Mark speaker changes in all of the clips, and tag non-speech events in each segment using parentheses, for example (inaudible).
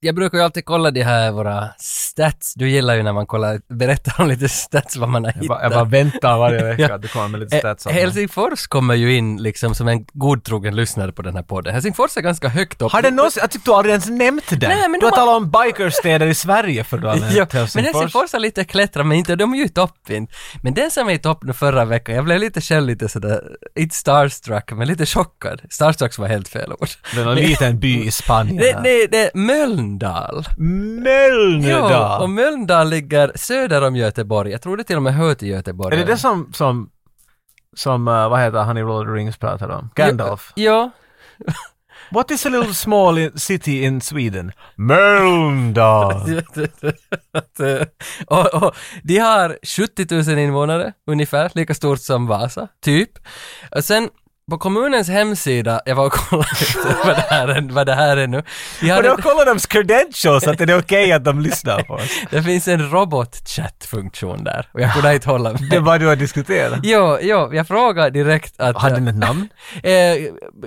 Speaker 1: jag brukar ju alltid kolla de här våra stats. Du gillar ju när man kollar, berättar om lite stats vad man har
Speaker 2: Jag
Speaker 1: hittat.
Speaker 2: bara, jag bara väntar varje (laughs) vecka
Speaker 1: Ja.
Speaker 2: att du kommer med lite
Speaker 1: Eh,
Speaker 2: stats. om det.
Speaker 1: Helsingfors kommer ju in liksom som en godtrogen lyssnare på den här podden. Helsingfors är ganska högt upp.
Speaker 2: Har det någonsin, jag tyckte du aldrig ens nämnt det.
Speaker 1: Nej, men
Speaker 2: du har
Speaker 1: de har-
Speaker 2: talat om bikerstäder i Sverige för du (laughs) har nämnt
Speaker 1: (laughs) Ja,
Speaker 2: Helsingfors.
Speaker 1: men Helsingfors har lite klättrat, men inte, de är ju i toppen. Men den som är i topp nu förra veckan, jag blev lite själv lite sådär, inte starstruck, men lite chockad. Starstruck var helt fel ord.
Speaker 2: Det är någon liten by i Spanien.
Speaker 1: Det, det, det är Mölndal. Ja, och
Speaker 2: Mölndal!
Speaker 1: Mölndal ligger söder om Göteborg. Jag tror det till och med hör till Göteborg.
Speaker 2: Är det det som, som, som eh, vad heter han i Lord of the Rings pratade om? Gandalf.
Speaker 1: Ja,
Speaker 2: What is a little small in, city in Sweden? (laughs)
Speaker 1: (laughs)
Speaker 2: Mölndal!
Speaker 1: eh, och, och, de har 70 000 invånare ungefär, lika stort som Vasa, typ. Och sen på kommunens hemsida, jag var och kollade efter (laughs) vad det här är, vad det här är nu. De har
Speaker 2: Och då
Speaker 1: en,
Speaker 2: kollar de credentials att det är okej att de lyssnar på oss. (laughs)
Speaker 1: det finns en robotchattfunktion där och jag kunde inte hålla mig. (laughs)
Speaker 2: Det är vad du har diskuterat.
Speaker 1: Jo, jo, jag frågade direkt att...
Speaker 2: Hade den ett namn?
Speaker 1: eh,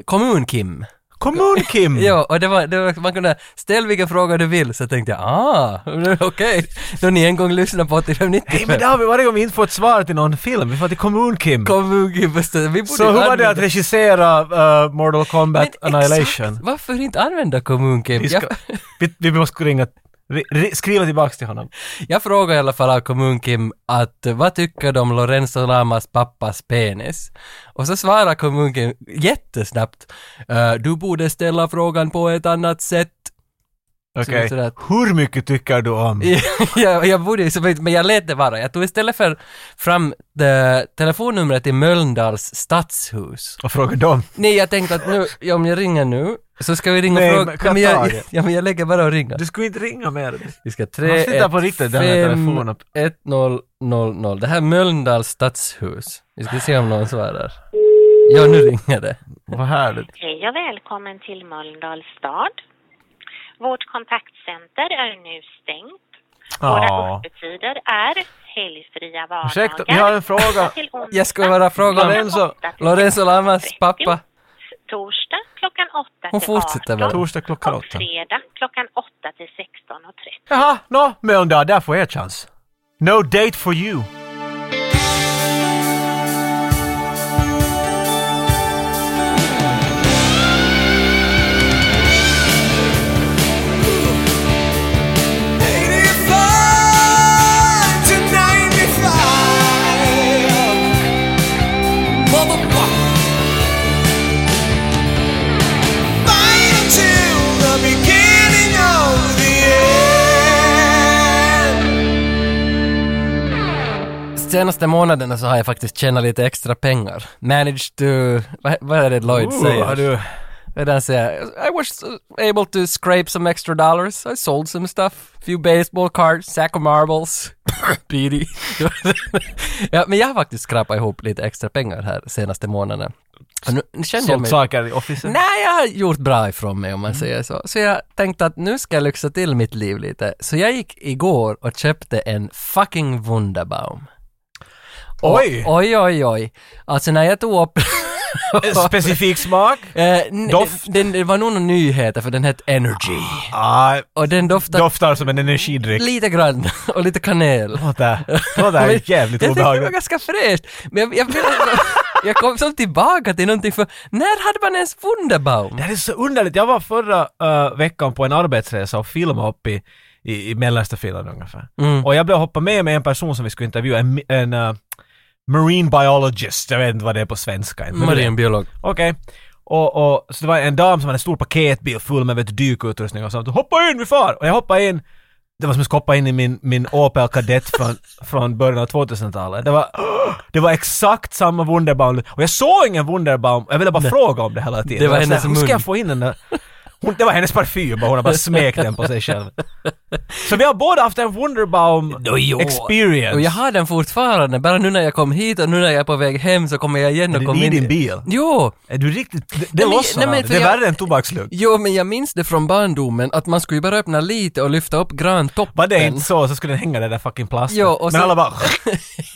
Speaker 1: Kommun-Kim.
Speaker 2: Kommun-Kim!
Speaker 1: Ja, och det var, det var, man kunde ställa vilken fråga du vill, så tänkte jag ah, (laughs) okej, då ni en gång lyssnade på 8590.
Speaker 2: Nej men det har vi varje gång vi inte får ett svar till någon film, vi får till Kommun-Kim.
Speaker 1: Kommun-Kim bestämde, vi borde
Speaker 2: Så hur var det
Speaker 1: använda-
Speaker 2: att regissera eh, Mortal Kombat
Speaker 1: Men
Speaker 2: Annihilation?
Speaker 1: Exakt, varför inte använda kommun-Kim?
Speaker 2: Vi, ska,
Speaker 1: Jag,
Speaker 2: vi, vi måste ringa, ri, ri, skriva tillbaks till honom.
Speaker 1: jag frågar i alla fall av kommun-Kim att eh, vad tycker de om Lorenzo Lamas pappas penis? Och så svarar kommun-Kim jättesnabbt, eh, du borde ställa frågan på ett annat sätt. (laughs)
Speaker 2: Okej.
Speaker 1: Så- sådär.
Speaker 2: Hur mycket tycker du om?
Speaker 1: jag, jag borde ju, som inte- men jag lät det vara. Jag tog istället för fram det, telefonnumret till Mölndals stadshus.
Speaker 2: Och fråga dem.
Speaker 1: Nej, jag tänkte att nu, ja, om jag ringer nu så ska vi ringa
Speaker 2: Nej,
Speaker 1: och fråga.
Speaker 2: men kan
Speaker 1: men
Speaker 2: ta
Speaker 1: jag,
Speaker 2: det.
Speaker 1: ja, men jag lägger bara och ringer.
Speaker 2: Du skulle inte ringa mer.
Speaker 1: Vi ska
Speaker 2: Han
Speaker 1: 3,
Speaker 2: sitter
Speaker 1: 1,
Speaker 2: på riktigt den här telefonen.
Speaker 1: 1, 0, 0, 0. Det här är Mölndals stadshus. Vi ska se om någon svarar. Ja, nu ringer det.
Speaker 2: Vad härligt.
Speaker 3: Hej och välkommen till Mölndals stad. Vårt kontaktcenter är nu stängt. Våra
Speaker 2: Ja.
Speaker 3: öppettider är helgfria vardagar.
Speaker 2: Ursäkta, vi har en fråga.
Speaker 3: Till onsdag
Speaker 1: Jag ska bara fråga om
Speaker 2: Lorenzo-
Speaker 3: klockan 8 till
Speaker 1: Lorenzo Lamas
Speaker 3: 16.30,
Speaker 1: pappa.
Speaker 3: Torsdag klockan 8 till
Speaker 1: Hon fortsätter
Speaker 3: 18.
Speaker 1: bara.
Speaker 2: Torsdag klockan
Speaker 3: Och
Speaker 2: åtta.
Speaker 3: fredag klockan 8 till 16.30.
Speaker 2: Jaha, nå, Mölndal, där får jag ett chans. No date for you.
Speaker 1: Senaste månaderna så har jag faktiskt tjänat lite extra pengar. Managed to... Vad, vad är det Lloyd säger?
Speaker 2: har du-
Speaker 1: Vad är det han säger? I was able to scrape some extra dollars. I sold some stuff. Few baseball cards, sack of
Speaker 2: (laughs)
Speaker 1: marbles. Beady. ja, men jag har faktiskt skrapat ihop lite extra pengar här senaste månaden. Och nu, nu kände jag
Speaker 2: Sålt
Speaker 1: mig...
Speaker 2: saker i officen.
Speaker 1: Nej, jag har gjort bra ifrån mig om
Speaker 2: Mm.
Speaker 1: man säger så. Så jag tänkte att nu ska jag lyxa till mitt liv lite. Så jag gick igår och köpte en fucking Wunderbaum.
Speaker 2: Oj!
Speaker 1: Oj, oj, oj. Alltså när jag tog
Speaker 2: (laughs)
Speaker 1: upp...
Speaker 2: Eh, Specifik smak?
Speaker 1: (laughs) Eh, n-
Speaker 2: Doft.
Speaker 1: Den, det var nog någon nyhet för den hette Energy.
Speaker 2: Ah,
Speaker 1: Och den doftade
Speaker 2: doftar som en energidryck.
Speaker 1: lite grann (laughs) och lite kanel.
Speaker 2: Låter,
Speaker 1: (laughs)
Speaker 2: låter jävligt
Speaker 1: jag tyckte det var
Speaker 2: obehagligt.
Speaker 1: ganska fräscht. Men jag, jag, vill- (laughs) jag kom som tillbaka till någonting för när hade man ens Wunderbaum?
Speaker 2: Det här är så underligt. Jag var förra eh, veckan på en arbetsresa och filmade upp i, i, i mellersta Finland ungefär. Och jag blev hoppa med med en person som vi skulle intervjua, en, mi- en eh, marine biologist. Jag vet inte vad det är på svenska. inte. Men-
Speaker 1: Marinbiolog.
Speaker 2: Okej. Och, och, så det var en dam som hade en stor paketbil full med vet, du, dykutrustning och sånt. Hoppa in, vi far! Och jag hoppade in. Det var som att hoppa in i min, min Opel Kadett från, (laughs) från början av 2000-talet. Det var, det var exakt samma Wunderbaum. Och jag såg ingen Wunderbaum. Jag ville bara fråga om det hela tiden.
Speaker 1: Det var
Speaker 2: Jag
Speaker 1: hennes
Speaker 2: såhär, Hur ska
Speaker 1: mun."
Speaker 2: jag få in den där? Hon, det var hennes parfym och hon har bara smekt den på sig själv. Så vi har båda haft en Wunderbaum
Speaker 1: Nå, jo.
Speaker 2: experience.
Speaker 1: Och jag har den fortfarande, bara nu när jag kom hit och nu när jag är på väg hem så kommer jag igen och
Speaker 2: Men
Speaker 1: kommer
Speaker 2: i
Speaker 1: in.
Speaker 2: din bil?
Speaker 1: Jo!
Speaker 2: Är du riktigt... Det, det
Speaker 1: Nej, men-
Speaker 2: lossnar
Speaker 1: nej, men
Speaker 2: aldrig.
Speaker 1: för
Speaker 2: Det är
Speaker 1: jag-
Speaker 2: värre än tobakslukt.
Speaker 1: Jo, men jag minns det från barndomen att man skulle ju bara öppna lite och lyfta upp grantoppen.
Speaker 2: Var det inte så, så skulle den hänga där, där fucking plasten.
Speaker 1: Jo, och
Speaker 2: men
Speaker 1: så- (laughs)
Speaker 2: alla bara...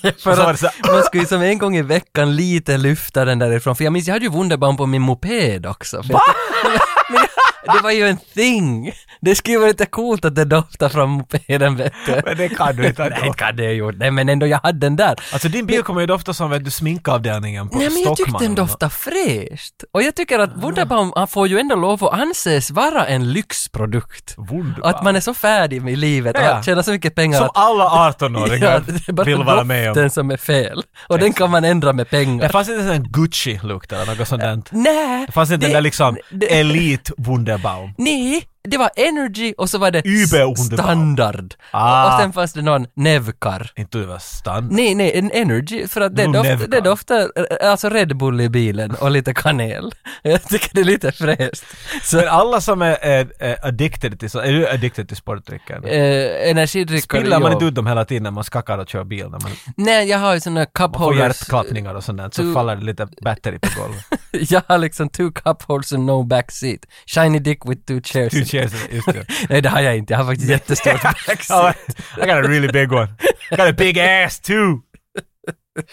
Speaker 1: För
Speaker 2: Och så var
Speaker 1: att
Speaker 2: det så-
Speaker 1: man skulle ju som en gång i veckan lite lyfta den därifrån, för jag minns, jag hade ju Wunderbaum på min moped också. Va? (laughs) Men, men, Det var ju en thing! Det skulle ju vara lite coolt att det doftade från mopeden vet du.
Speaker 2: Men det kan du
Speaker 1: (laughs)
Speaker 2: inte
Speaker 1: Nej,
Speaker 2: ändå.
Speaker 1: kan det ha gjort. Nej, men ändå, jag hade den där.
Speaker 2: Alltså din bil kommer ju dofta som vet du, sminkavdelningen på
Speaker 1: Nej, men jag tyckte den
Speaker 2: Stockman.
Speaker 1: doftade fräscht. Och jag tycker att Wunderbaum, han får ju ändå lov att anses vara en lyxprodukt.
Speaker 2: Wunderbar.
Speaker 1: Att man är så färdig med livet och
Speaker 2: Ja.
Speaker 1: att tjäna så mycket pengar
Speaker 2: Som
Speaker 1: att (laughs)
Speaker 2: alla
Speaker 1: Ja,
Speaker 2: 18-åringar
Speaker 1: det är bara
Speaker 2: vill vara med om.
Speaker 1: doften som är fel. Och den kan man ändra med
Speaker 2: Det
Speaker 1: pengar.
Speaker 2: fanns inte ens en Gucci-lukt eller något sånt där.
Speaker 1: Nej,
Speaker 2: Det fanns inte den
Speaker 1: det-
Speaker 2: där liksom
Speaker 1: (laughs) det-
Speaker 2: elit-Wunderbaum.
Speaker 1: Nej, det var energy och så var det
Speaker 2: Über-
Speaker 1: s- standard.
Speaker 2: Ah.
Speaker 1: Och, och sen fanns det någon nevkar.
Speaker 2: Inte du var standard.
Speaker 1: Nej, nej, en energy, för att det,
Speaker 2: Blue
Speaker 1: doft,
Speaker 2: Nevkan.
Speaker 1: det doftar eh, alltså Red Bull i bilen och lite kanel. (laughs) Jag tycker det är lite fräscht. (laughs) Så,
Speaker 2: Men alla som är, är, är addicted till, så- är du addicted till sportdrycken?
Speaker 1: eh, energidrycker,
Speaker 2: Spiller man
Speaker 1: ja.
Speaker 2: inte ut dem hela tiden när man skakar och kör bil? När man,
Speaker 1: Nej, jag har ju såna cup
Speaker 2: man får
Speaker 1: holders.
Speaker 2: hjärtklappningar och sånt där, så
Speaker 1: Du-
Speaker 2: faller det lite batteri på (laughs) golvet.
Speaker 1: (laughs) Jag har liksom two cup holders and no back seat. Shiny dick with two chairs.
Speaker 2: Two chairs, just (laughs) det.
Speaker 1: nej, det har jag inte. Jag har faktiskt jättestort (laughs) back seat.
Speaker 2: I got a really big one. I got a big ass too.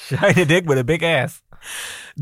Speaker 2: Shiny dick with a big ass.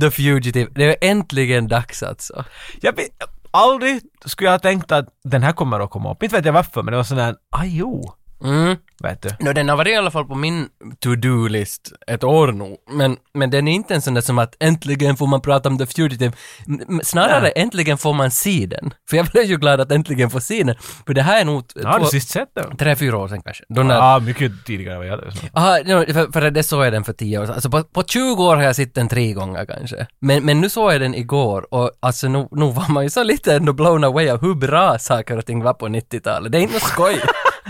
Speaker 1: The Fugitive. Det är äntligen dags alltså.
Speaker 2: Jag vet, aldrig skulle jag ha tänkt att den här kommer att komma upp. Inte vet jag varför, men det var sån där, aj jo,
Speaker 1: Mm.
Speaker 2: vet du.
Speaker 1: No, den har varit i alla fall på min to-do-list ett år nu. Men, men den är inte en sån där som att äntligen får man prata om The Fugitive. M- m- Snarare äntligen får man se den. För jag blev ju glad att äntligen få se den. För det här är nog t-
Speaker 2: Ja, Har du
Speaker 1: två-
Speaker 2: sist sett den?
Speaker 1: tre, fyra år sedan kanske. Då när,
Speaker 2: Ja, mycket tidigare än vad jag hade. så.
Speaker 1: Aha, no, för, för det såg jag den för tio år sedan. Alltså på, på 20 år har jag sett den tre gånger kanske. Men, men nu såg jag den igår och alltså nu, nu var man ju så lite ändå blown away av hur bra saker och ting var på 90-talet. Det är inte något
Speaker 2: (laughs)
Speaker 1: skoj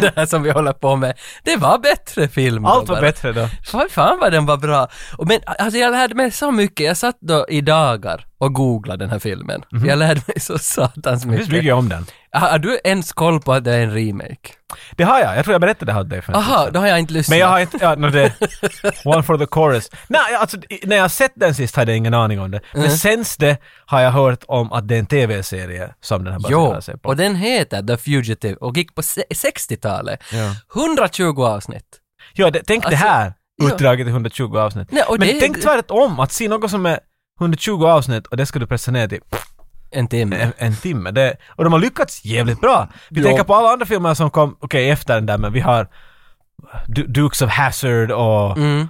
Speaker 1: det här som vi håller på med. Det var bättre film.
Speaker 2: Allt
Speaker 1: då
Speaker 2: var
Speaker 1: bara.
Speaker 2: bättre då.
Speaker 1: Fan, fan vad den var bra. Och men alltså jag lärde mig så mycket. Jag satt då i dagar och googlade den här filmen. Jag lärde mig så satans
Speaker 2: Det finns
Speaker 1: mycket.
Speaker 2: Mhm. mycket om den.
Speaker 1: Har har du ens koll på att det är en remake?
Speaker 2: Det har jag. Jag tror jag berättade det här åt dig för en tid
Speaker 1: Aha,
Speaker 2: sedan.
Speaker 1: då har jag inte lyssnat.
Speaker 2: Men jag har inte... Ja,
Speaker 1: (laughs)
Speaker 2: no, det, one for the chorus. Nej, alltså, i- när jag sett den sist hade jag ingen aning om det. Men
Speaker 1: Mm.
Speaker 2: sen det har jag hört om att det är en tv-serie som den här
Speaker 1: Jo,
Speaker 2: baserar sig på.
Speaker 1: och den heter The Fugitive och gick på se- 60-talet. 120 avsnitt.
Speaker 2: Ja, det, tänk
Speaker 1: Alltså,
Speaker 2: det här
Speaker 1: ja.
Speaker 2: utdraget i 120 avsnitt.
Speaker 1: Nej, och
Speaker 2: Men
Speaker 1: det-
Speaker 2: tänk tvärtom, att se något som är 120 avsnitt och det ska du pressa ner till
Speaker 1: En timme.
Speaker 2: en, en timme. Det, och de har lyckats jävligt bra. Vi
Speaker 1: Jo.
Speaker 2: tänker på alla andra filmer som kom, okej efter den där, men vi har Du- Dukes of Hazard och
Speaker 1: Mm.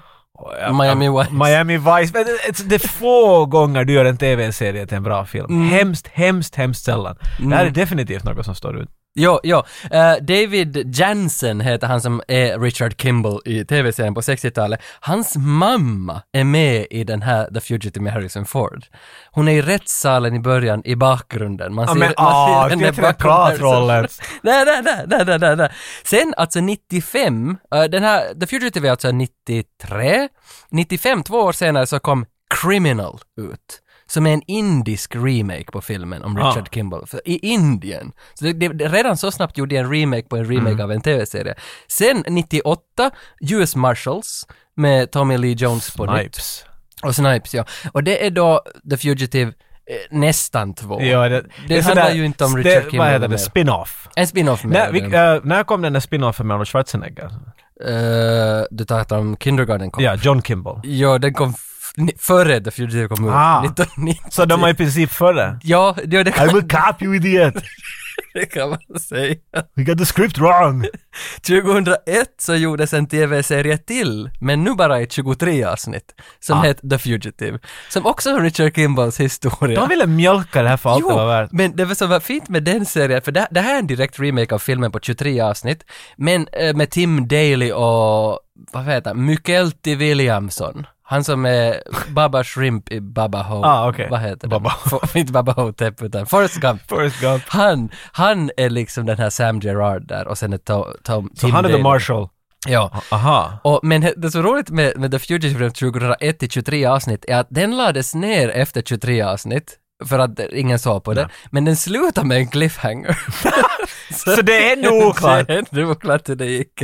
Speaker 2: Ja,
Speaker 1: Miami
Speaker 2: ja,
Speaker 1: Vice.
Speaker 2: Miami Vice. Men det- det- det är få gånger du gör en tv-serie till en bra film.
Speaker 1: Mm.
Speaker 2: Hemskt, hemskt, hemskt sällan. Det här är definitivt något som står ut.
Speaker 1: Jo, jo. Eh, David Jansen heter han som är Richard Kimball i tv-serien på 60-talet. Hans mamma är med i den här The Fugitive med Harrison Ford. Hon är i rättssalen i början i bakgrunden. Man
Speaker 2: Ja, men ah, det är till
Speaker 1: bakom Harrison
Speaker 2: platrollen.
Speaker 1: Nej, nej, nej, nej, nej, nej, nej. Sen alltså 95, eh, den här, The Fugitive är alltså 93. 95, två år senare, så kom Criminal ut. Som är en indisk remake på filmen om
Speaker 2: Ah.
Speaker 1: Richard Kimball. För, I Indien. Så det, det, det- redan så snabbt gjorde jag en remake på en remake
Speaker 2: Mm.
Speaker 1: av en tv-serie. Sen 98, US Marshals med Tommy Lee Jones på nytt.
Speaker 2: Snipes.
Speaker 1: Och Snipes, ja. Och det är då The Fugitive eh, nästan två.
Speaker 2: Ja, det,
Speaker 1: handlar
Speaker 2: är sådär-
Speaker 1: ju inte om
Speaker 2: det,
Speaker 1: Richard Kimball
Speaker 2: Vad heter
Speaker 1: mer.
Speaker 2: det? Spin-off.
Speaker 1: en spin-off med
Speaker 2: När, vilk, eh, när kom den där spin-offen med Arnold Schwarzenegger?
Speaker 1: Eh, du pratar om Kindergarten kom.
Speaker 2: Ja, John Kimball.
Speaker 1: Ja, den kom f- ni- före The Fugitive kom ut.
Speaker 2: Ah.
Speaker 1: 1990.
Speaker 2: Så de var i princip
Speaker 1: (laughs)
Speaker 2: före.
Speaker 1: Ja, ja det,
Speaker 2: I
Speaker 1: kan,
Speaker 2: will cop you idiot!
Speaker 1: det kan man säga.
Speaker 2: We got the script wrong!
Speaker 1: 2001 så gjordes en tv-serie till, men nu bara i 23 avsnitt, som
Speaker 2: Ah.
Speaker 1: hette The Fugitive. Som också är Richard Kimballs historia.
Speaker 2: (laughs) De ville mjölka det här för allt det var värt.
Speaker 1: men det var som var fint med den serien, för det, det här är en direkt remake av filmen på 23 avsnitt, men eh, med Tim Daly och, vad heter han, Mykelti Williamson. Han som är Baba Shrimp i Baba Ho.
Speaker 2: Ah, okej.
Speaker 1: Vad heter
Speaker 2: Baba
Speaker 1: det? For, inte Baba Ho-Tep, utan Forrest Gump.
Speaker 2: Forrest Gump.
Speaker 1: Han, han är liksom den här Sam Gerard där och sen är Tom, Tom
Speaker 2: Så
Speaker 1: Tim
Speaker 2: han är the
Speaker 1: Daly.
Speaker 2: marshal.
Speaker 1: Ja.
Speaker 2: Aha.
Speaker 1: Och, men he- det som är roligt med, med The Fugitive från 2001 till 23 avsnitt är att den lades ner efter 23 avsnitt för att eh, ingen såg på det. Men den slutar med en cliffhanger.
Speaker 2: Så det är
Speaker 1: (laughs)
Speaker 2: ändå oklart.
Speaker 1: det är ändå oklart hur det gick.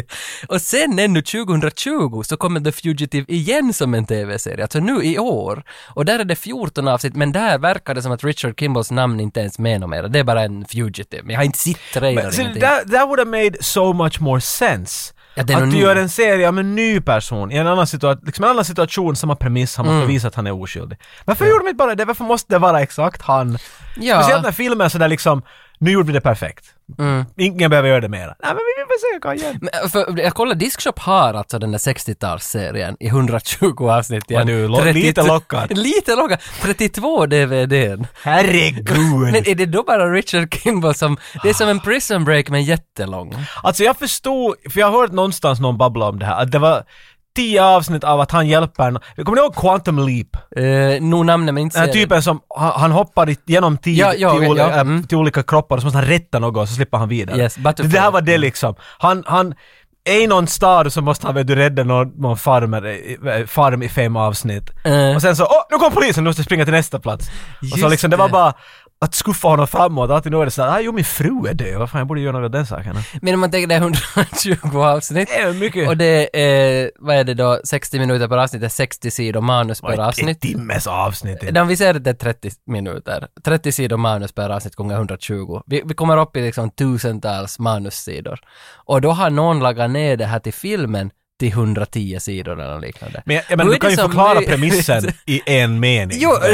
Speaker 1: Och sen ännu 2020 så kommer The Fugitive igen som en tv-serie, alltså nu i år. Och där är det 14 avsnitt, men där verkar det som att Richard Kimballs namn inte ens är med något mer. Det är bara en Fugitive. Men jag har inte sett trailern.
Speaker 2: Så
Speaker 1: ingenting.
Speaker 2: that, that would have made so much more sense.
Speaker 1: Ja,
Speaker 2: att
Speaker 1: det är
Speaker 2: du
Speaker 1: nog ny.
Speaker 2: gör en serie om en ny person i en annan situation, liksom en annan situation, samma premiss, han måste
Speaker 1: Mm.
Speaker 2: visa att han är oskyldig. Varför gjorde de inte bara det? Varför måste det vara exakt han?
Speaker 1: Ja.
Speaker 2: Speciellt när filmen är sådär liksom Nu gjorde vi det perfekt.
Speaker 1: Mm.
Speaker 2: Ingen behöver göra det mera. Nej, men vi vill försöka igen.
Speaker 1: Men, för, jag kollar, Diskshop har alltså den där 60-talsserien i 120 avsnitt igen.
Speaker 2: Vad du är lo-
Speaker 1: 32
Speaker 2: lite
Speaker 1: (laughs)
Speaker 2: lockad.
Speaker 1: lite lockad. 32 DVDn. (laughs) Men
Speaker 2: Herregud!
Speaker 1: är det då bara Richard Kimball som... Det är som
Speaker 2: Ah.
Speaker 1: en prison break men jättelång.
Speaker 2: Alltså jag förstod, för jag har hört någonstans någon babbla om det här, att det var tio avsnitt av att han hjälper no- Kommer ni ihåg Quantum Leap?
Speaker 1: Uh, Nog namnet men inte
Speaker 2: Den här
Speaker 1: serien.
Speaker 2: typen som, han, han hoppar i- genom tid
Speaker 1: Ja, ja,
Speaker 2: till,
Speaker 1: ja,
Speaker 2: oli-
Speaker 1: ja,
Speaker 2: äh,
Speaker 1: mm.
Speaker 2: till olika kroppar och så måste han rätta något och så slipper han vidare.
Speaker 1: Yes,
Speaker 2: det
Speaker 1: Butterfly. Mm.
Speaker 2: där var det liksom. Han, han är i någon stad så måste han vet du, rädda någon, någon farmer, i- eh, farm i fem avsnitt.
Speaker 1: Eh.
Speaker 2: Och sen så, åh, nu kom polisen, nu måste jag springa till nästa plats. och så
Speaker 1: Just
Speaker 2: liksom, det var
Speaker 1: det.
Speaker 2: bara att skuffa honom framåt. Alltid nu är det sådär, ah, jo min fru är död, vad fan jag borde göra något åt den saken.
Speaker 1: Men om man tänker det är 120
Speaker 2: (laughs)
Speaker 1: avsnitt.
Speaker 2: Det är mycket.
Speaker 1: Och det är, vad är det då, 60 minuter per avsnitt, det är 60 sidor manus per
Speaker 2: En
Speaker 1: avsnitt.
Speaker 2: timmes avsnitt.
Speaker 1: Om vi säger att det är 30 minuter, 30 sidor manus per avsnitt gånger 120. Vi, vi kommer upp i liksom tusentals manussidor. Och då har någon lagat ner det här till filmen till 110 sidor eller något liknande.
Speaker 2: Men, jag, men
Speaker 1: Då
Speaker 2: du
Speaker 1: är
Speaker 2: kan
Speaker 1: det
Speaker 2: ju
Speaker 1: som
Speaker 2: förklara
Speaker 1: my-
Speaker 2: premissen
Speaker 1: (laughs)
Speaker 2: i en mening.
Speaker 1: Jo, (laughs)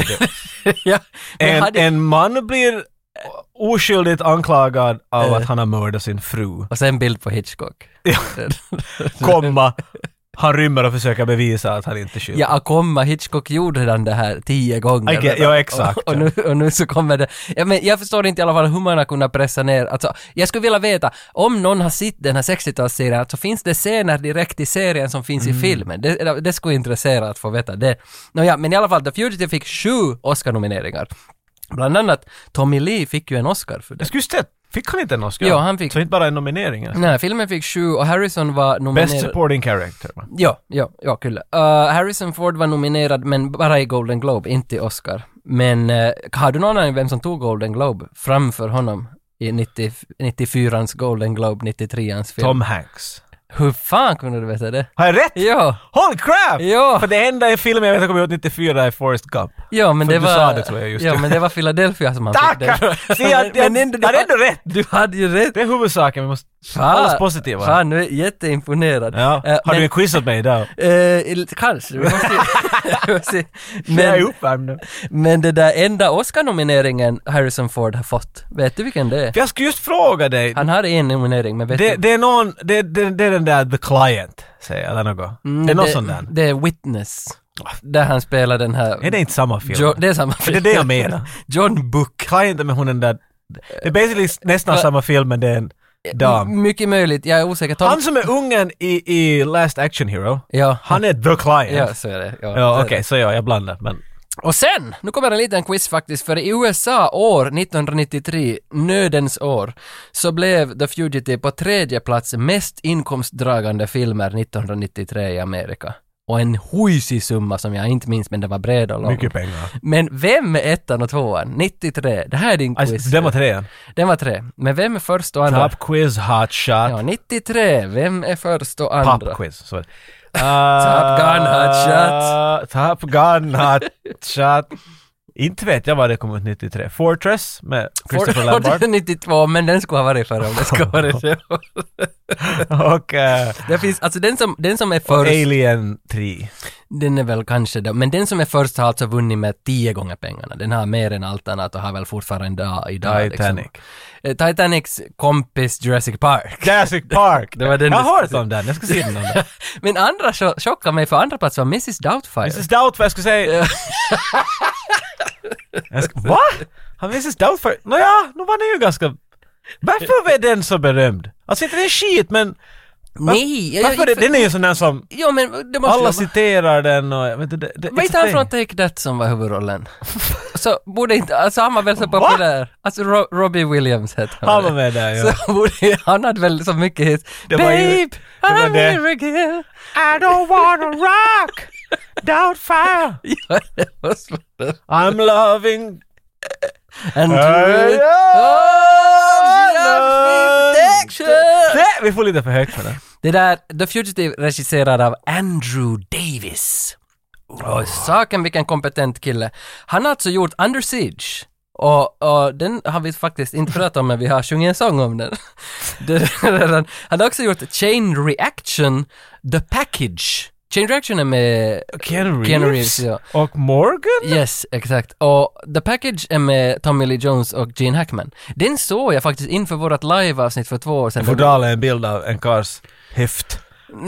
Speaker 1: (laughs) ja, men
Speaker 2: En,
Speaker 1: hade-
Speaker 2: en man blir oskyldigt anklagad av
Speaker 1: Eh.
Speaker 2: att han har mördat
Speaker 1: (laughs)
Speaker 2: sin fru.
Speaker 1: Och sen bild på Hitchcock.
Speaker 2: Ja. Komma, han rymmer och försöker bevisa att han inte är
Speaker 1: (laughs)
Speaker 2: skyldig.
Speaker 1: Ja, att komma, Hitchcock gjorde redan det här tio gånger.
Speaker 2: Okej,
Speaker 1: redan.
Speaker 2: ja,
Speaker 1: (laughs)
Speaker 2: exakt,
Speaker 1: Och, och, nu, och nu så kommer det. Ja, men jag förstår inte i alla fall hur man har kunnat pressa ner. Alltså, jag skulle vilja veta, om någon har sett den här 60-talsserien, alltså finns det scener direkt i serien som finns i filmen? Det, det skulle intressera att få veta det. Nåja, men i alla fall, The Fugitive fick sju Oscar-nomineringar. Bland annat Tommy Lee fick ju en Oscar för det.
Speaker 2: Jag skulle just säga, fick han inte en Oscar?
Speaker 1: Ja, han fick-
Speaker 2: Så inte bara en nominering. Alltså.
Speaker 1: Nej, filmen fick sju och Harrison var nominerad...
Speaker 2: Best supporting character. va?
Speaker 1: Ja, ja, ja, kul. Uh, Harrison Ford var nominerad men bara i Golden Globe, inte i Oscar. Men eh, har du någon aning vem som tog Golden Globe framför honom i 90, 94ans Golden Globe, 93ans film?
Speaker 2: Tom Hanks.
Speaker 1: Hur fan kunde du veta det?
Speaker 2: Har jag rätt?
Speaker 1: Ja,
Speaker 2: Holy crap!
Speaker 1: Ja.
Speaker 2: För det enda i filmen jag vet som kom ut 94 är Forrest Gump.
Speaker 1: ja men
Speaker 2: För
Speaker 1: det
Speaker 2: du
Speaker 1: var...
Speaker 2: sa det, tror jag, just
Speaker 1: Ja,
Speaker 2: det.
Speaker 1: men det var Philadelphia som han
Speaker 2: Tack!
Speaker 1: fick den.
Speaker 2: (laughs) Se, jag, jag, jag hade ändå rätt!
Speaker 1: Du hade ju rätt.
Speaker 2: Det är huvudsaken, vi måste... Allas positiva.
Speaker 1: Fan, nu är jag jätteimponerad.
Speaker 2: Ja.
Speaker 1: Eh,
Speaker 2: Har
Speaker 1: men-
Speaker 2: du en quiz åt mig idag?
Speaker 1: eh, kanske, vi måste,
Speaker 2: (laughs)
Speaker 1: (laughs) vi måste,
Speaker 2: jag är uppvärmd nu.
Speaker 1: Men det där enda Oscar-nomineringen Harrison Ford har fått, vet du vilken det är?
Speaker 2: För jag skulle just fråga dig.
Speaker 1: Han har en nominering, men vet
Speaker 2: Det,
Speaker 1: du?
Speaker 2: det är någon, det, det, det är den där The Client, säger jag, eller något. det är någon sån där.
Speaker 1: Mm,
Speaker 2: Ah.
Speaker 1: Det är Witness. Där han spelar den här...
Speaker 2: Är det inte samma film?
Speaker 1: Jo, det är samma
Speaker 2: För det är det jag menar.
Speaker 1: (laughs) John Book.
Speaker 2: Client är med hon den där, det är basically s- nästan
Speaker 1: Va- Mm,
Speaker 2: samma film men det är en dam.
Speaker 1: M- mycket möjligt, jag är osäker. Tom...
Speaker 2: Han som är ungen i, i Last Action Hero,
Speaker 1: Ja.
Speaker 2: han är The
Speaker 1: Ja,
Speaker 2: Client.
Speaker 1: så är det. Ja, så är
Speaker 2: Ja, okej,
Speaker 1: det.
Speaker 2: så ja, jag blandar. Men
Speaker 1: Och sen, nu kommer en liten quiz faktiskt, för i USA år 1993, nödens år, så blev The Fugitive på tredje plats mest inkomstdragande filmer 1993 i Amerika. Och en hojsig summa som jag inte minns, men den var bred och lång.
Speaker 2: mycket pengar.
Speaker 1: Men vem är ettan och tvåan? 93, det här är din quiz.
Speaker 2: Alltså, den var trean.
Speaker 1: Den var tre. Men vem är först och andra?
Speaker 2: Top quiz, hot shot,
Speaker 1: Ja, 93, vem är först och andra?
Speaker 2: pop quiz. Så. Uh,
Speaker 1: Top Gun, hot shot.
Speaker 2: Top Gun Hot Shot. Inte vet jag vad det kom ut 93. Fortress med Christopher
Speaker 1: Ford-
Speaker 2: Lambert.
Speaker 1: 92, men den skulle ha varit förra om det skulle ha varit
Speaker 2: (laughs)
Speaker 1: det.
Speaker 2: och eh,
Speaker 1: Det finns, alltså den som, den som är först,
Speaker 2: Alien 3.
Speaker 1: den är väl kanske det, men den som är först har alltså vunnit med tio gånger pengarna. Den har mer än allt annat och har väl fortfarande idag. idag
Speaker 2: Titanic.
Speaker 1: Liksom. Eh, Titanics kompis Jurassic Park. (laughs)
Speaker 2: Jurassic Park!
Speaker 1: Det var den
Speaker 2: jag
Speaker 1: du-
Speaker 2: har hört om den, jag ska se den
Speaker 1: (laughs)
Speaker 2: om den.
Speaker 1: men andra cho- chockade mig, för andra plats var Mrs Doubtfire.
Speaker 2: Mrs Doubtfire, jag ska säga... (laughs) jag ska, va? Har Mrs Doubtfire... Nåja, nu var den ju ganska... Varför är den så berömd? Alltså inte den skit men...
Speaker 1: Nej! jag-
Speaker 2: Varför är
Speaker 1: jag-
Speaker 2: den är ju sån där som...
Speaker 1: Ja men det måste ju
Speaker 2: Alla
Speaker 1: vara-
Speaker 2: citerar den och... jag Vet, inte, det, det,
Speaker 1: Var
Speaker 2: it's
Speaker 1: inte
Speaker 2: a
Speaker 1: han
Speaker 2: thing.
Speaker 1: från Take That som var huvudrollen? (laughs) så borde inte, alltså han var väl så
Speaker 2: Va?
Speaker 1: populär? Alltså Ro- Robbie Williams hette han.
Speaker 2: Han var
Speaker 1: väl.
Speaker 2: med där
Speaker 1: (laughs)
Speaker 2: ja.
Speaker 1: Så borde, han hade väl så mycket hit.
Speaker 2: Det var
Speaker 1: Babe,
Speaker 2: ju- det var
Speaker 1: I'm
Speaker 2: det.
Speaker 1: here again. (laughs)
Speaker 2: I don't wanna rock! Doubtfire!
Speaker 1: Ja, det var svårt.
Speaker 2: I'm loving...
Speaker 1: And
Speaker 2: Hey,
Speaker 1: through it
Speaker 2: yeah.
Speaker 1: all, she
Speaker 2: Love.
Speaker 1: loves me, protection.
Speaker 2: Nej, vi får lite för högt för det.
Speaker 1: Det där, The Fugitive regisserad av Andrew Davis. Och saken vilken kompetent kille. Han har alltså gjort Under Siege. Och, och den har vi faktiskt inte pratat om, men vi har sjungit en sång om den. (laughs) Det- Han har också gjort Chain Reaction, The Package Change Reaction är med
Speaker 2: Keanu Reeves,
Speaker 1: Keanu Reeves, ja.
Speaker 2: och Morgan?
Speaker 1: Yes, exakt. Och The Package är med Tommy Lee Jones och Gene Hackman. Den såg jag faktiskt inför vårt live-avsnitt för två år sedan.
Speaker 2: Fodralet är en bild av en karls höft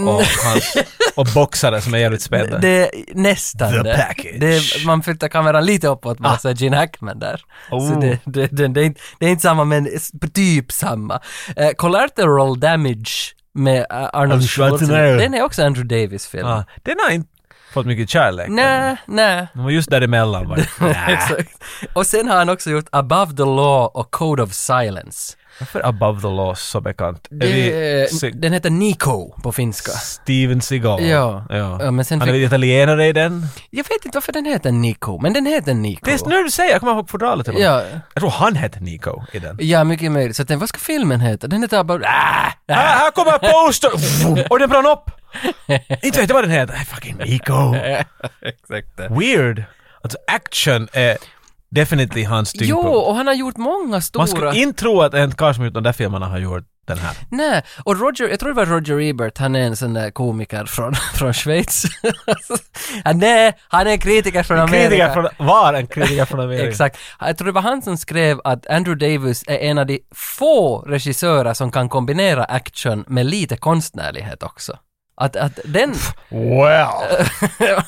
Speaker 2: och, hans, och boxare som är jävligt spända.
Speaker 1: Mm. Det är nästan
Speaker 2: The
Speaker 1: det.
Speaker 2: Package. Ah.
Speaker 1: det. är- Man flyttar kameran lite uppåt bara, så är Gene Hackman där. Så
Speaker 2: Oh.
Speaker 1: det, det, det, det, är inte, det är inte samma, men s- typ samma. Eh, collateral Damage med eh, Arnold
Speaker 2: Arnold
Speaker 1: Schwarzenegger.
Speaker 2: Schwarzenegger. Ah.
Speaker 1: Den är också Andrew Davis film.
Speaker 2: Ja, den har inte fått mycket kärlek.
Speaker 1: Nej, nej.
Speaker 2: De var just
Speaker 1: (laughs)
Speaker 2: däremellan bara. Nä.
Speaker 1: Exakt. Och sen har han också gjort Above the Law och Code of Silence.
Speaker 2: Varför Above the Law så bekant? Är
Speaker 1: Det, eh,
Speaker 2: vi Se-
Speaker 1: den heter Nico på finska.
Speaker 2: Steven Seagal?
Speaker 1: Ja. Ja, men sen
Speaker 2: Han är
Speaker 1: fick-
Speaker 2: väl italienare i den?
Speaker 1: Jag vet inte varför den heter Nico, men den heter Nico.
Speaker 2: Det är när du säger, jag kommer ihåg fodralet till och med.
Speaker 1: Ja.
Speaker 2: Jag tror han hette Nico i den.
Speaker 1: Ja, mycket möjligt. Så den, vad ska filmen heta? Den heter bara... Ah, ah.
Speaker 2: Här, här kommer poster! Och den brann upp! Inte vet jag vad den heter. Nej, Fucking Nico.
Speaker 1: (laughs) Exakt det.
Speaker 2: Weird. Alltså action är definitivt hans
Speaker 1: Jo,
Speaker 2: tyngdpunkt.
Speaker 1: och han har gjort många
Speaker 2: Man
Speaker 1: stora...
Speaker 2: skulle inte tro att en karl som gjort de där filmerna har gjort den här.
Speaker 1: Nej, och Roger, jag tror det var Roger Ebert, han är en sån där komiker från, (laughs) från Schweiz. han, är, han är en kritiker från Amerika.
Speaker 2: Kritiker från, var en kritiker från Amerika.
Speaker 1: Exakt. Jag tror det var han som skrev att Andrew Davis är en av de få regissörer som kan kombinera action med lite konstnärlighet också. Att, att
Speaker 2: (laughs)
Speaker 1: den...
Speaker 2: Well,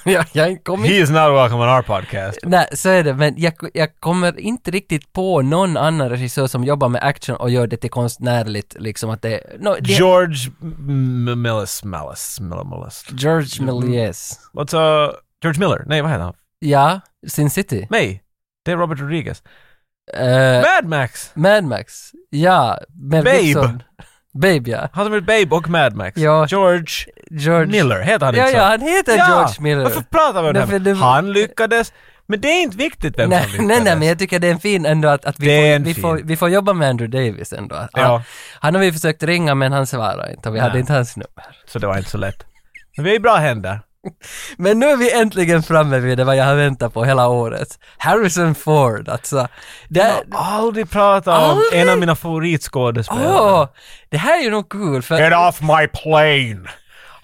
Speaker 1: jag, jag kom inte...
Speaker 2: he is not welcome on our podcast.
Speaker 1: Nej, så är det, men jag, jag kommer inte riktigt på någon annan regissör som jobbar med action och gör det till konstnärligt, liksom att det... No, det
Speaker 2: George M- Millis, Mallis, Miller, Millis.
Speaker 1: George
Speaker 2: Mm.
Speaker 1: Méliès.
Speaker 2: What's uh, George Miller? Nej, vad heter han?
Speaker 1: Ja, Sin City.
Speaker 2: Nej, det är Robert Rodriguez.
Speaker 1: Eh,
Speaker 2: Mad Max!
Speaker 1: Mad Max. Ja, Mel
Speaker 2: Babe.
Speaker 1: Gibson. Babe, ja.
Speaker 2: Han som gjort Babe och Mad Max.
Speaker 1: Ja.
Speaker 2: George
Speaker 1: George...
Speaker 2: Miller, heter han
Speaker 1: Ja,
Speaker 2: inte så?
Speaker 1: ja, han heter
Speaker 2: Ja,
Speaker 1: George Miller.
Speaker 2: Varför pratar vi om det?
Speaker 1: Därför
Speaker 2: här?
Speaker 1: det-
Speaker 2: Han lyckades, men det är inte viktigt vem som
Speaker 1: Nej,
Speaker 2: lyckades.
Speaker 1: nej, nej, men jag tycker det är en fin ändå att, att vi,
Speaker 2: Det är en
Speaker 1: får, vi,
Speaker 2: fin.
Speaker 1: får, vi får jobba med Andrew Davis ändå. Han,
Speaker 2: Ja.
Speaker 1: han har vi försökt ringa men han svarar inte och vi hade
Speaker 2: Nej.
Speaker 1: inte hans nummer.
Speaker 2: Så det var inte så lätt. Men vi är i bra händer.
Speaker 1: Men nu är vi äntligen framme vid det vad jag har väntat på hela året. Harrison Ford alltså. Det,
Speaker 2: Jag har aldrig pratat om
Speaker 1: Aldrig?
Speaker 2: en av mina favoritskådespelare.
Speaker 1: Åh, det här är ju nog kul för
Speaker 2: Get off my plane!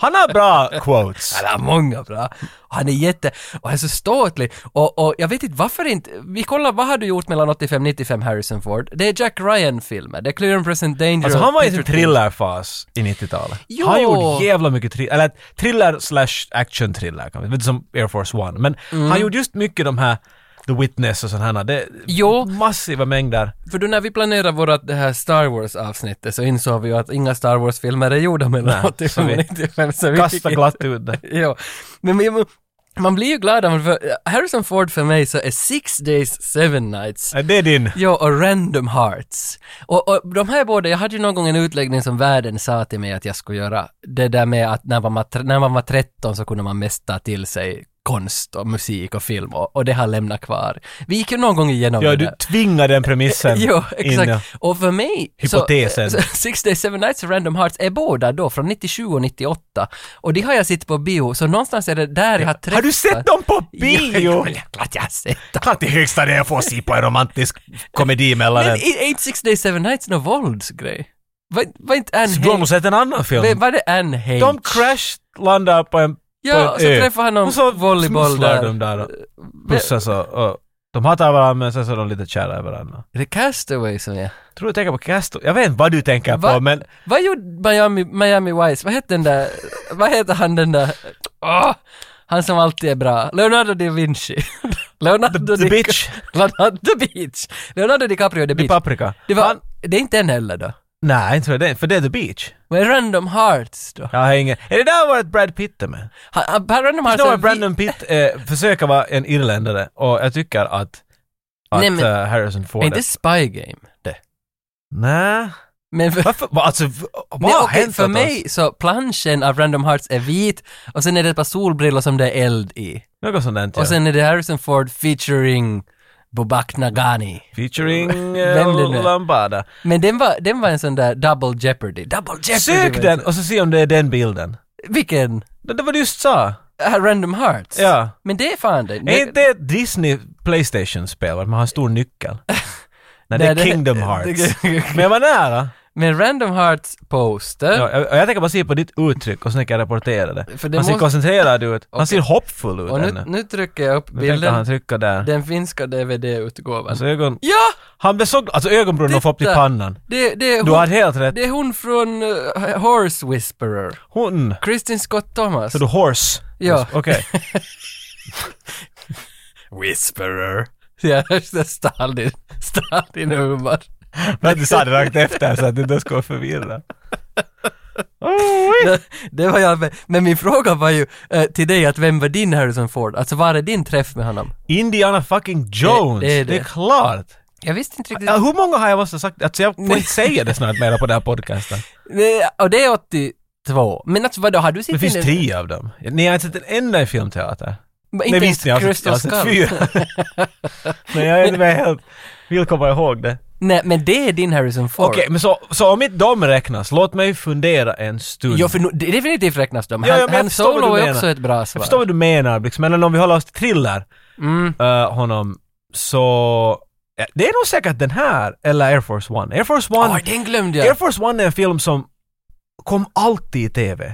Speaker 2: Han har bra quotes.
Speaker 1: Han har många bra. Och Han är jätte... Och han är så ståtlig. Och, och jag vet inte varför inte... Vi kollar, vad har du gjort mellan 85 95 Harrison Ford? Det är Jack Ryan-filmer. Det är Clear and Present Danger.
Speaker 2: Alltså han var i sin
Speaker 1: Future Tense.
Speaker 2: thrillerfas i 90-talet.
Speaker 1: Jo.
Speaker 2: Han gjorde jävla mycket thriller, eller thriller slash action thriller, kan vi- lite som Air Force One. Men
Speaker 1: Mm.
Speaker 2: han gjorde just mycket de här The Witness och sådana här, det
Speaker 1: Jo.
Speaker 2: massiva mängder.
Speaker 1: För då när vi planerade vårt det här Star Wars-avsnittet så insåg vi ju att inga Star Wars-filmer är gjorda mellan
Speaker 2: Nej,
Speaker 1: 85
Speaker 2: så
Speaker 1: och
Speaker 2: vi
Speaker 1: 95. Så vi
Speaker 2: Kasta
Speaker 1: fick-
Speaker 2: glatt ut det.
Speaker 1: Ja. Men, men man blir ju glad av för Harrison Ford för mig så är Six Days Seven Nights
Speaker 2: Ja, Det är din.
Speaker 1: Ja, och Random Hearts. Och, och de här båda, jag hade ju någon gång en utläggning som världen sa till mig att jag skulle göra. Det där med att när man var, när man var 13 så kunde man mästa till sig konst och musik och film och, och det har lämnat kvar. Vi gick ju någon gång igenom
Speaker 2: Ja,
Speaker 1: det (laughs)
Speaker 2: du
Speaker 1: där.
Speaker 2: tvingar den premissen
Speaker 1: Jo, exakt.
Speaker 2: in.
Speaker 1: Och för mig...
Speaker 2: Hypotesen.
Speaker 1: Så, (laughs) Six Days, Seven Nights och Random Hearts är båda då från 97 och 98. Och de har jag sett på bio, så någonstans är det där jag har träffat...
Speaker 2: Har du sett dem på bio?
Speaker 1: Jo, ja, klart jag har sett dem.
Speaker 2: Klart i högsta det är att få se på en romantisk komedi mellan
Speaker 1: Men
Speaker 2: en.
Speaker 1: är är inte Six Days Seven Nights någon våldsgrej? Var, var inte Anne
Speaker 2: Så du har nog
Speaker 1: Hage?
Speaker 2: sett en annan film.
Speaker 1: Var det Anne Hage?
Speaker 2: De crash landar på en
Speaker 1: Ja,
Speaker 2: på
Speaker 1: och
Speaker 2: en
Speaker 1: så
Speaker 2: ö.
Speaker 1: träffar han någon
Speaker 2: Och så
Speaker 1: volleyboll
Speaker 2: smusslar
Speaker 1: där.
Speaker 2: de där och
Speaker 1: Men-
Speaker 2: pussas och, och de hatar varandra men sen så är de lite kära i varandra.
Speaker 1: Är det Castaway som är?
Speaker 2: Tror du tänker på Castro? Jag vet inte vad du tänker
Speaker 1: Va?
Speaker 2: på men
Speaker 1: Vad gjorde Miami, Miami Vice? Vad hette den där, vad heter han den där, Åh! han som alltid är bra, Leonardo da Vinci. (laughs) Leonardo
Speaker 2: The
Speaker 1: Di-
Speaker 2: Bitch,
Speaker 1: Leonardo the Beach. Leonardo DiCaprio the
Speaker 2: The
Speaker 1: Beach.
Speaker 2: Paprika.
Speaker 1: Det, var,
Speaker 2: Han-
Speaker 1: det är inte den heller då.
Speaker 2: Nej, inte för det, för det är The Beach.
Speaker 1: Men Random Hearts då?
Speaker 2: Jag har ingen... Är det där varit Brad Pitt är med?
Speaker 1: Han, han, Random Hearts
Speaker 2: Förstår
Speaker 1: är
Speaker 2: vad
Speaker 1: vi-
Speaker 2: Brandon Pitt eh, försöker vara en irländare och jag tycker att, att
Speaker 1: Nej, men-
Speaker 2: eh, Harrison Ford
Speaker 1: Är inte Spy Game det?
Speaker 2: Nej.
Speaker 1: Men för,
Speaker 2: Varför? Va, alltså, v- vad
Speaker 1: Nej,
Speaker 2: har
Speaker 1: okej,
Speaker 2: hänt
Speaker 1: för
Speaker 2: åt
Speaker 1: mig
Speaker 2: oss?
Speaker 1: så planschen av Random Hearts är vit och sen är det ett par solbrillor som det är eld i.
Speaker 2: Något sånt där.
Speaker 1: Och sen är det Harrison Ford featuring Bobak Nagani.
Speaker 2: Featuring
Speaker 1: Vem det
Speaker 2: eh,
Speaker 1: nu är.
Speaker 2: Lambada.
Speaker 1: Men den var, den var en sån där double jeopardy. Double jeopardy!
Speaker 2: Sök
Speaker 1: vet
Speaker 2: den
Speaker 1: du.
Speaker 2: och så se om det är den bilden.
Speaker 1: Vilken?
Speaker 2: Det, det var du just sa.
Speaker 1: Ah, Random Hearts?
Speaker 2: Ja.
Speaker 1: Men det är fan det.
Speaker 2: Är inte det ett Disney
Speaker 1: (laughs)
Speaker 2: Playstation-spel? Att man har en stor nyckel? Nej, det
Speaker 1: Nej,
Speaker 2: är
Speaker 1: det-
Speaker 2: Kingdom Hearts. Men jag var nära.
Speaker 1: Men Random Hearts poster,
Speaker 2: Ja, jag, jag tänker bara se på ditt uttryck och sen kan jag rapportera det.
Speaker 1: För det
Speaker 2: han ser
Speaker 1: måste-
Speaker 2: koncentrerad ut. Han
Speaker 1: Okej.
Speaker 2: ser hoppfull ut
Speaker 1: och nu,
Speaker 2: ännu.
Speaker 1: nu trycker jag upp
Speaker 2: Nu tänker han
Speaker 1: bilden,
Speaker 2: trycka där.
Speaker 1: den finska DVD-utgåvan.
Speaker 2: Alltså ögon...
Speaker 1: Ja!
Speaker 2: Han blev så... Alltså ögonbrynen har upp till
Speaker 1: Titta!
Speaker 2: pannan.
Speaker 1: Det, det, är
Speaker 2: Du
Speaker 1: hon,
Speaker 2: har helt rätt.
Speaker 1: det är hon från eh, Horse Whisperer,
Speaker 2: Hon.
Speaker 1: Kristin Scott Thomas.
Speaker 2: Så du horse?
Speaker 1: Ja. (laughs)
Speaker 2: Okej.
Speaker 1: Whisperer. (laughs) Ja, det är Stalin. Stalin humor.
Speaker 2: Men du sa det rakt efter så att du inte skulle förvirra.
Speaker 1: Det, (laughs) det var jag med. Men min fråga var ju eh, till dig att vem var din Harrison Ford? Alltså var är din träff med honom?
Speaker 2: Indiana fucking Jones! Det,
Speaker 1: det är
Speaker 2: är,
Speaker 1: det.
Speaker 2: klart!
Speaker 1: Jag visste inte riktigt.
Speaker 2: Ja, hur många har jag måste sagt? Alltså jag får inte säga det snart mera på den här podcasten.
Speaker 1: Nej, Och det är 82. Men alltså vadå, har du sett
Speaker 2: Det finns
Speaker 1: den-
Speaker 2: tio av dem. Ni har inte sett en enda i filmteater.
Speaker 1: Men
Speaker 2: Nej
Speaker 1: Inte
Speaker 2: visst, jag
Speaker 1: ens
Speaker 2: har sett, jag
Speaker 1: Crystal
Speaker 2: har sett
Speaker 1: Skull.
Speaker 2: fyra. (laughs) Men jag är inte med helt... Vill komma ihåg det.
Speaker 1: Nej, men det är din Harrison Ford.
Speaker 2: Okej, men så, så om inte de räknas, låt mig fundera en stund.
Speaker 1: Ja, för nu, det- definitivt räknas de.
Speaker 2: Ja, ja, men
Speaker 1: Han,
Speaker 2: jag
Speaker 1: han
Speaker 2: förstår vad
Speaker 1: Solo
Speaker 2: du
Speaker 1: är
Speaker 2: menar.
Speaker 1: också ett bra
Speaker 2: Jag
Speaker 1: svar.
Speaker 2: förstår vad du menar, liksom. men om vi håller oss till thriller,
Speaker 1: Mm.
Speaker 2: eh, honom, så... ja, Det är nog säkert den här, eller Air Force One. Air Force One...
Speaker 1: Åh, den glömde
Speaker 2: Air
Speaker 1: jag.
Speaker 2: Force One är en film som kom alltid i TV.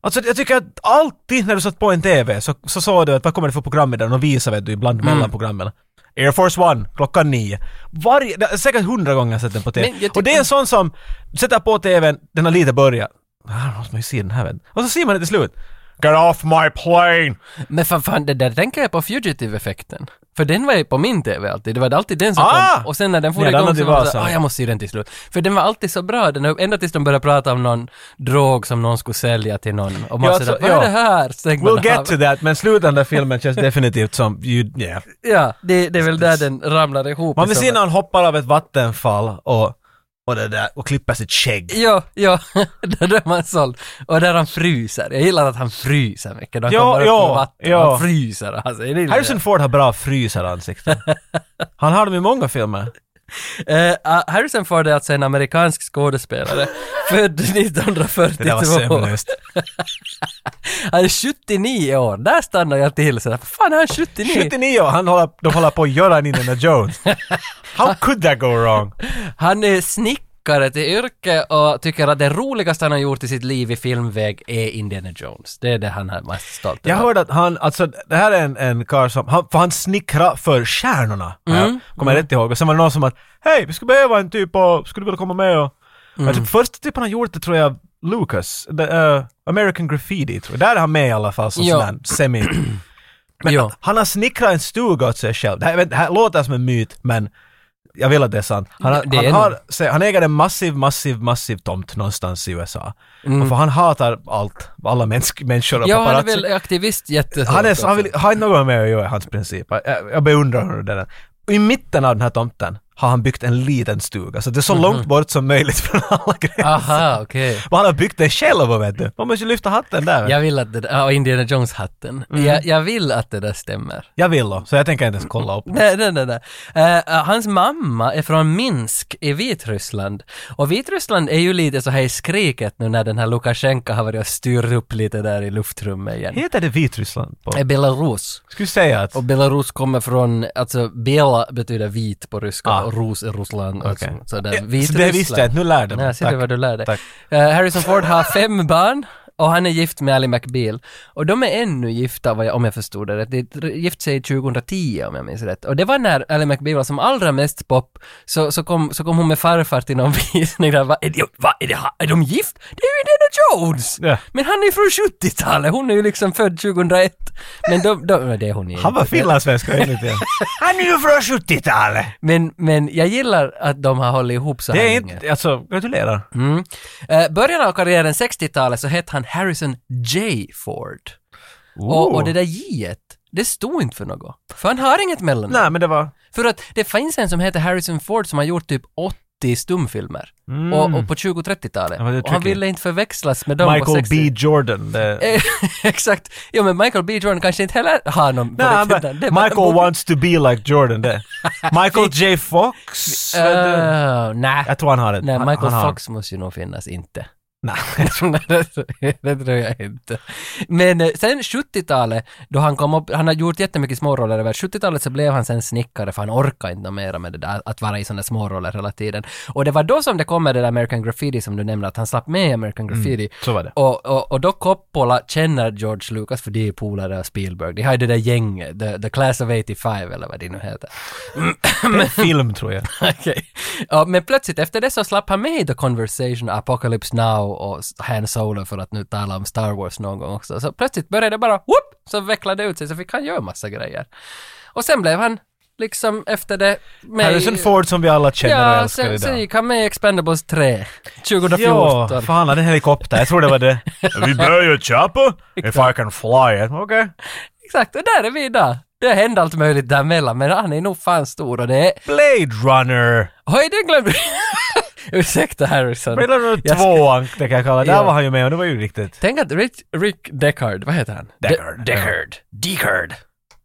Speaker 2: Alltså jag tycker att alltid när du satt på en TV så, så såg du att vad kommer det för program idag? och visar vet du ibland
Speaker 1: Mm.
Speaker 2: mellan programmen. Air Force One, klockan nio. Varje, det är säkert hundra gånger jag sett den på TV.
Speaker 1: Men jag tycker-
Speaker 2: Och det är en sån som, du sätter på TVn, den har lite börjat. Ah, måste man ju se den här vet du. Och så ser man det till slut. Get off my plane!
Speaker 1: Men fan, fan, det där tänker jag på Fugitive-effekten. För den var ju på min TV alltid. Det var alltid den som
Speaker 2: Ah!
Speaker 1: kom. Och sen när den for
Speaker 2: Ja, den
Speaker 1: igång
Speaker 2: hade
Speaker 1: så
Speaker 2: ju
Speaker 1: var jag
Speaker 2: varit
Speaker 1: så
Speaker 2: så.
Speaker 1: ah, jag måste se den till slut. För den var alltid så bra, den, ända tills de började prata om någon drog som någon skulle sälja till någon. Och man
Speaker 2: Ja,
Speaker 1: ja, sådär,
Speaker 2: alltså,
Speaker 1: vad är
Speaker 2: ja.
Speaker 1: det här? Så tänker man,
Speaker 2: We'll
Speaker 1: "Ah,
Speaker 2: get to that, men slutet av den filmen känns definitivt som, you, yeah.
Speaker 1: Ja, det, det är väl där den ramlar ihop.
Speaker 2: Man vill
Speaker 1: i så
Speaker 2: se
Speaker 1: fall.
Speaker 2: när han hoppar av ett vattenfall och, och det där, och klipper sitt skägg.
Speaker 1: Ja, ja, (laughs) där är man såld. Och där han fryser. Jag gillar att han fryser mycket. När Han
Speaker 2: Ja,
Speaker 1: kommer upp
Speaker 2: ja,
Speaker 1: från vatten.
Speaker 2: ja.
Speaker 1: Han fryser. Alltså, det gillar jag.
Speaker 2: Mm. Harrison Ford har bra (laughs) frysaransikten. Han har dem i många filmer.
Speaker 1: Eh, ah, Harrison Ford är alltså en amerikansk
Speaker 2: (laughs)
Speaker 1: skådespelare, född 1942.
Speaker 2: Det där var (laughs) sömnlöst.
Speaker 1: Han är 79 år, där stannar jag till sådär. Fan, är han 79?
Speaker 2: 79 och han håller, de håller på att göra en Indiana (laughs) Jones. How could that go wrong?
Speaker 1: Han är snickare till yrke och tycker att det roligaste han har gjort i sitt liv i filmväg är Indiana Jones. Det är det han är mest stolt
Speaker 2: Jag
Speaker 1: över.
Speaker 2: hörde att han, alltså det här är en, en karl som, han, för han snickra för stjärnorna. har jag- Kommer jag rätt ihåg. Och sen var det någon som att, hej vi skulle behöva en typ och skulle du vilja komma med och... Jag tror första typen han gjort det tror jag Lucas, the, eh, American Graffiti tror jag. Där är han med i alla fall som
Speaker 1: Ja.
Speaker 2: sån här semi... Men
Speaker 1: Ja.
Speaker 2: att han har snickrat en stuga åt sig själv. Det här, det här låter som en myt, men jag vill att det är sant. Han, har-
Speaker 1: Det är
Speaker 2: han, har, se, han äger en massiv, massiv, massiv tomt någonstans i USA. Och för han hatar allt, alla mänsk, människor och
Speaker 1: Mm. Ja, han är
Speaker 2: paparazzi.
Speaker 1: väl aktivist jättehårt.
Speaker 2: Han, är,
Speaker 1: också.
Speaker 2: så- han vill, har inte något med att göra, hans princip. Jag, jag beundrar honom den. I mitten av den här tomten har han byggt en liten stuga, så det är så
Speaker 1: Mhm.
Speaker 2: långt bort som möjligt från alla grejer.
Speaker 1: alltså. Aha, okej.
Speaker 2: Och han har byggt den själv, vet du. Man måste ju lyfta hatten där.
Speaker 1: Jag vill att det där, och Indiana Jones-hatten. Jag, jag vill att det där stämmer. (laughs)
Speaker 2: Jag vill då, så jag tänker inte ens kolla upp.
Speaker 1: Nej, nej, nej. nej. Eh, eh, hans mamma är från Minsk i Vitryssland. Och Vitryssland är ju lite så här i skriket nu när den här Lukasjenko har varit och styrt upp lite där i luftrummet igen.
Speaker 2: Heter det Vitryssland? På?
Speaker 1: Är Belarus.
Speaker 2: Skulle säga att...
Speaker 1: Och Belarus kommer från, alltså Bela betyder vit på ryska
Speaker 2: Ah.
Speaker 1: och Rus är Ryssland. Alltså,
Speaker 2: Okej.
Speaker 1: Så, där,
Speaker 2: Ja, Eh, så
Speaker 1: Vitryssland.
Speaker 2: det visste jag inte, nu lärde jag mig.
Speaker 1: Nej, ser
Speaker 2: Tack.
Speaker 1: du vad du lärde
Speaker 2: Tack.
Speaker 1: Harrison Ford
Speaker 2: (laughs)
Speaker 1: har fem barn och han är gift med Ally McBeal. Och de är ännu gifta, vad jag- om jag förstod det rätt. De gifte sig 2010 om jag minns rätt. Och det var när Ally McBeal var som allra mest pop, så, så, kom, så kom hon med farfar till någon (laughs) visning där. Va, är, de, va, är, de, är de gift? Det är ju Indiana Jones!
Speaker 2: Ja.
Speaker 1: Men han är ju från 70-talet, hon är ju liksom född 2001. Men de, de, nej, det är hon ju
Speaker 2: Han var
Speaker 1: inte.
Speaker 2: finlandssvensk
Speaker 1: (laughs)
Speaker 2: enligt er. Han är ju från 70-talet!
Speaker 1: Men, men jag gillar att de har hållit ihop så här
Speaker 2: Det är
Speaker 1: länge.
Speaker 2: inte... Alltså, gratulerar.
Speaker 1: Mm. Eh, början av karriären, 60-talet, så hette han Harrison J. Ford. Och,
Speaker 2: Ooh.
Speaker 1: och det där J, det stod inte för något. För han har inget mellannamn.
Speaker 2: Nej, men det var...
Speaker 1: För att det finns en som heter Harrison Ford som har gjort typ 80 stumfilmer.
Speaker 2: Mm.
Speaker 1: Och, och på 20-30-talet.
Speaker 2: Ja, det är
Speaker 1: och han
Speaker 2: tricky.
Speaker 1: ville inte förväxlas med dem på
Speaker 2: Michael
Speaker 1: 60
Speaker 2: B. Jordan. Det...
Speaker 1: Eh, (laughs) Exakt. Jo men Michael B. Jordan kanske inte heller har någon på
Speaker 2: Nej, han
Speaker 1: riktigt
Speaker 2: bara,
Speaker 1: namn. Det är bara en
Speaker 2: Michael
Speaker 1: bok-
Speaker 2: wants to be like
Speaker 1: (laughs)
Speaker 2: Jordan. Det. Michael J. Fox? vet du?
Speaker 1: Eh, Nej.
Speaker 2: jag tror han har det.
Speaker 1: Nej,
Speaker 2: Typ, han,
Speaker 1: Michael
Speaker 2: han har-
Speaker 1: Fox måste ju nog finnas inte. (laughs)
Speaker 2: Nej.
Speaker 1: Nej, det, det tror jag inte. Men eh, sen 70-talet, då han kom upp, han har gjort jättemycket småroller över 70-talet så blev han sen snickare för han orkade inte mera med det där att vara i sådana småroller hela tiden. Och det var då som det kom med det där American Graffiti som du nämnde, att han slapp med i American
Speaker 2: Mm.
Speaker 1: Graffiti. (laughs)
Speaker 2: så var det.
Speaker 1: Och, och, och då Coppola känner George Lucas för de är polare av Spielberg. De har ju det där gänget, the, the Class of 85 eller vad det nu heter.
Speaker 2: Det är en film tror jag.
Speaker 1: (laughs) Okej. Ja, men plötsligt efter det så slapp han med i The Conversation, Apocalypse Now och Han Solo för att nu tala om Star Wars någon gång också. Så plötsligt började det bara, whoop, så vecklade det ut sig så fick han göra massa grejer. Och sen blev han liksom efter det med...
Speaker 2: Harrison Ford som vi alla känner och
Speaker 1: Ja,
Speaker 2: älskar
Speaker 1: sen,
Speaker 2: idag.
Speaker 1: sen gick han med i Expendables 3,
Speaker 2: Ja,
Speaker 1: 2014.
Speaker 2: fan han hade en helikopter. Jag tror det
Speaker 1: (laughs)
Speaker 2: var det. Vi börjar choppa. If I can fly it. Okej.
Speaker 1: Exakt, och där är vi idag. Det hände allt möjligt däremellan, men han är nog fan stor och det är...
Speaker 2: Blade Runner.
Speaker 1: Oj, det glömde (laughs) Ursäkta Harrison.
Speaker 2: Blade Runner
Speaker 1: Jag ska-
Speaker 2: 2 det kan jag kalla det. Där
Speaker 1: Ja.
Speaker 2: var han ju med och det var ju riktigt.
Speaker 1: Tänk att Rick, Rick Deckard, vad heter han? De-
Speaker 2: Deckard.
Speaker 1: Deckard. Deckard.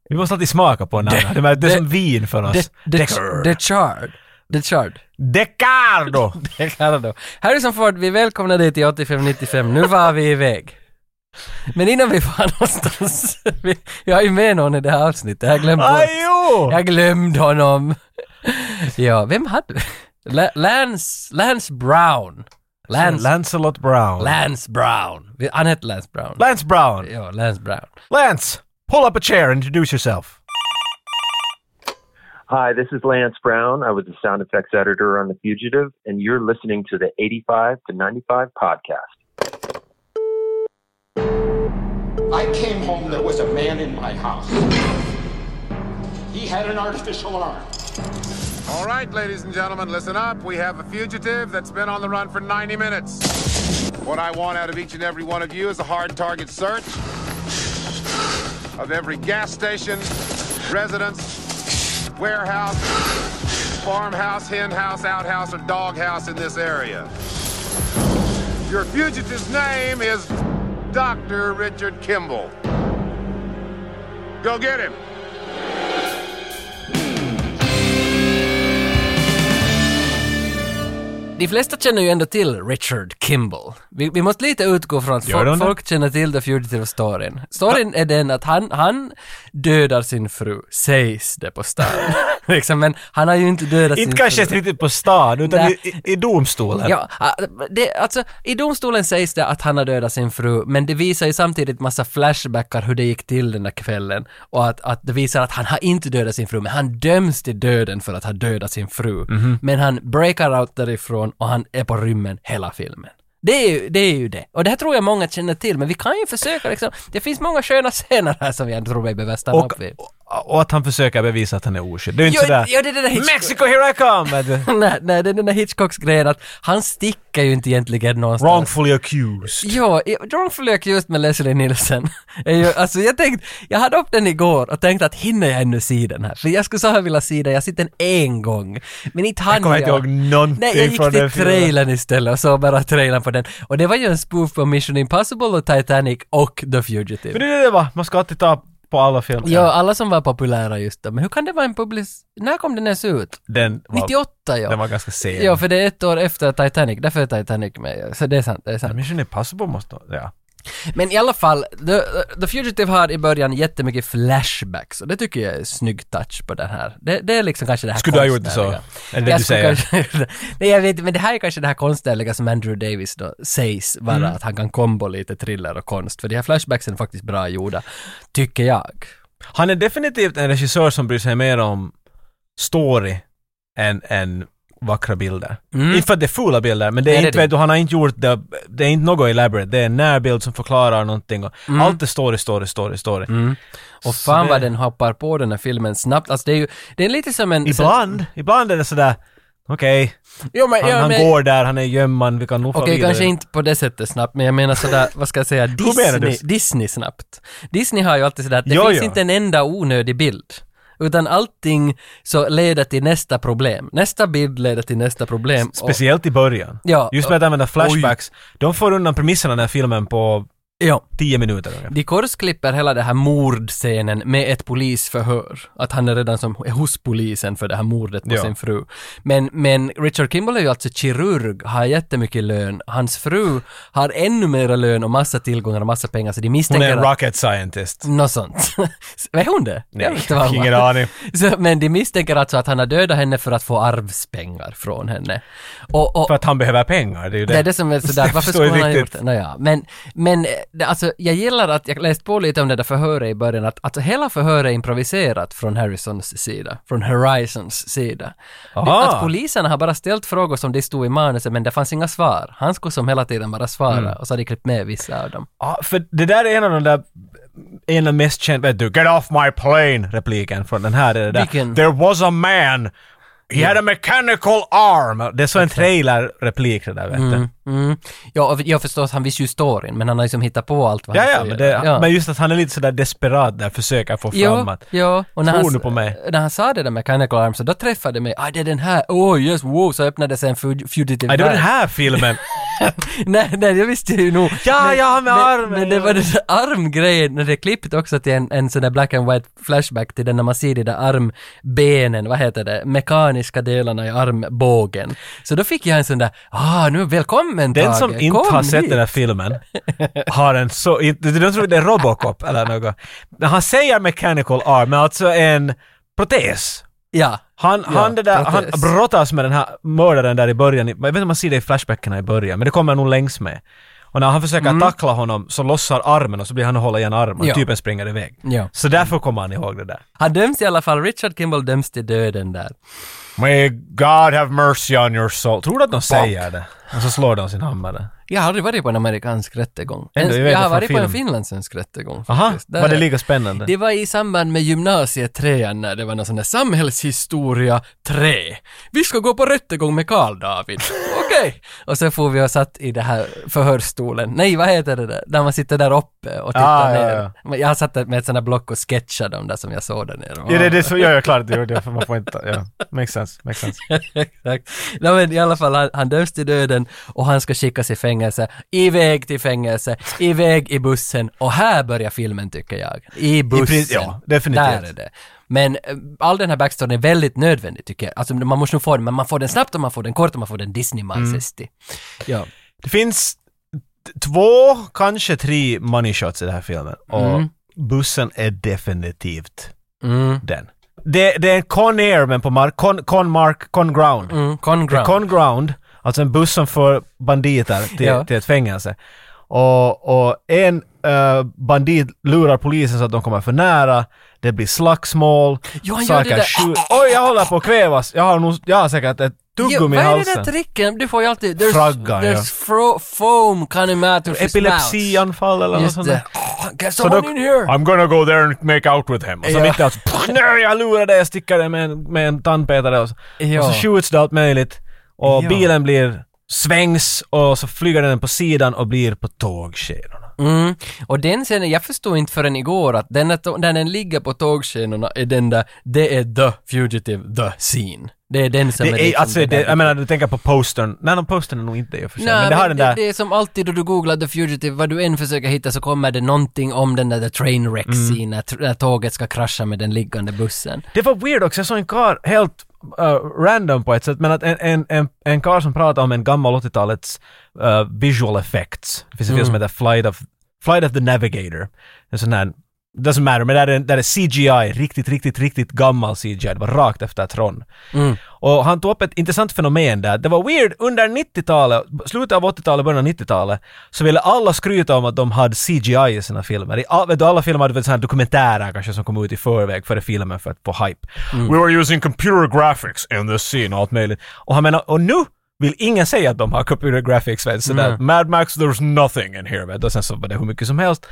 Speaker 2: Vi måste alltid smaka på en annan. Det är- Det är som vin för
Speaker 1: De-
Speaker 2: oss.
Speaker 1: De-
Speaker 2: Deckard.
Speaker 1: Deckard. Deckard. (laughs)
Speaker 2: Decardo!
Speaker 1: Deckard. Harrison Ford, vi välkomnar dig till 8595. Nu var vi iväg. Men innan vi var någonstans, (laughs) vi, jag har ju med någon i det här avsnittet, jag glömde bort.
Speaker 2: Ajo!
Speaker 1: Jag glömde honom. Ja, vem hade vi? La- Lance, Lance Brown. Lance,
Speaker 2: Lancelot Brown.
Speaker 1: Lance Brown. Vi- Han hette Lance Brown.
Speaker 2: Lance Brown.
Speaker 1: Ja, Lance Brown.
Speaker 2: Lance, pull up a chair and introduce yourself.
Speaker 4: Hi, this is Lance Brown. I was the sound effects editor on The Fugitive, and you're listening to the 85 to 95 podcast.
Speaker 5: I came home, there was a man in my house. He had an artificial arm.
Speaker 6: All right, ladies and gentlemen, listen up. We have a fugitive that's been on the run for 90 minutes. What I want out of each and every one of you is a hard target search of every gas station, residence, warehouse, farmhouse, hen house, outhouse, or dog house in this area. Your fugitive's name is Dr. Richard Kimball. Go get him.
Speaker 1: De flesta känner ju ändå till Richard Kimball. Vi, vi måste lite utgå från att
Speaker 2: Gör de
Speaker 1: folk,
Speaker 2: det?
Speaker 1: folk känner till The Fugitive-storyn. Storyn är den att han, han dödar sin fru, sägs det på
Speaker 2: (laughs)
Speaker 1: stan. liksom, men han har ju inte dödat sin
Speaker 2: Inte kanske
Speaker 1: fru.
Speaker 2: riktigt på stan, utan
Speaker 1: Nej.
Speaker 2: i, i- i domstolen.
Speaker 1: Ja, ah, det, alltså, i domstolen sägs det att han har dödat sin fru, men det visar ju samtidigt massa flashbackar hur det gick till den där kvällen. Och att, att det visar att han har inte dödat sin fru, men han döms till döden för att ha dödat sin fru. Men han breakar out därifrån och han är på rymmen hela filmen. Det är, ju, det är ju det. Och det här tror jag många känner till, men vi kan ju försöka liksom. Det finns många sköna scener här som jag tror vi behöver stanna
Speaker 2: Och,
Speaker 1: upp vid. (laughs)
Speaker 2: och att han försöker bevisa att han är oskyldig. Det är ju inte
Speaker 1: Jo,
Speaker 2: sådär
Speaker 1: jo, det är det där Hitchcock-
Speaker 2: Mexico here I come!
Speaker 1: (laughs)
Speaker 2: Att-
Speaker 1: nej, nej, det är den där Hitchcocks grejen att han sticker ju inte egentligen någonstans.
Speaker 2: Wrongfully accused.
Speaker 1: Ja, John Flöck just med Leslie Nielsen. är ju- alltså jag tänkte, jag hade upp den igår och tänkte att hinner jag ännu se den här? För jag skulle så här vilja se den, jag har sett den en gång. Men inte hann jag.
Speaker 2: kommer inte ihåg någonting
Speaker 1: Nej, jag gick
Speaker 2: från
Speaker 1: till
Speaker 2: den filmen.
Speaker 1: trailern istället och såg bara trailern på den. Och det var ju en spoof på Mission Impossible och Titanic och The
Speaker 2: Men
Speaker 1: Fugitive.
Speaker 2: det är det va, man ska alltid ta på alla filmer.
Speaker 1: Ja, alla som var populära just då. Men hur kan det vara en publis... När kom den ens ut?
Speaker 2: Den var,
Speaker 1: 98 ja.
Speaker 2: den var ganska sen.
Speaker 1: Ja, för det är ett år efter Titanic, därför är Titanic med. ja. Så det är sant, det är sant.
Speaker 2: Mission Impossible måste... Ja.
Speaker 1: Men i alla fall, The, The Fugitive har i början jättemycket flashbacks och det tycker jag är snygg touch på den här. Det, det är liksom kanske det här
Speaker 2: Skulle du ha gjort det så?
Speaker 1: konstnärliga.
Speaker 2: Eller det
Speaker 1: Jag
Speaker 2: du
Speaker 1: skulle
Speaker 2: säger?
Speaker 1: kanske- Nej jag vet inte, men det här är kanske det här konstnärliga som Andrew Davis då sägs vara,
Speaker 2: Mm.
Speaker 1: att han kan kombo lite thriller och konst, för de här flashbacksen är faktiskt bra gjorda, tycker jag.
Speaker 2: Han är definitivt en regissör som bryr sig mer om story än, än vackra bilder. Inte för att det är fula bilder, men det är
Speaker 1: Mm. Nej, det är
Speaker 2: inte,
Speaker 1: det.
Speaker 2: vet du, han har inte gjort det, det är inte något elaborate, det är en närbild som förklarar någonting och
Speaker 1: Mm.
Speaker 2: allt är story, story, story, story.
Speaker 1: Och
Speaker 2: Så
Speaker 1: fan
Speaker 2: det-
Speaker 1: vad den hoppar på den här filmen snabbt, alltså det är ju, det är lite som en...
Speaker 2: Ibland, ibland är det sådär, okej,
Speaker 1: Jo, men,
Speaker 2: han,
Speaker 1: ja,
Speaker 2: han
Speaker 1: men,
Speaker 2: går där, han är gömman, vi kan nog fara
Speaker 1: Okej,
Speaker 2: vidare.
Speaker 1: kanske inte på det sättet snabbt, men jag menar sådär, vad ska jag
Speaker 2: (laughs)
Speaker 1: säga,
Speaker 2: menar du?
Speaker 1: Disney, Disney snabbt. Disney har ju alltid sådär att det
Speaker 2: Jo,
Speaker 1: finns
Speaker 2: jo.
Speaker 1: inte en enda onödig bild. Utan allting så leder till nästa problem. Nästa bild leder till nästa problem. och-
Speaker 2: Speciellt i början.
Speaker 1: Ja.
Speaker 2: Just med att använda flashbacks, de får undan premisserna i den här filmen på
Speaker 1: Ja.
Speaker 2: Tio minuter ungefär.
Speaker 1: De korsklipper hela den här mordscenen med ett polisförhör. Att han är redan som är hos polisen för det här mordet på
Speaker 2: Ja.
Speaker 1: sin fru. Men, men Richard Kimball är ju alltså kirurg, har jättemycket lön. Hans fru har ännu mera lön och massa tillgångar och massa pengar så de
Speaker 2: Hon
Speaker 1: misstänker
Speaker 2: är en
Speaker 1: att-
Speaker 2: rocket scientist.
Speaker 1: Något sånt. (laughs) är hon det? Jag vet inte vad hon
Speaker 2: ingen
Speaker 1: var.
Speaker 2: aning.
Speaker 1: (laughs) Så, men de misstänker alltså att han har dödat henne för att få arvspengar från henne. Och, och,
Speaker 2: För att han behöver pengar, det är ju det.
Speaker 1: Det är det som är sådär,
Speaker 2: Jag
Speaker 1: varför
Speaker 2: förstår
Speaker 1: skulle han ha gjort
Speaker 2: riktigt.
Speaker 1: det? Nåja, men, men eh, det- alltså, jag gillar att jag läste på lite om det där förhöret i början, att alltså, hela förhöret är improviserat från Harrisons sida, från Horizons sida. Det,
Speaker 2: Aha.
Speaker 1: att poliserna har bara ställt frågor som det stod i manuset, men det fanns inga svar. Han skulle som hela tiden bara svara,
Speaker 2: Mm.
Speaker 1: och så hade de klippt med vissa av dem.
Speaker 2: Ja, för det där är en av de där en av de mest kända, vet du, “Get off my plane” repliken från den här. är Det där.
Speaker 1: Vilken?
Speaker 2: “There was a man, he had a mechanical arm”. Det är så en trailer-replik det där, vet du.
Speaker 1: Mm. Ja, och jag förstår att han visste ju storyn, men han har liksom hittat på allt vad
Speaker 2: Ja,
Speaker 1: han
Speaker 2: ja,
Speaker 1: säger.
Speaker 2: men, det, men just att han är lite sådär desperat där, försöker få fram att...
Speaker 1: ja. Och när
Speaker 2: Tror
Speaker 1: han,
Speaker 2: du på mig?
Speaker 1: När han sa det där med Mechanical Arms, så då träffade det mig. Ah, det är den här. Oh yes, wow. Så öppnades en fug- Fugitive
Speaker 2: Nej, Ah, det var den
Speaker 1: Knife.
Speaker 2: här filmen!
Speaker 1: nej, nej, jag visste ju nog.
Speaker 2: Ja, ja, med
Speaker 1: men,
Speaker 2: armen,
Speaker 1: Men det
Speaker 2: ja.
Speaker 1: var den där armgrejen, när det är klippt också till en, en sån där black and white flashback till den när man ser de där armbenen, vad heter det, mekaniska delarna i armbågen. Så då fick jag en sån där, ah, nu välkommen
Speaker 2: Den
Speaker 1: Tage,
Speaker 2: som inte
Speaker 1: kom
Speaker 2: har sett
Speaker 1: hit.
Speaker 2: den här filmen har en så... inte- De tror det är Robocop eller något. Men han säger “mechanical arm”, men alltså en protes.
Speaker 1: Ja.
Speaker 2: Han,
Speaker 1: Ja,
Speaker 2: han, det där, han
Speaker 1: protes.
Speaker 2: brottas med den här mördaren där i början. Jag vet inte om man ser det i flashbackerna i början, men det kommer nog längs med. Och när han försöker tackla honom så lossar armen och så blir han att hålla igen armen och
Speaker 1: Ja.
Speaker 2: typen springer iväg.
Speaker 1: Ja.
Speaker 2: Så därför kommer han ihåg det där.
Speaker 1: Han döms i alla fall, Richard Kimball döms till döden där.
Speaker 2: May God have mercy on your soul. Tror du att de säger det? Och så slår de sin hammare.
Speaker 1: Jag har aldrig varit på en amerikansk rättegång.
Speaker 2: Ändå, jag
Speaker 1: jag
Speaker 2: vet det
Speaker 1: har
Speaker 2: från
Speaker 1: varit på en
Speaker 2: film.
Speaker 1: finlandssvensk rättegång
Speaker 2: Aha,
Speaker 1: faktiskt. Där-
Speaker 2: var det lika spännande?
Speaker 1: Det var i samband med gymnasietrean när det var någon sån där samhällshistoria 3. Vi ska gå på rättegång med Karl
Speaker 2: (laughs)
Speaker 1: David. Okej. Och så får vi och satt i det här förhörsstolen. Nej, vad heter det där? Där man sitter där uppe och tittar
Speaker 2: Ah, ja,
Speaker 1: ner.
Speaker 2: ja.
Speaker 1: Men Jag satt där med ett sånt där block och sketchade dem där som jag såg där nere.
Speaker 2: Ja, det, det är så, ja, jag klart det gjorde jag, för man får inte, ja. Makes sense, makes sense.
Speaker 1: Exakt. No, men i alla fall, han, han döms till döden och han ska skickas i fängelse. Iväg till fängelse, iväg i bussen och här börjar filmen tycker jag. I bussen.
Speaker 2: princip, ja, definitivt.
Speaker 1: Där är det. Men eh, all den här backstoryn är väldigt nödvändig tycker jag. Alltså man måste nog få den, men man får den snabbt och man får den kort och man får den disney mm. Ja.
Speaker 2: Det finns t- två, kanske tre money shots i den här filmen. Och bussen är definitivt
Speaker 1: Mm.
Speaker 2: den. Det, det är en Con Air, men på mark, Con, con Mark, Con Ground.
Speaker 1: Mm. Conground.
Speaker 2: Con Ground, alltså en buss som för banditer till,
Speaker 1: Ja.
Speaker 2: till ett fängelse. Och, och en eh, bandit lurar polisen så att de kommer för nära, det blir slagsmål,
Speaker 1: Ja, han gör det
Speaker 2: saker
Speaker 1: där.
Speaker 2: skjuts. Oj, jag håller på att kvävas! Jag har, nog, jag har säkert ett
Speaker 1: Jo,
Speaker 2: tuggummi i
Speaker 1: vad är det där
Speaker 2: halsen.
Speaker 1: tricken? Du får ju alltid... There's,
Speaker 2: Fragga, ja.
Speaker 1: there's fro- foam coming out of his mouth.
Speaker 2: Epilepsianfall eller något
Speaker 1: Just
Speaker 2: sånt
Speaker 1: det.
Speaker 2: där.
Speaker 1: Oh, get
Speaker 2: Så
Speaker 1: someone
Speaker 2: då-
Speaker 1: in here!
Speaker 2: I'm gonna go there and make out with him. Och så
Speaker 1: Ja.
Speaker 2: mitt i allt så, "Pff, nej jag lurar dig, jag stickar dig med en, med en tandpetare. Och så,
Speaker 1: Ja.
Speaker 2: och så skjuts det allt möjligt. Och
Speaker 1: Ja.
Speaker 2: bilen blir svängs och så flyger den på sidan och blir på tågskenorna.
Speaker 1: Mm. Och den scenen, jag förstod inte förrän igår att den att- när den ligger på tågskenorna är den där, det är the fugitive, the scene. Det är den som är,
Speaker 2: Det är,
Speaker 1: liksom
Speaker 2: alltså,
Speaker 1: den
Speaker 2: det,
Speaker 1: där-
Speaker 2: jag menar du tänker på postern. Nej, de postern är nog inte i och för sig.
Speaker 1: Nej,
Speaker 2: men det har den där...
Speaker 1: det, är som alltid då du googlar The Fugitive, vad du än försöker hitta så kommer det någonting om den där the train wreck
Speaker 2: Mm.
Speaker 1: scene, när, tr- när tåget ska krascha med den liggande bussen.
Speaker 2: Det var weird också, jag såg en kar helt eh, random på ett sätt, men att en, en, en, en kar som pratade om en gammal 80-talets eh, visual effects. Det finns en film som heter Flight of, Flight of the Navigator. En sån här, doesn't matter, men där är, där är CGI, riktigt, riktigt, riktigt gammal CGI. Det var rakt efter Tron. Och han tog upp ett intressant fenomen där. Det var weird, under 90-talet, slutet av 80-talet, början av 90-talet, så ville alla skryta om att de hade CGI i sina filmer. I all, vet du, alla filmer hade väl såna här dokumentärer kanske som kom ut i förväg före filmen för att få hype. We were using computer graphics in this scene och allt möjligt. Och han menar, och nu vill ingen säga att de har computer graphics, vet, så där, Mad Max, there's nothing in here, vet, och sen så var det hur mycket som helst.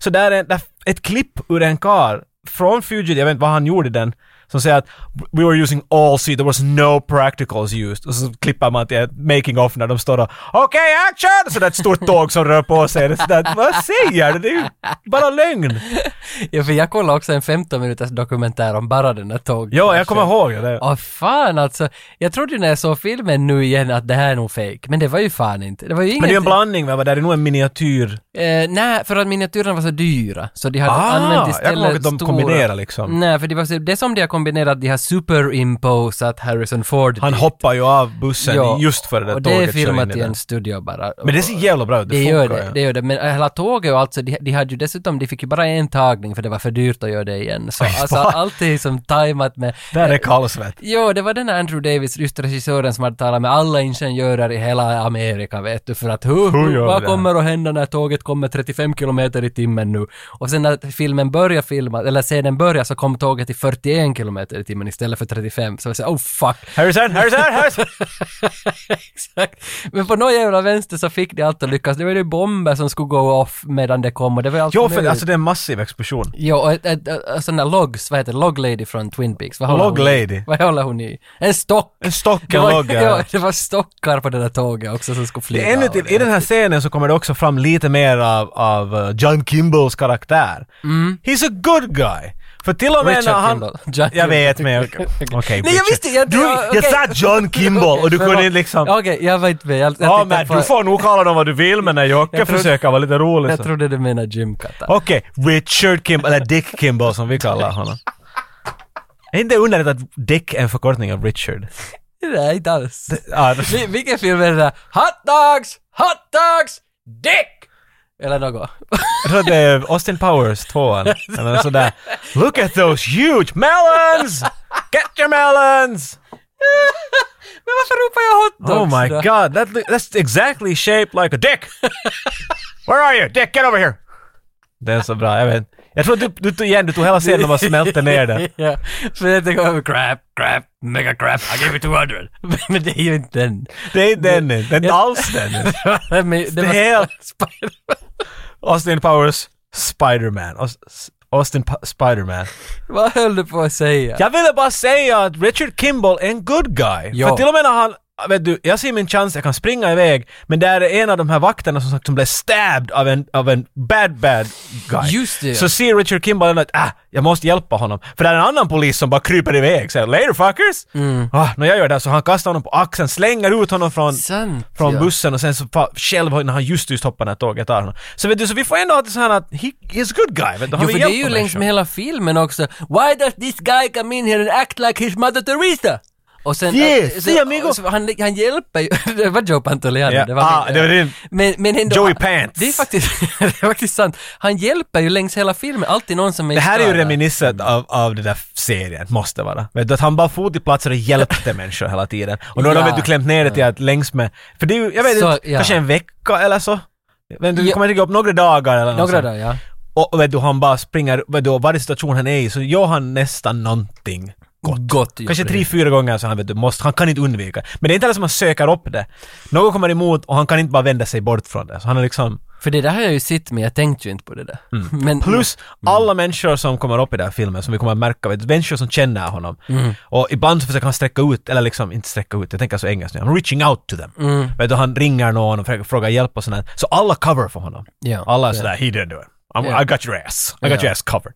Speaker 2: Så där är där, ett klipp ur en kar från Fugitive, jag vet inte vad han gjorde i den, som säger att “We were using all seed, there was no practicals used”. Och så klippar man till ett making off när de står och “Okej, action!” Så där ett stort tåg som rör på sig. Det är så där, vad säger du? Det är ju bara lögn.
Speaker 1: Ja, för jag kollade också en 15 minuters dokumentär om bara den där tåg.
Speaker 2: Jo, jag kommer ihåg det.
Speaker 1: Åh fan alltså. Jag trodde ju när jag såg filmen nu igen att det här är nog fake. Men det var ju fan inte. Det var ju inget.
Speaker 2: Men det är en blandning, va? Det är nog en miniatyr.
Speaker 1: Eh, nej, för att miniatyrerna var så dyra. Så de hade
Speaker 2: Ah,
Speaker 1: använt
Speaker 2: jag kommer
Speaker 1: istället
Speaker 2: ihåg att de kombinerade liksom.
Speaker 1: Nej, för det var så, det som de har kombinerat, de har superimposat Harrison Ford.
Speaker 2: Han
Speaker 1: dit.
Speaker 2: hoppar ju av bussen
Speaker 1: Ja,
Speaker 2: just före det
Speaker 1: Och
Speaker 2: tåget
Speaker 1: det är
Speaker 2: kör in
Speaker 1: filmat i
Speaker 2: den.
Speaker 1: en studio bara.
Speaker 2: Men det ser jävla bra ut, det,
Speaker 1: Det
Speaker 2: funkar
Speaker 1: gör det, det gör det. Men hela tåget och allt, så de, de hade ju dessutom, de fick ju bara en tagning för det var för dyrt att göra det igen.
Speaker 2: (laughs)
Speaker 1: Så alltså, allt är som tajmat med...
Speaker 2: Där är kallsvett.
Speaker 1: Jo, det var den här Andrew Davis, just regissören som hade talat med alla ingenjörer i hela Amerika, vet du, för att hur,
Speaker 2: Hur gör vi
Speaker 1: vad
Speaker 2: det?
Speaker 1: kommer att hända när tåget kommer 35 kilometer i timmen nu? Och sen när filmen börjar filma, eller scenen börjar, så kom tåget i 41 kilometer i timmen istället för 35. Så jag sa, oh fuck. (laughs)
Speaker 2: Harrison, Harrison, Harrison!
Speaker 1: Exakt. Men på någon jävla vänster så fick de allt att lyckas. Det var ju bomber som skulle gå off medan det kom och det var allt
Speaker 2: jo, för
Speaker 1: möjligt.
Speaker 2: alltså det är en massiv explosion.
Speaker 1: Jo, och ett, ett, ett, ett, sån där logs, vad heter det? log lady från Twin Peaks? Vad håller
Speaker 2: Log
Speaker 1: hon i?
Speaker 2: lady?
Speaker 1: Vad håller hon i? En stock!
Speaker 2: En stock,
Speaker 1: Det
Speaker 2: en
Speaker 1: var,
Speaker 2: logga.
Speaker 1: ja, det var stockar på det där tåget också som skulle flyga.
Speaker 2: Det är ännu
Speaker 1: av
Speaker 2: till,
Speaker 1: det.
Speaker 2: I den här scenen så kommer det också fram lite mer av, av eh, John Kimballs karaktär. He's a good guy! För till och med
Speaker 1: Mm. Richard
Speaker 2: när han...
Speaker 1: Kimball. John
Speaker 2: jag vet, men... jag- Okej,
Speaker 1: (laughs) Nej, jag
Speaker 2: Richard.
Speaker 1: visste jag,
Speaker 2: Du, jag sa John Kimball och
Speaker 1: (laughs)
Speaker 2: du
Speaker 1: Men
Speaker 2: kunde
Speaker 1: vad-
Speaker 2: inte liksom...
Speaker 1: Okej, jag var inte med. Jag, jag
Speaker 2: Ja,
Speaker 1: tittade
Speaker 2: men
Speaker 1: på-
Speaker 2: du får nog kalla dem vad du vill, men när Jocke
Speaker 1: Jag tror-
Speaker 2: försöker vara lite rolig
Speaker 1: Jag
Speaker 2: så...
Speaker 1: trodde du menade Jim Kata.
Speaker 2: Okej, Richard Kimball, eller Dick Kimball som vi kallar honom. Är inte det underligt att Dick är en förkortning av Richard?
Speaker 1: Nej, inte alls.
Speaker 2: Ja,
Speaker 1: Vi- (laughs) Vilken film är det där? Hot dogs! Hot dogs! Dick! Eller något. (laughs)
Speaker 2: jag tror att det är Austin Powers, tvåan. Eller sådär. Look at those huge melons! Get your melons!
Speaker 1: Men varför ropar jag hot
Speaker 2: Oh
Speaker 1: dogs då?
Speaker 2: my god, that, loo- that's exactly shaped like a dick! Where are you? Dick, get over here! Det är så bra, jag vet. Jag tror att du, du, tog- igen, du tog hela scenen och bara smälte ner den.
Speaker 1: (laughs) ja, för jag tänker över crap, crap, mega crap, I give you 200. (laughs) Men det är ju inte den.
Speaker 2: Det är den, det är inte alls
Speaker 1: (laughs)
Speaker 2: den.
Speaker 1: Men det var
Speaker 2: Helt-
Speaker 1: Spider-Man.
Speaker 2: Austin Powers, Spider-Man. Aus- S- Austin pa- Spider-Man.
Speaker 1: Vad höll du på att säga?
Speaker 2: Jag ville bara säga att Richard Kimball är en good guy.
Speaker 1: Ja.
Speaker 2: För till och med när han, vet du, jag ser min chans, jag kan springa iväg, men där är en av de här vakterna som sagt som blev stabbed av en, av en bad, bad guy.
Speaker 1: Just det.
Speaker 2: Så ser Richard Kimball att, ah, jag måste hjälpa honom. För det är en annan polis som bara kryper iväg, säger later fuckers!
Speaker 1: Mm.
Speaker 2: Ah, när jag gör det här så han kastar honom på axeln, slänger ut honom från,
Speaker 1: Sant,
Speaker 2: från
Speaker 1: ja.
Speaker 2: bussen och sen så fa- själv när han just just hoppar när tåget tar honom. Så vet du, så vi får ändå ha det så här att he is good guy. Vet du,
Speaker 1: Jo,
Speaker 2: han vill
Speaker 1: för det är
Speaker 2: hjälpa
Speaker 1: ju längs
Speaker 2: människor.
Speaker 1: med hela filmen också. Why does this guy come in here and act like his mother Teresa? Och sen... eh,
Speaker 2: Yes,
Speaker 1: så,
Speaker 2: sí, amigo.
Speaker 1: Så han, han hjälper ju... (laughs) det var Joe Pantoliano.
Speaker 2: Ja, ah, det var din.
Speaker 1: Men, men ändå,
Speaker 2: Joey Pants.
Speaker 1: Det är, faktiskt, (laughs) det är faktiskt sant. Han hjälper ju längs hela filmen. Alltid någon som är
Speaker 2: Det här är ju
Speaker 1: skadad.
Speaker 2: reminiscent
Speaker 1: Mm.
Speaker 2: av, av den där serien, måste vara. Vet du, att han bara for till platser och hjälpte människor hela tiden. Och då har
Speaker 1: Ja.
Speaker 2: de vet du klämt ner det till att längs med, för det är ju, jag vet
Speaker 1: Så,
Speaker 2: inte,
Speaker 1: ja.
Speaker 2: kanske en vecka eller så. Men du
Speaker 1: Ja.
Speaker 2: kommer inte ihåg, några dagar eller något
Speaker 1: Några
Speaker 2: sånt.
Speaker 1: dagar, ja.
Speaker 2: Och, och vet du, han bara springer, vet du, varje situation han är i så gör han nästan någonting.
Speaker 1: Gott. Gott ju.
Speaker 2: Kanske tre, fyra gånger så han vet du, måste, han kan inte undvika. Men det är inte alls som han söker upp det. Någon kommer emot och han kan inte bara vända sig bort från det. Så han är liksom,
Speaker 1: För det där har jag ju sett, men jag tänkte ju inte på det där. Men,
Speaker 2: Mm. Plus
Speaker 1: Mm.
Speaker 2: alla människor som kommer upp i den här filmen som vi kommer att märka, vet, du, människor som känner honom.
Speaker 1: Mm.
Speaker 2: Och ibland så försöker han sträcka ut, eller liksom inte sträcka ut, jag tänker så engelskt nu, I'm reaching out to them.
Speaker 1: Mm.
Speaker 2: Vet du, han ringer någon och försöker fråga hjälp och sådär. Så alla cover för honom.
Speaker 1: Ja.
Speaker 2: alla är sådär, he didn't do it. I'm,
Speaker 1: Ja.
Speaker 2: I got your ass. I got
Speaker 1: Ja.
Speaker 2: your ass covered.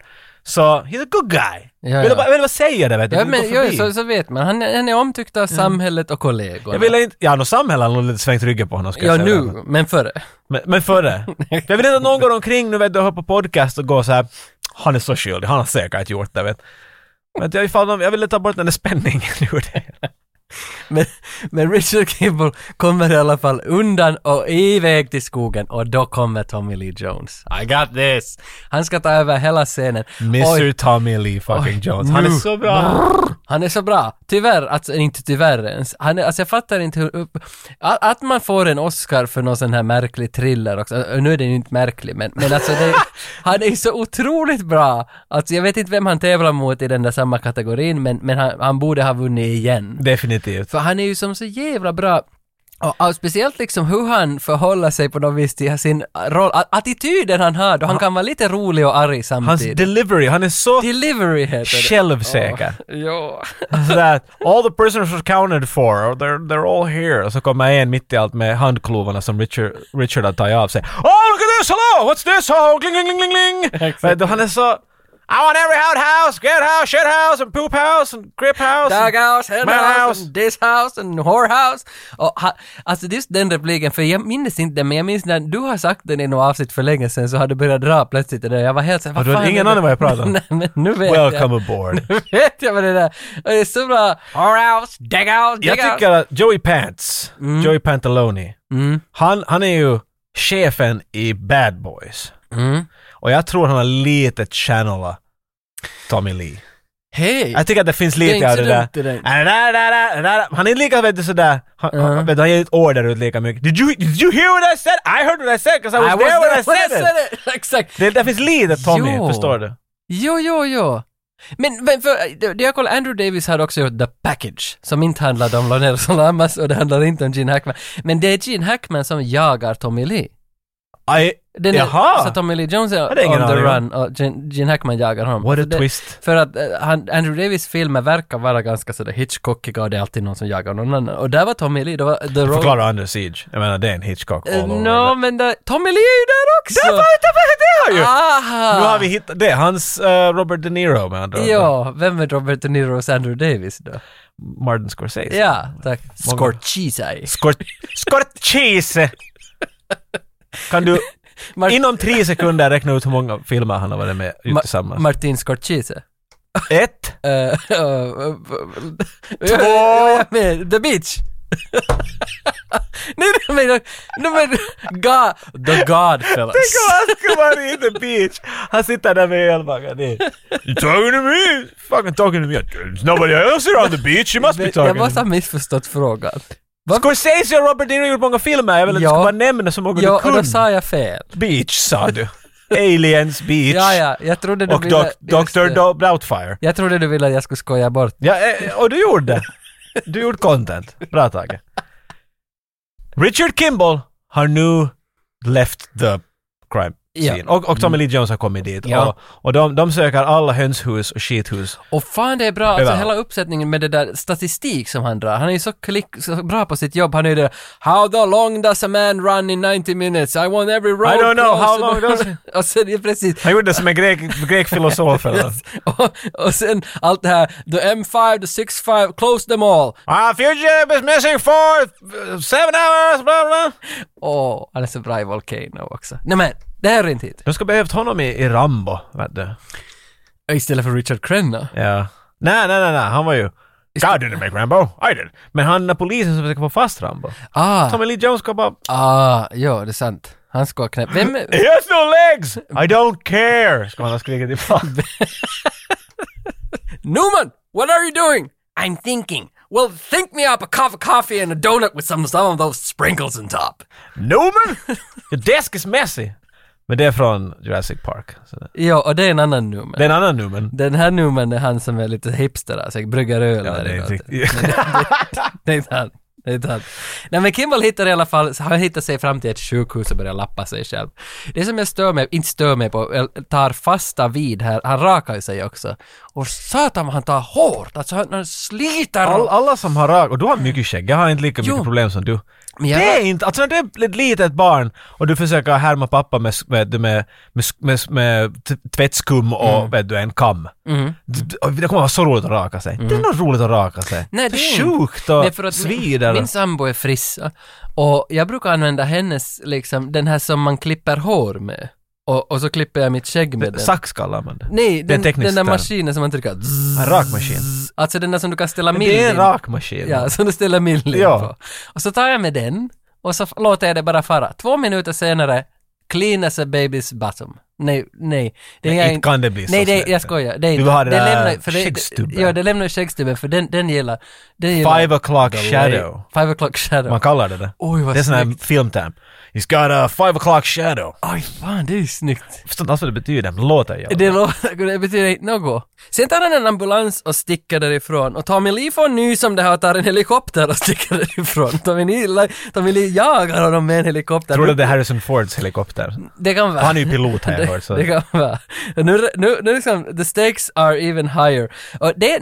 Speaker 2: Så, he's a good guy.
Speaker 1: Ja, ja.
Speaker 2: Vill du bara, vill du bara säga det vet du?
Speaker 1: Ja,
Speaker 2: Vill du
Speaker 1: men,
Speaker 2: gå
Speaker 1: jo,
Speaker 2: förbi?
Speaker 1: så, så vet man. Han, är- han är omtyckt av samhället och kollegorna.
Speaker 2: jag ville inte, ja, no, samhället har nog lite svängt ryggen på honom ska
Speaker 1: Ja,
Speaker 2: jag säga.
Speaker 1: nu, men före.
Speaker 2: Men,
Speaker 1: (laughs)
Speaker 2: men före. jag vill inte att någon går omkring nu vet du och hör på podcast och går så här. Han är så skyldig, han har säkert gjort det vet men jag, ifall de, jag ville ta bort den där spänningen (laughs) ur det.
Speaker 1: Men, men Richard Kimball kommer i alla fall undan och iväg till skogen och då kommer Tommy Lee Jones. I got this! Han ska ta över hela scenen. Oj,
Speaker 2: Mr Tommy Lee fucking Jones. Han är
Speaker 1: nu.
Speaker 2: så bra.
Speaker 1: han är så bra. Tyvärr, alltså inte tyvärr ens. Han är, alltså jag fattar inte hur... upp- Att, att man får en Oscar för någon sån här märklig thriller också. Ö, Nu är den ju inte märklig, men, men alltså det, han är så otroligt bra. Alltså jag vet inte vem han tävlar mot i den där samma kategorin, men, men han, han borde ha vunnit igen.
Speaker 2: Definitivt.
Speaker 1: För han är ju som så jävla bra. Och, och speciellt liksom hur han förhåller sig på något vis till sin roll, a- attityden han har då han kan vara lite rolig och arg
Speaker 2: Hans
Speaker 1: samtidigt.
Speaker 2: delivery, han är så
Speaker 1: Delivery heter det.
Speaker 2: självsäker.
Speaker 1: Ja.
Speaker 2: Sådär, all the prisoners are counted for, or they're, they're all here. Och så kommer en mitt i allt med handklovarna som Richard, Richard hade tagit av sig. Oh, look at this! Hello! What's this? Oh, gling, gling, gling, gling, gling! Vet du, han är så... I want every hot house, get house, shit house, and poop house, and grip house. and-
Speaker 1: Dog house, hen
Speaker 2: Man
Speaker 1: house,
Speaker 2: house.
Speaker 1: and this house, and whore house. Och ha, alltså just den repliken, för jag minns inte den, men jag minns när du har sagt den i något avsnitt för länge sedan så har du börjat dra plötsligt det där. Jag var helt såhär, vad
Speaker 2: du hade
Speaker 1: fan är
Speaker 2: ingen
Speaker 1: det?"
Speaker 2: aning vad jag pratade
Speaker 1: (laughs)
Speaker 2: om.
Speaker 1: Nej, men nu vet
Speaker 2: Welcome
Speaker 1: jag.
Speaker 2: aboard.
Speaker 1: Nu vet jag vad det där Och det är så bra. Whore house, dig house, dig
Speaker 2: Jag
Speaker 1: house.
Speaker 2: tycker att Joey Pants, Joey Pantaloni,
Speaker 1: Mm.
Speaker 2: han, han är ju chefen i Bad Boys.
Speaker 1: Mm.
Speaker 2: Och jag tror han har lite channelat Tommy Lee.
Speaker 1: Hej!
Speaker 2: Jag tycker att det finns
Speaker 1: Det är inte
Speaker 2: lite av
Speaker 1: så
Speaker 2: det där.
Speaker 1: dumt det där.
Speaker 2: Ah, da, da, da, da, da. Han är inte lika vet du, sådär, han, han, vet du, han ger inte order ut lika mycket. Did you, did you hear what I said? I heard what I said 'cause I was, there when I said, it.
Speaker 1: (laughs) Exakt.
Speaker 2: Det, det finns lite Tommy,
Speaker 1: Jo.
Speaker 2: förstår du?
Speaker 1: Jo, jo, jo. Men, men för, det det jag kollar, Andrew Davis hade också gjort The Package, som inte handlade om Lonel Solamas och det handlar inte om Gene Hackman. Men det är Gene Hackman som jagar Tommy Lee.
Speaker 2: I,
Speaker 1: Den är-
Speaker 2: Jaha.
Speaker 1: så Tommy Lee Jones är
Speaker 2: Hade ingen
Speaker 1: on the
Speaker 2: aning om.
Speaker 1: run och Gene, Gene Hackman jagar honom.
Speaker 2: What a
Speaker 1: Så det,
Speaker 2: twist.
Speaker 1: För att eh, han, Andrew Davis filmer verkar vara ganska sådär Hitchcockiga och det är alltid någon som jagar någon annan. Och där var Tommy Lee, det var The Road.
Speaker 2: Förklara Under Siege. Jag menar det är en Hitchcock all
Speaker 1: Eh,
Speaker 2: over.
Speaker 1: no, men där, Tommy Lee är ju där också!
Speaker 2: Det var det var- det har ju!
Speaker 1: Aha!
Speaker 2: Nu har vi hittat det. Hans eh, Robert De Niro med andra ord.
Speaker 1: Ja, vem är Robert De Niro och Andrew Davis då?
Speaker 2: Martin Scorsese.
Speaker 1: Ja, tack. Scorchise.
Speaker 2: Scor- Scorsese! Kan du
Speaker 1: Mar-
Speaker 2: inom tre sekunder räkna ut hur många filmer han har varit med i
Speaker 1: Ma-
Speaker 2: tillsammans?
Speaker 1: Martin Scorsese.
Speaker 2: Ett.
Speaker 1: Eh, (laughs) eh, eh, jag menar, The Beach! (laughs) Nej, nej, men, nej, men, God, The
Speaker 2: (laughs)
Speaker 1: Godfellas.
Speaker 2: Tänk om han skulle vara in the beach. Han sitter där med ölmaggan i. You talking to me? Fucking talking to me. There's nobody else around the beach. You must be
Speaker 1: Jag
Speaker 2: talking to
Speaker 1: måste ha
Speaker 2: me.
Speaker 1: missförstått frågan.
Speaker 2: Scorsese och Robert De Niro har gjort många filmer. Jag vill att
Speaker 1: Ja.
Speaker 2: du ska bara nämna så många
Speaker 1: Ja,
Speaker 2: du
Speaker 1: och då
Speaker 2: kunde.
Speaker 1: sa jag fel.
Speaker 2: Beach sa du. Aliens Beach.
Speaker 1: Ja, ja, jag trodde du
Speaker 2: Och
Speaker 1: ville...
Speaker 2: doc-
Speaker 1: just
Speaker 2: Dr.
Speaker 1: det.
Speaker 2: Do- Doubtfire.
Speaker 1: Jag trodde du ville att jag skulle skoja bort.
Speaker 2: Ja, eh, och du gjorde det. Du gjorde content. Bra Tage. Richard Kimball har nu left the crime
Speaker 1: Ja. Mm.
Speaker 2: scene. Och, och Tommy Lee Jones har kommit dit.
Speaker 1: Ja.
Speaker 2: Och, och de, de söker alla hönshus och skithus.
Speaker 1: Och fan det är bra, alltså
Speaker 2: Överallt.
Speaker 1: hela uppsättningen med det där statistik som han drar. Han är ju så, klick, så bra på sitt jobb. Han är ju det där, How the long does a man run in 90 minutes? I want every road
Speaker 2: I don't know, how
Speaker 1: (laughs) crossed."
Speaker 2: long does it-
Speaker 1: Och sen, ja, precis.
Speaker 2: Han gjorde det som en grek, grek filosof. Eller?
Speaker 1: Och, och sen allt det här, the M5, the 65, close them all.
Speaker 2: Ah, future is missing for uh, seven hours, bla bla.
Speaker 1: Åh, han är så bra i Volcano också. Nej men, det här är inte hit.
Speaker 2: De ska behövt honom i, i Rambo, vet du.
Speaker 1: Istället för Richard Crenna.
Speaker 2: Ja. Nej, nej, nej, nej, han var ju... God didn't make Rambo, I did. Men han är polisen som försöker få fast Rambo.
Speaker 1: Ah,
Speaker 2: Tommy Lee Jones ska bara...
Speaker 1: ah, ja det är sant. Han ska knäppa... Vem...
Speaker 2: He has no legs! I don't care! Ska han ha skrikit ifrån.
Speaker 1: Newman, what are you doing? I'm thinking. Well, think me up a cup of coffee and a donut with some some of those sprinkles on top.
Speaker 2: Newman! Your desk is messy! Men det är från Jurassic Park. Så.
Speaker 1: Ja, och det är en annan Newman.
Speaker 2: Det är en annan Newman.
Speaker 1: Den här Newman är han som är lite hipster, alltså brygger öl.
Speaker 2: Ja,
Speaker 1: där
Speaker 2: det är
Speaker 1: inne.
Speaker 2: inte riktigt.
Speaker 1: Det (laughs) är inte han. Det är inte han. Nej men Kimball hittar i alla fall, han hittar sig fram till ett sjukhus och börjar lappa sig själv. Det som jag stör mig, inte stör mig på, eller tar fasta vid här, han rakar ju sig också. Och satan vad han tar hårt, alltså han, han sliter.
Speaker 2: All, alla som har rakt, och du har mycket skägg, jag har inte lika mycket
Speaker 1: Jo.
Speaker 2: problem som du.
Speaker 1: Men jag-
Speaker 2: Det är inte, alltså när du är ett litet barn och du försöker härma pappa med, med, med, med, med, med t- tvättskum och
Speaker 1: Mm.
Speaker 2: vet du, en kam. D- d- och Det kommer vara så roligt att raka sig. Det är nog roligt att raka sig.
Speaker 1: Mm. Nej, det är inte.
Speaker 2: sjukt och
Speaker 1: Nej, för att
Speaker 2: svider.
Speaker 1: Min, min sambo är frissa och jag brukar använda hennes, liksom, den här som man klipper hår med. Och, och så klipper jag mitt skägg med den.
Speaker 2: Sax kallar man det.
Speaker 1: Nej,
Speaker 2: det är
Speaker 1: den,
Speaker 2: en teknisk
Speaker 1: den där
Speaker 2: term.
Speaker 1: maskinen som man trycker zzz,
Speaker 2: En rakmaskin.
Speaker 1: Alltså den där som du kan ställa
Speaker 2: Men det är
Speaker 1: mill
Speaker 2: en
Speaker 1: in.
Speaker 2: rakmaskin.
Speaker 1: Ja, (laughs) som du ställer mill in
Speaker 2: Ja.
Speaker 1: på. Och så tar jag med den och så f- låter jag det bara fara. Två minuter senare, clean as a baby's bottom. Nej, nej. Det
Speaker 2: Men
Speaker 1: är
Speaker 2: inte
Speaker 1: en-
Speaker 2: kan det bli så
Speaker 1: nej, det,
Speaker 2: snett.
Speaker 1: jag skojar. Det är
Speaker 2: Du
Speaker 1: inte.
Speaker 2: vill ha det där
Speaker 1: lämnar- för det-
Speaker 2: skäggstubben.
Speaker 1: Ja, det lämnar skäggstubben för den, den gillar. Den gillar
Speaker 2: Five o'clock
Speaker 1: the
Speaker 2: shadow.
Speaker 1: light. Five o'clock shadow.
Speaker 2: Man kallar det det.
Speaker 1: Oj, vad
Speaker 2: det är sån här
Speaker 1: snyggt.
Speaker 2: filmterm. He's got a five o'clock shadow.
Speaker 1: Oj, fan det är ju snyggt.
Speaker 2: Jag förstår inte alls vad alltså, det betyder, men låter jag.
Speaker 1: Det, låter, det betyder inte något. Sen tar han en ambulans och sticker därifrån. Och Tommy Lee får nys om det här och tar en helikopter och sticker därifrån. Tommy Lee, Tommy Lee jagar honom med en helikopter.
Speaker 2: Tror du det är Harrison Fords helikopter?
Speaker 1: Det kan vara.
Speaker 2: Han är ju pilot (laughs)
Speaker 1: (laughs)
Speaker 2: har jag hört. Så.
Speaker 1: Det kan vara. Nu, nu, nu liksom, the stakes are even higher. Och det,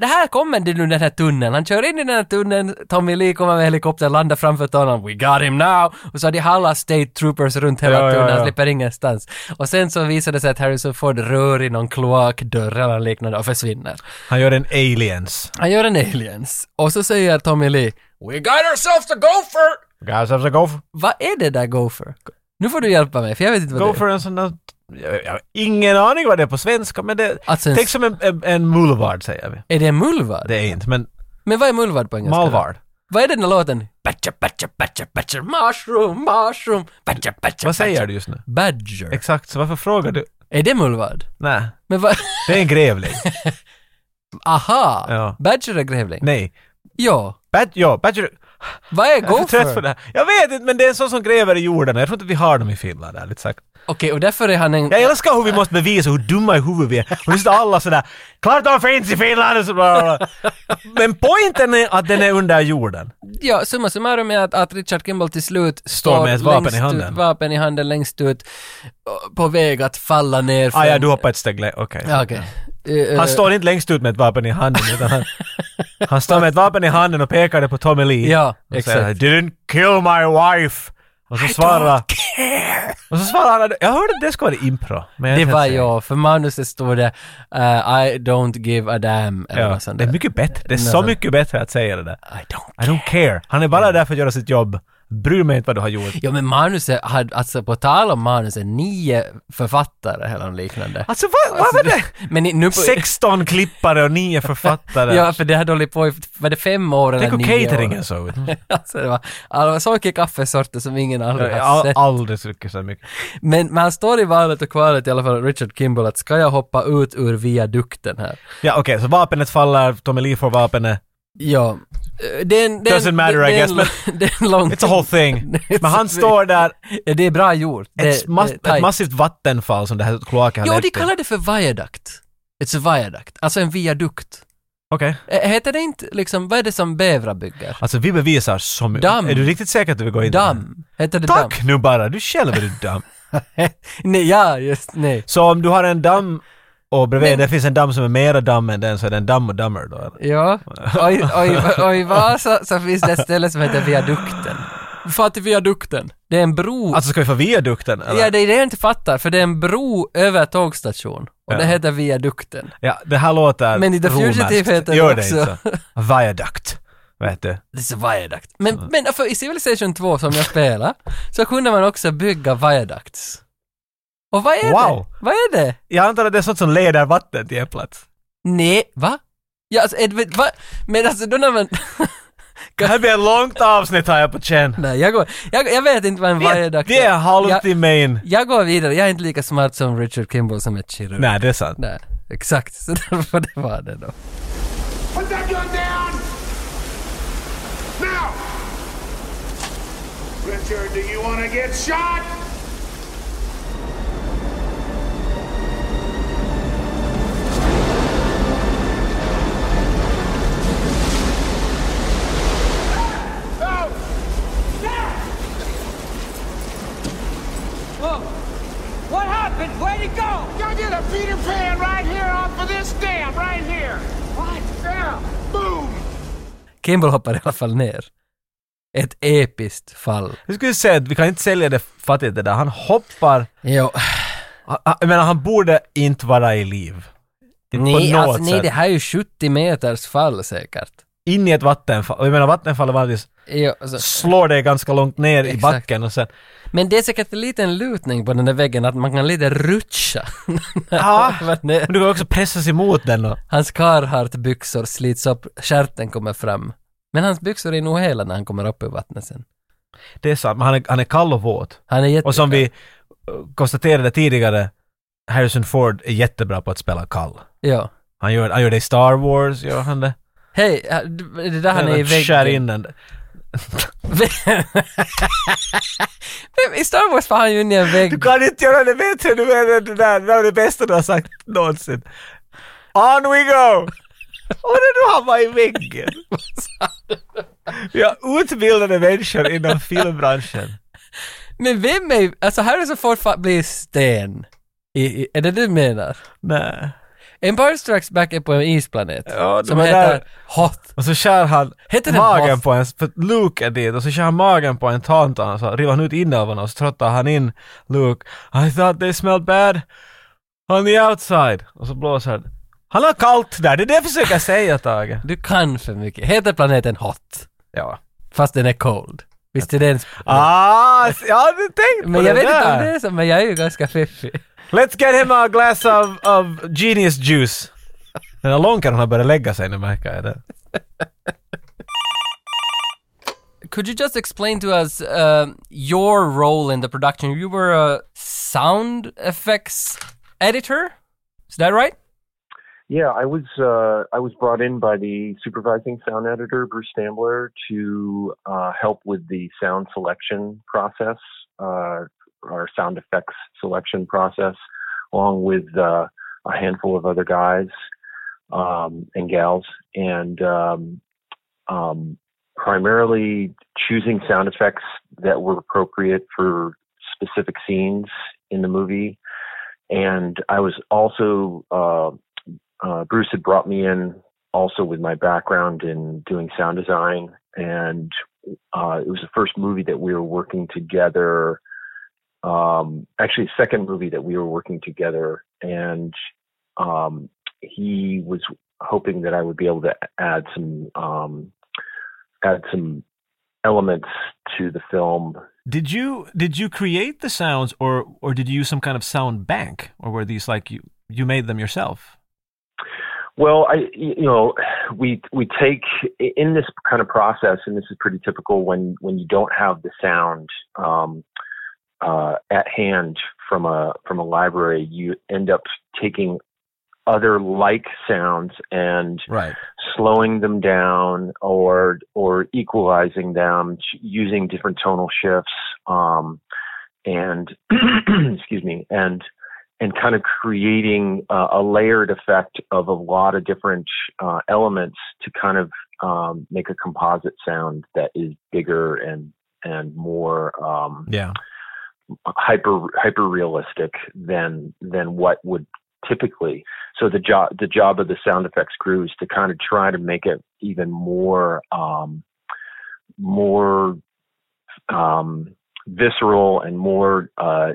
Speaker 1: det här kommer det nu den här tunneln. Han kör in i den här tunneln, Tommy Lee kommer med helikoptern, landar framför honom. We got him now! Och så har de alla state troopers runt hela
Speaker 2: Ja, ja,
Speaker 1: tunneln,
Speaker 2: ja.
Speaker 1: han slipper ingenstans. Och sen så visar det sig att Harrison Ford rör i någon kloakdörr eller liknande och försvinner.
Speaker 2: Han gör en aliens.
Speaker 1: Han gör en aliens. Och så säger Tommy Lee We got ourselves a gopher!
Speaker 2: Guys have to go for,
Speaker 1: Vad är det där gopher? Nu får du hjälpa mig, för jag vet inte vad
Speaker 2: go
Speaker 1: det är.
Speaker 2: for en sån där... Jag, jag har ingen aning vad det är på svenska, men det...
Speaker 1: Alltså en-
Speaker 2: Tänk som en, en, en mulvard säger vi.
Speaker 1: Är det en mullvad?
Speaker 2: Det är inte, men
Speaker 1: Men vad är mullvad på engelska?
Speaker 2: malvard.
Speaker 1: Vad är den där låten? Badger, badger, badger, badger, mushroom, mushroom, badger, badger,
Speaker 2: Vad säger
Speaker 1: badger.
Speaker 2: du just nu?
Speaker 1: Badger.
Speaker 2: Exakt, så varför frågar du?
Speaker 1: Är det mullvad?
Speaker 2: Nej,
Speaker 1: Men
Speaker 2: (laughs)
Speaker 1: vad...
Speaker 2: det är en grävling.
Speaker 1: Aha!
Speaker 2: Ja.
Speaker 1: Badger är grävling?
Speaker 2: Nej.
Speaker 1: Ja.
Speaker 2: Bat, ja, Badger...
Speaker 1: Vad är
Speaker 2: Jag är för
Speaker 1: gopher?
Speaker 2: trött för det här. Jag vet inte, men det är en sån som gräver i jorden. Jag tror inte vi har dem i Finland, ärligt sagt.
Speaker 1: Okej, och därför är han en...
Speaker 2: Jag älskar hur vi måste bevisa hur dumma i huvudet vi är. Och nu sitter alla sådär ”Klart de finns i Finland” och så bla, bla, bla. Men poängen är att den är under jorden.
Speaker 1: Ja, summa summarum är att, att Richard Kimball till slut står,
Speaker 2: med ett vapen i
Speaker 1: längst
Speaker 2: handen.
Speaker 1: Ut, vapen i handen längst ut, och på väg att falla ner för...
Speaker 2: Ah, ja, du hoppar ett steg längre. Okej.
Speaker 1: Ja, Okej. Eh, eh,
Speaker 2: Han står inte längst ut med ett vapen i handen utan han, han står med ett vapen i handen och pekar det på Tommy Lee.
Speaker 1: Ja,
Speaker 2: och säger
Speaker 1: exakt.
Speaker 2: ”Didn't kill my wife” och så svarar... Och så svarar han... Jag hörde att det ska vara impro. Men jag är
Speaker 1: Det
Speaker 2: inte
Speaker 1: var
Speaker 2: helt säker.
Speaker 1: jag, för manuset stod det eh, I don't give a damn eller
Speaker 2: Ja,
Speaker 1: något sånt
Speaker 2: det är
Speaker 1: där.
Speaker 2: mycket bättre. Det är
Speaker 1: Något
Speaker 2: så
Speaker 1: sånt.
Speaker 2: mycket bättre att säga det där.
Speaker 1: I don't Mm.
Speaker 2: I don't care. Han är bara där för att göra sitt jobb. Bryr mig inte vad du har gjort.
Speaker 1: Ja men manuset hade, alltså på tal om manuset, nio författare eller något liknande.
Speaker 2: Alltså vad, vad var det?
Speaker 1: (laughs) Men i- nu på...
Speaker 2: 16 klippare
Speaker 1: (laughs)
Speaker 2: och 9 författare.
Speaker 1: Ja, för det hade hållit på i, var det fem år eller
Speaker 2: Tänk hur
Speaker 1: nio
Speaker 2: cateringen
Speaker 1: år?
Speaker 2: såg ut.
Speaker 1: (laughs) alltså det var, alla så mycket kaffesorter som ingen aldrig
Speaker 2: Jag
Speaker 1: har
Speaker 2: har
Speaker 1: sett.
Speaker 2: aldrig druckit så mycket.
Speaker 1: Men man står i valet och kvalet i alla fall, Richard Kimball, att ska jag hoppa ut ur viadukten här?
Speaker 2: Ja okej, så vapnet faller, Tommy Lee får vapnet.
Speaker 1: Ja. eh, Det är en, det är en-
Speaker 2: Doesn't matter,
Speaker 1: det,
Speaker 2: I
Speaker 1: det är en
Speaker 2: guess,
Speaker 1: lång- (laughs) Det är en lång...
Speaker 2: It's a
Speaker 1: (laughs)
Speaker 2: whole thing.
Speaker 1: It's
Speaker 2: Men
Speaker 1: a
Speaker 2: han
Speaker 1: thing.
Speaker 2: står där,
Speaker 1: Ja, det är bra gjort. Det,
Speaker 2: ett, mas-
Speaker 1: det är tight.
Speaker 2: ett massivt vattenfall som det här kloaken har
Speaker 1: Jo,
Speaker 2: lett
Speaker 1: de
Speaker 2: till.
Speaker 1: kallar det för viaduct. It's a viaduct. Alltså en viadukt.
Speaker 2: Okej.
Speaker 1: Eh, Heter det inte liksom, vad är det som bävrar bygger?
Speaker 2: Alltså vi bevisar så mycket.
Speaker 1: Damm.
Speaker 2: Är du riktigt säker att du vill gå in i det här?
Speaker 1: Damm? Heter det
Speaker 2: Tack nu bara, du själv är du damm.
Speaker 1: damm? (laughs) nej, ja, just nej.
Speaker 2: Så om du har en damm och bredvid
Speaker 1: Men-
Speaker 2: det finns en damm som är mera damm än den så är det en damm och dammer då eller? (laughs)
Speaker 1: Ja, oj, oj, oj, Vasa så finns det ett ställe som heter Viadukten. Fatta till Viadukten? Det är en bro.
Speaker 2: Alltså ska vi få viadukten eller?
Speaker 1: ja, det är det jag inte fattar, för det är en bro över tågstation. Och det
Speaker 2: Ja.
Speaker 1: heter Viadukten.
Speaker 2: Ja, det här låter
Speaker 1: Men i The Fugitive
Speaker 2: romerskt.
Speaker 1: heter det
Speaker 2: Gör
Speaker 1: också. (laughs)
Speaker 2: det inte så. Viaduct. Vet du?
Speaker 1: This is a viaduct. Men, men för i Civilization 2 som jag spelar, så kunde man också bygga viaducts. Och vad är
Speaker 2: Wow.
Speaker 1: det? Vad är det?
Speaker 2: Jag antar att det är sånt som leder vattnet till en plats.
Speaker 1: Nej, va? Ja, alltså, Edwin, va? Men alltså då när man... (laughs)
Speaker 2: Det här blir ett långt avsnitt har jag på känn.
Speaker 1: Nej, jag går... Jag, jag vet inte vad en
Speaker 2: Vi är-
Speaker 1: viadukt
Speaker 2: vi är en
Speaker 1: jag,
Speaker 2: halvtimme in.
Speaker 1: jag går vidare, jag är inte lika smart som Richard Kimball som är kirurg.
Speaker 2: Nej, det är sant.
Speaker 1: Nej, exakt. (laughs) Så därför det var det då.
Speaker 6: Put that gun down! Now! Richard, do you want to get shot? Out!
Speaker 7: What happened? Where'd he go?
Speaker 6: Y'all get a Peter Pan right here off of this dam, right here! Right there! Boom!
Speaker 1: Kimball hoppar i alla fall ner. Ett episkt fall.
Speaker 2: Jag skulle säga att vi kan inte sälja det fattigt det där. Han hoppar.
Speaker 1: Jo.
Speaker 2: Han- han- Jag menar, han borde inte vara i liv. Inte
Speaker 1: Nej,
Speaker 2: på något
Speaker 1: alltså, nej,
Speaker 2: sätt.
Speaker 1: det här är ju 70 meters fall säkert.
Speaker 2: In i ett vattenfall. Och Jag menar, vattenfallet vanligtvis
Speaker 1: Jo, alltså.
Speaker 2: slår dig ganska långt ner i
Speaker 1: Exakt.
Speaker 2: backen och sen...
Speaker 1: Men det är säkert en liten lutning på den där väggen att man kan lite (laughs) rutscha.
Speaker 2: Ja.
Speaker 1: Vad det-
Speaker 2: Men du kan också pressas emot den och...
Speaker 1: Hans Carhartt-byxor slits upp, stjärten kommer fram. Men hans byxor är nog hela när han kommer upp ur vattnet sen.
Speaker 2: Det är sant, men han är, han är kall och våt.
Speaker 1: Han är jätte...
Speaker 2: Och som vi eh, konstaterade tidigare, Harrison Ford är jättebra på att spela kall.
Speaker 1: Ja.
Speaker 2: Han gör, han gör det i Star Wars, gör han det?
Speaker 1: Hej, äh, d- är det där han är i (laughs)
Speaker 2: skär
Speaker 1: väggen.
Speaker 2: in den.
Speaker 1: Nej, I Star Wars var han ju inne i en vägg.
Speaker 2: Du kan inte göra det bättre, du menar det där, det där var det bästa du har sagt någonsin. On we
Speaker 1: (laughs)
Speaker 2: go! Och när du hamnar i väggen. Vi har utbildade människor inom filmbranschen.
Speaker 1: Men vem är, alltså Harrison Ford fa- blir sten. I, i, är det det du menar?
Speaker 2: Nej.
Speaker 1: Empire Strikes Back är på en isplanet.
Speaker 2: Ja, det
Speaker 1: som
Speaker 2: var
Speaker 1: heter
Speaker 2: där.
Speaker 1: Hoth.
Speaker 2: Och så skär han
Speaker 1: Heter den
Speaker 2: magen
Speaker 1: Hoth?
Speaker 2: på en, för att Luke är dit, och så skär han magen på en tantan och så river han ut inälvorna och så tröttar han in Luke. I thought they smelled bad on the outside. Och så blåser han. Han har kallt där, det är det jag försöker
Speaker 1: (laughs)
Speaker 2: säga Tage.
Speaker 1: Du kan för mycket. Heter planeten Hoth?
Speaker 2: Ja.
Speaker 1: Fast den är cold. Visst är det en... sp-
Speaker 2: Ah, s- jag hade tänkt på
Speaker 1: Men
Speaker 2: det
Speaker 1: jag vet
Speaker 2: där.
Speaker 1: inte om det är så, men jag är ju ganska fiffig.
Speaker 2: Let's get him a glass of, of genius juice. Den här långkan har börjat lägga sig nu märker jag det.
Speaker 1: Could you just explain to us um, your role in the production? You were a sound effects editor? Is that right?
Speaker 4: Yeah, I was uh, I was brought in by the supervising sound editor Bruce Stambler to uh, help with the sound selection process, uh, our sound effects selection process, along with uh, a handful of other guys um, and gals, and um, um, primarily choosing sound effects that were appropriate for specific scenes in the movie. And I was also uh, uh, Bruce had brought me in also with my background in doing sound design, and uh, it was the first movie that we were working together. Um, actually, second movie that we were working together, and um, he was hoping that I would be able to add some um, add some elements to the film
Speaker 2: Did you did you create the sounds or or did you use some kind of sound bank or were these like you you made them yourself?
Speaker 4: Well, I, you know, we we take in this kind of process, and this is pretty typical when when you don't have the sound um, uh, at hand from a from a library, you end up taking other like sounds and
Speaker 2: Right.
Speaker 4: slowing them down or or equalizing them ch- using different tonal shifts um, and (clears throat) excuse me and and kind of creating uh, a layered effect of a lot of different uh, elements to kind of um, make a composite sound that is bigger and and more um,
Speaker 2: Yeah.
Speaker 4: hyper hyper realistic than than what would typically. So the job the job of the sound effects crew is to kind of try to make it even more um, more um, visceral and more uh,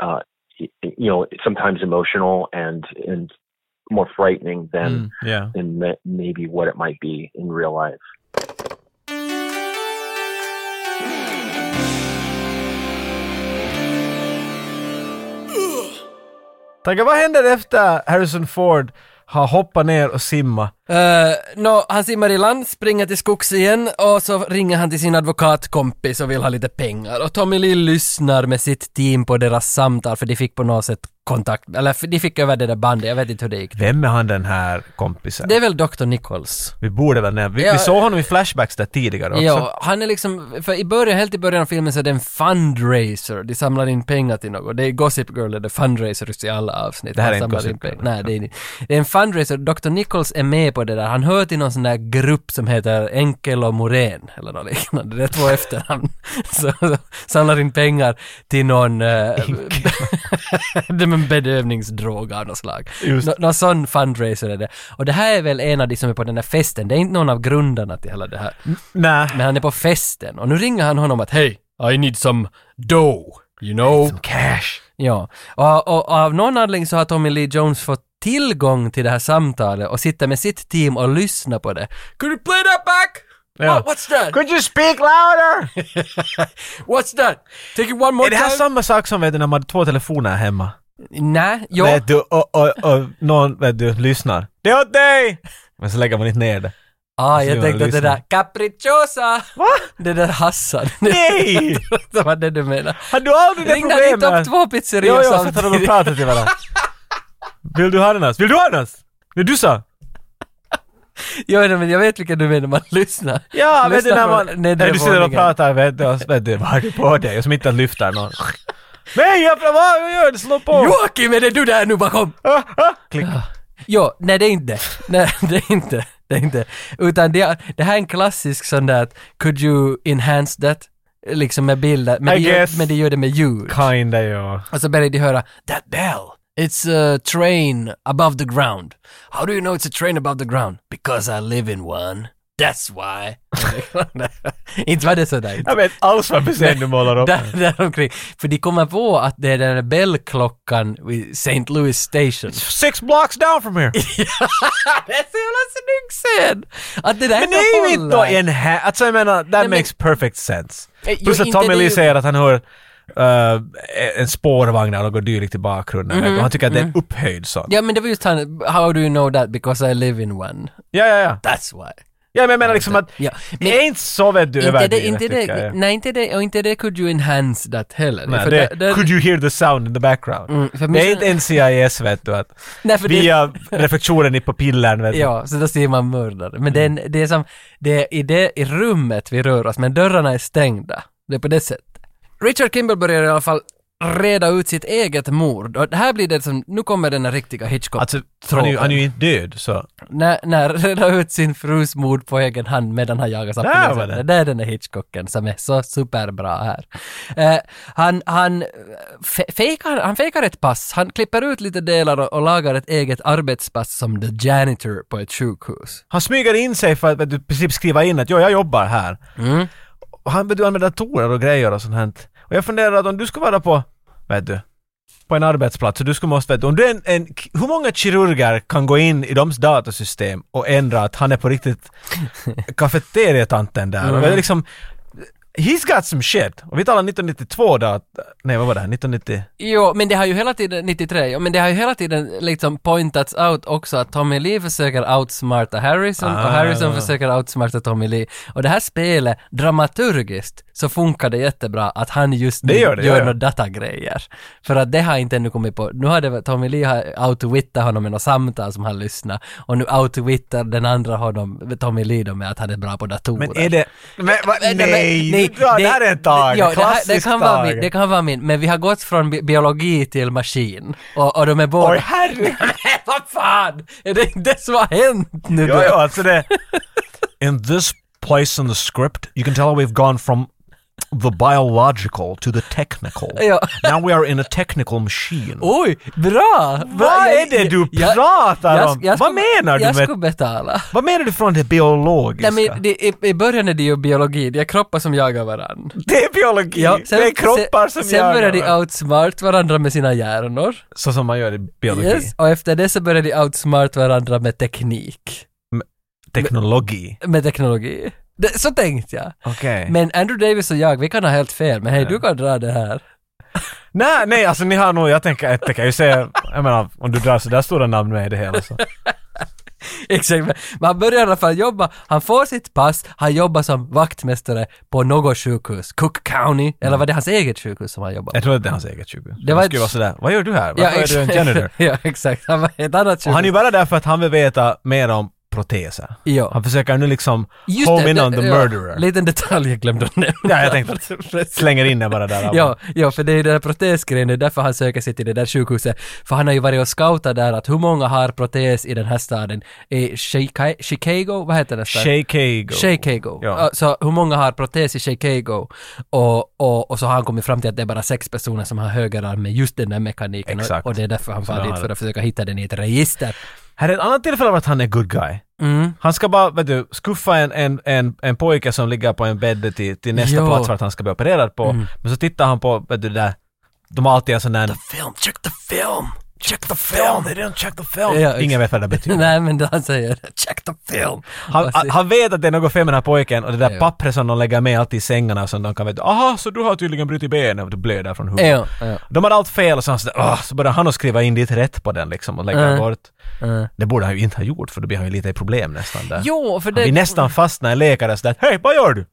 Speaker 4: uh, y- y- you know sometimes emotional and and more frightening than
Speaker 2: Mm, yeah.
Speaker 4: than ma- maybe what it might be in real life.
Speaker 2: Tagge, vad händer efter Harrison Ford har hoppat ner och simmat?
Speaker 1: Uh, no, han simmar i land, springer till skogs igen och så ringer han till sin advokatkompis och vill ha lite pengar. Och Tommy Lee lyssnar med sitt team på deras samtal för de fick på något sätt kontakt, eller för de fick över det där bandet, jag vet inte hur det gick.
Speaker 2: Vem är han den här kompisen?
Speaker 1: Det är väl Dr. Nichols?
Speaker 2: Vi borde väl nämna, vi,
Speaker 1: Ja.
Speaker 2: vi såg honom i flashbacks där tidigare också.
Speaker 1: Ja, han är liksom, för i början, helt i början av filmen så är det en fundraiser, de samlar in pengar till något. Det är Gossip Girl, det är fundraisers i alla avsnitt.
Speaker 2: Det här
Speaker 1: Han
Speaker 2: är inte
Speaker 1: samlar
Speaker 2: Gossip
Speaker 1: in
Speaker 2: Girl,
Speaker 1: pengar. Nej, det är, det är en fundraiser. Dr. Nichols är med på det där. Han hör till någon sån där grupp som heter Enkel och Morén, eller något liknande. Det är två (laughs) efternamn. Så, så samlar in pengar till någon... eh, (laughs) det är en bedövningsdrog av något slag.
Speaker 2: Just.
Speaker 1: Nå, någon sån fundraiser är det. Och det här är väl en av de som är på den här festen. Det är inte någon av grundarna till hela det här.
Speaker 2: Nej.
Speaker 1: Men han är på festen och nu ringer han honom att hej, I need some dough, you know.
Speaker 2: Alltså. Cash.
Speaker 1: Ja, och, och, och av någon anledning så har Tommy Lee Jones fått tillgång till det här samtalet och sitter med sitt team och lyssnar på det. Could you play that back?
Speaker 2: Ja.
Speaker 1: What, what's that?
Speaker 2: Could you speak louder?
Speaker 1: (laughs) What's that? Take it one more
Speaker 2: är det här
Speaker 1: time?
Speaker 2: samma sak som vet du, när man har två telefoner hemma?
Speaker 1: Nej, jo.
Speaker 2: Vet du, och, och, och någon vet du, lyssnar. Det är åt dig! Men så lägger man inte ner det.
Speaker 1: Ah,
Speaker 2: Så
Speaker 1: jag
Speaker 2: jag
Speaker 1: tänkte att det
Speaker 2: lyssnar.
Speaker 1: där capricciosa! Va? Det där Hassan. (laughs)
Speaker 2: Nej!
Speaker 1: det var det du menade.
Speaker 2: Har du aldrig det
Speaker 1: Ringde ni
Speaker 2: problemet?
Speaker 1: topp två pizzerior
Speaker 2: Jo, jo, så tar de och
Speaker 1: samtidigt?
Speaker 2: pratar till varandra. Vill du ha ananas? Vill du ha ananas? Det du sa?
Speaker 1: Jo, nej, men jag vet vilka du menar, man lyssnar.
Speaker 2: Ja, vet du
Speaker 1: Lyssnar
Speaker 2: när
Speaker 1: från
Speaker 2: man...
Speaker 1: nedre
Speaker 2: När du sitter och
Speaker 1: våningen.
Speaker 2: pratar, vet du, och så vet du, vad har du på dig? Och som inte lyfter någon. Nej, jag, vad vad gör du? Slå på!
Speaker 1: Joakim, är det du där nu bakom?
Speaker 2: Ah, ah. Klick.
Speaker 1: Jo, nej det är inte. Nej, (laughs) det är inte. Det är inte. Utan det, är, det här är en klassisk sån där att could you enhance that? Liksom med bilder. Men,
Speaker 2: I
Speaker 1: de gör,
Speaker 2: guess.
Speaker 1: men de gör det med ljud.
Speaker 2: Kinda, ja.
Speaker 1: Och så börjar de höra that bell. It's a train above the ground. How do you know it's a train above the ground? Because I live in one. That's why. (laughs) inte var det sådär.
Speaker 2: Jag vet alls vad present du målar upp.
Speaker 1: Där, där omkring. För de kommer på att det är den där bellklockan vid St. Louis Station.
Speaker 2: Six blocks down from here.
Speaker 1: det är så jävla snygg scen! Att det där
Speaker 2: Men
Speaker 1: inte
Speaker 2: det är ju
Speaker 1: håller.
Speaker 2: inte då en ha- Alltså jag menar, that
Speaker 1: men-
Speaker 2: makes perfect sense.
Speaker 1: Eh, jo,
Speaker 2: Plus att
Speaker 1: inte
Speaker 2: Tommy
Speaker 1: det
Speaker 2: Lee
Speaker 1: ju-
Speaker 2: säger att han hör eh, en spårvagn eller något dylikt i bakgrunden. och han tycker att det är en upphöjd sån.
Speaker 1: Mhm, Ja men det var just han, how do you know that? Because I live in one.
Speaker 2: Ja, ja, ja.
Speaker 1: That's why.
Speaker 2: Ja, men jag menar liksom att...
Speaker 1: Ja, men-
Speaker 2: det är inte så vet du
Speaker 1: Inte det,
Speaker 2: överdrivet,
Speaker 1: inte det,
Speaker 2: tycker jag.
Speaker 1: nej inte det, och inte det could you enhance that heller.
Speaker 2: Nej,
Speaker 1: För
Speaker 2: det,
Speaker 1: där- där-
Speaker 2: could you hear the sound in the background?
Speaker 1: för
Speaker 2: det
Speaker 1: min-
Speaker 2: är inte NCIS vet du att
Speaker 1: Nej, för det-
Speaker 2: via reflektionen i pupillen vet du.
Speaker 1: Ja, så då ser man mördare. Men det, är,
Speaker 2: Mm.
Speaker 1: en- det är som, det är i det i rummet vi rör oss, men dörrarna är stängda. Det är på det sättet. Richard Kimball börjar i alla fall reda ut sitt eget mord. Och det här blir det som, nu kommer den här riktiga Hitchcock.
Speaker 2: Alltså, han är, ju, han är ju inte död så.
Speaker 1: när, när (laughs) reda ut sin frus mord på egen hand medan han jagas av
Speaker 2: Där var
Speaker 1: polisen.
Speaker 2: det.
Speaker 1: Det är den där Hitchcocken som är så superbra här. Eh, han, han, eh, fe- fejkar, han fejkar ett pass, han klipper ut lite delar och, och lagar ett eget arbetspass som the janitor på ett sjukhus.
Speaker 2: Han smyger in sig för att vet du, i princip skriva in att ja, jag jobbar här.
Speaker 1: Mm.
Speaker 2: Och han vet du, använder datorer och grejer och sånt här. Och jag funderar att om du skulle vara på, vet du, på en arbetsplats och du skulle måste, vet du, om du är en, en, hur många kirurger kan gå in i deras datasystem och ändra att han är
Speaker 1: (laughs)
Speaker 2: på riktigt kafeteriatanten där?
Speaker 1: Mm.
Speaker 2: Och det är liksom, he's got some shit. Och vi talar 1992 då, att- nej vad var det här, 1990?
Speaker 1: Jo, men det har ju hela tiden, 93, ja, men det har ju hela tiden liksom pointats out också att Tommy Lee försöker outsmarta Harrison och
Speaker 2: Ah.
Speaker 1: Harrison försöker outsmarta Tommy Lee. Och det här spelet, dramaturgiskt, så funkar det jättebra att han just nu
Speaker 2: Det gör det, ja, ja.
Speaker 1: några datagrejer. För att det har inte ännu kommit på. Nu har det, Tommy Lee har outwittat honom med något samtal som han lyssnar och nu outwittar den andra honom, Tommy Lee då med att han är bra på datorer.
Speaker 2: Men är det, men, va,
Speaker 1: Men-
Speaker 2: nej,
Speaker 1: men- nej,
Speaker 2: det, det här är en tag,
Speaker 1: ja, det, här,
Speaker 2: klassisk
Speaker 1: det, kan vara
Speaker 2: tag.
Speaker 1: min, det kan vara min, men vi har gått från bi- biologi till maskin. Och, och de är båda...
Speaker 2: Oj
Speaker 1: (laughs)
Speaker 2: herregud!
Speaker 1: Vad fan! Är det inte det som har hänt
Speaker 2: (laughs)
Speaker 1: nu
Speaker 2: Jo,
Speaker 1: då?
Speaker 2: jo, alltså det... In this place in the script, you can tell we've gone from the biological to the technical.
Speaker 1: Ja.
Speaker 2: Now we are in a technical machine.
Speaker 1: Oj, bra!
Speaker 2: Vad är det du pratar om? Vad menar du
Speaker 1: jag
Speaker 2: med-
Speaker 1: Jag ska betala.
Speaker 2: Vad menar du från det biologiska?
Speaker 1: Nej,
Speaker 2: (laughs)
Speaker 1: men det, i, I början är det ju biologi, det är kroppar som jagar varandra.
Speaker 2: det är biologi! det är kroppar som
Speaker 1: sen, sen börjar de
Speaker 2: varandra.
Speaker 1: outsmart varandra med sina hjärnor.
Speaker 2: Så som man gör i biologi.
Speaker 1: Yes. Och efter det så börjar de outsmart varandra med teknik.
Speaker 2: Teknologi.
Speaker 1: Med teknologi. Det, så tänkte jag.
Speaker 2: Okej.
Speaker 1: Men Andrew Davis och jag, vi kan ha helt fel, men hej, du kan dra det här. (laughs)
Speaker 2: Nej, nej, alltså ni har nog, jag tänker, jag tänker ju säga, jag menar, om du drar sådär stora namn med i det hela så.
Speaker 1: Exakt, men- men han börjar i alla fall jobba, han får sitt pass, han jobbar som vaktmästare på något sjukhus, Cook County, eller var det hans eget sjukhus som han jobbar på?
Speaker 2: Jag tror att det är hans eget 20.
Speaker 1: Det
Speaker 2: Det
Speaker 1: var
Speaker 2: var
Speaker 1: ett-
Speaker 2: skulle vara sådär, vad gör du här? Varför är du en
Speaker 1: exakt.
Speaker 2: janitor?
Speaker 1: (laughs) ja, exakt. Han var ett annat
Speaker 2: Och
Speaker 1: sjukhus.
Speaker 2: han är ju bara där för att han vill veta mer om proteser.
Speaker 1: Ja.
Speaker 2: Han försöker nu liksom
Speaker 1: Just
Speaker 2: home
Speaker 1: det,
Speaker 2: in
Speaker 1: det-
Speaker 2: on the
Speaker 1: ja,
Speaker 2: murderer.
Speaker 1: Liten detalj jag glömde att nämna.
Speaker 2: Ja, jag tänkte
Speaker 1: (laughs)
Speaker 2: att slänger in det bara där.
Speaker 1: Ja, ja, för det är ju den där protesgrejen, det är därför han söker sig till det där sjukhuset. För han har ju varit och scoutat där att hur många har protes i den här staden? I Chica- Chicago, vad heter den staden?
Speaker 2: Shakego.
Speaker 1: Chicago.
Speaker 2: Ja.
Speaker 1: Ja. Så hur många har protes i Chicago? Och, och, och så har han kommit fram till att det är bara sex personer som har högerarm med just den där mekaniken.
Speaker 2: Exakt.
Speaker 1: Och, och det är därför han far
Speaker 2: jag
Speaker 1: dit
Speaker 2: har
Speaker 1: för att försöka hitta den i ett register.
Speaker 2: Här är ett annat tillfälle att han är good guy.
Speaker 1: Mm.
Speaker 2: Han ska bara, vet du, skuffa en, en, en, en pojke som ligger på en bädd till, till nästa
Speaker 1: Jo.
Speaker 2: plats vart han ska bli
Speaker 1: Mm.
Speaker 2: opererad på. Men så tittar han på, vet du, det där, de har alltid en sån där
Speaker 1: The film, (laughs) check the film!
Speaker 2: Check the film! They didn't check the film!
Speaker 1: Ja, ex-
Speaker 2: Ingen vet vad det betyder.
Speaker 1: (laughs) Nej men det han säger, check the film.
Speaker 2: Han,
Speaker 1: Och se-
Speaker 2: han vet att det är något fel med den här pojken och det där
Speaker 1: Ja.
Speaker 2: pappret som de lägger med alltid i sängarna som de kan veta aha så du har tydligen brutit benet och du blöder från huvudet.
Speaker 1: Ja, ja.
Speaker 2: De hade allt fel och så, han sådär, "Åh", så började han att skriva in dit rätt på den liksom och lägga
Speaker 1: Mm.
Speaker 2: bort.
Speaker 1: Mm.
Speaker 2: Det borde han ju inte ha gjort för då blir han ju lite i problem nästan där.
Speaker 1: Jo, för
Speaker 2: han blir
Speaker 1: det...
Speaker 2: nästan fast när en läkare sådär hej vad gör du?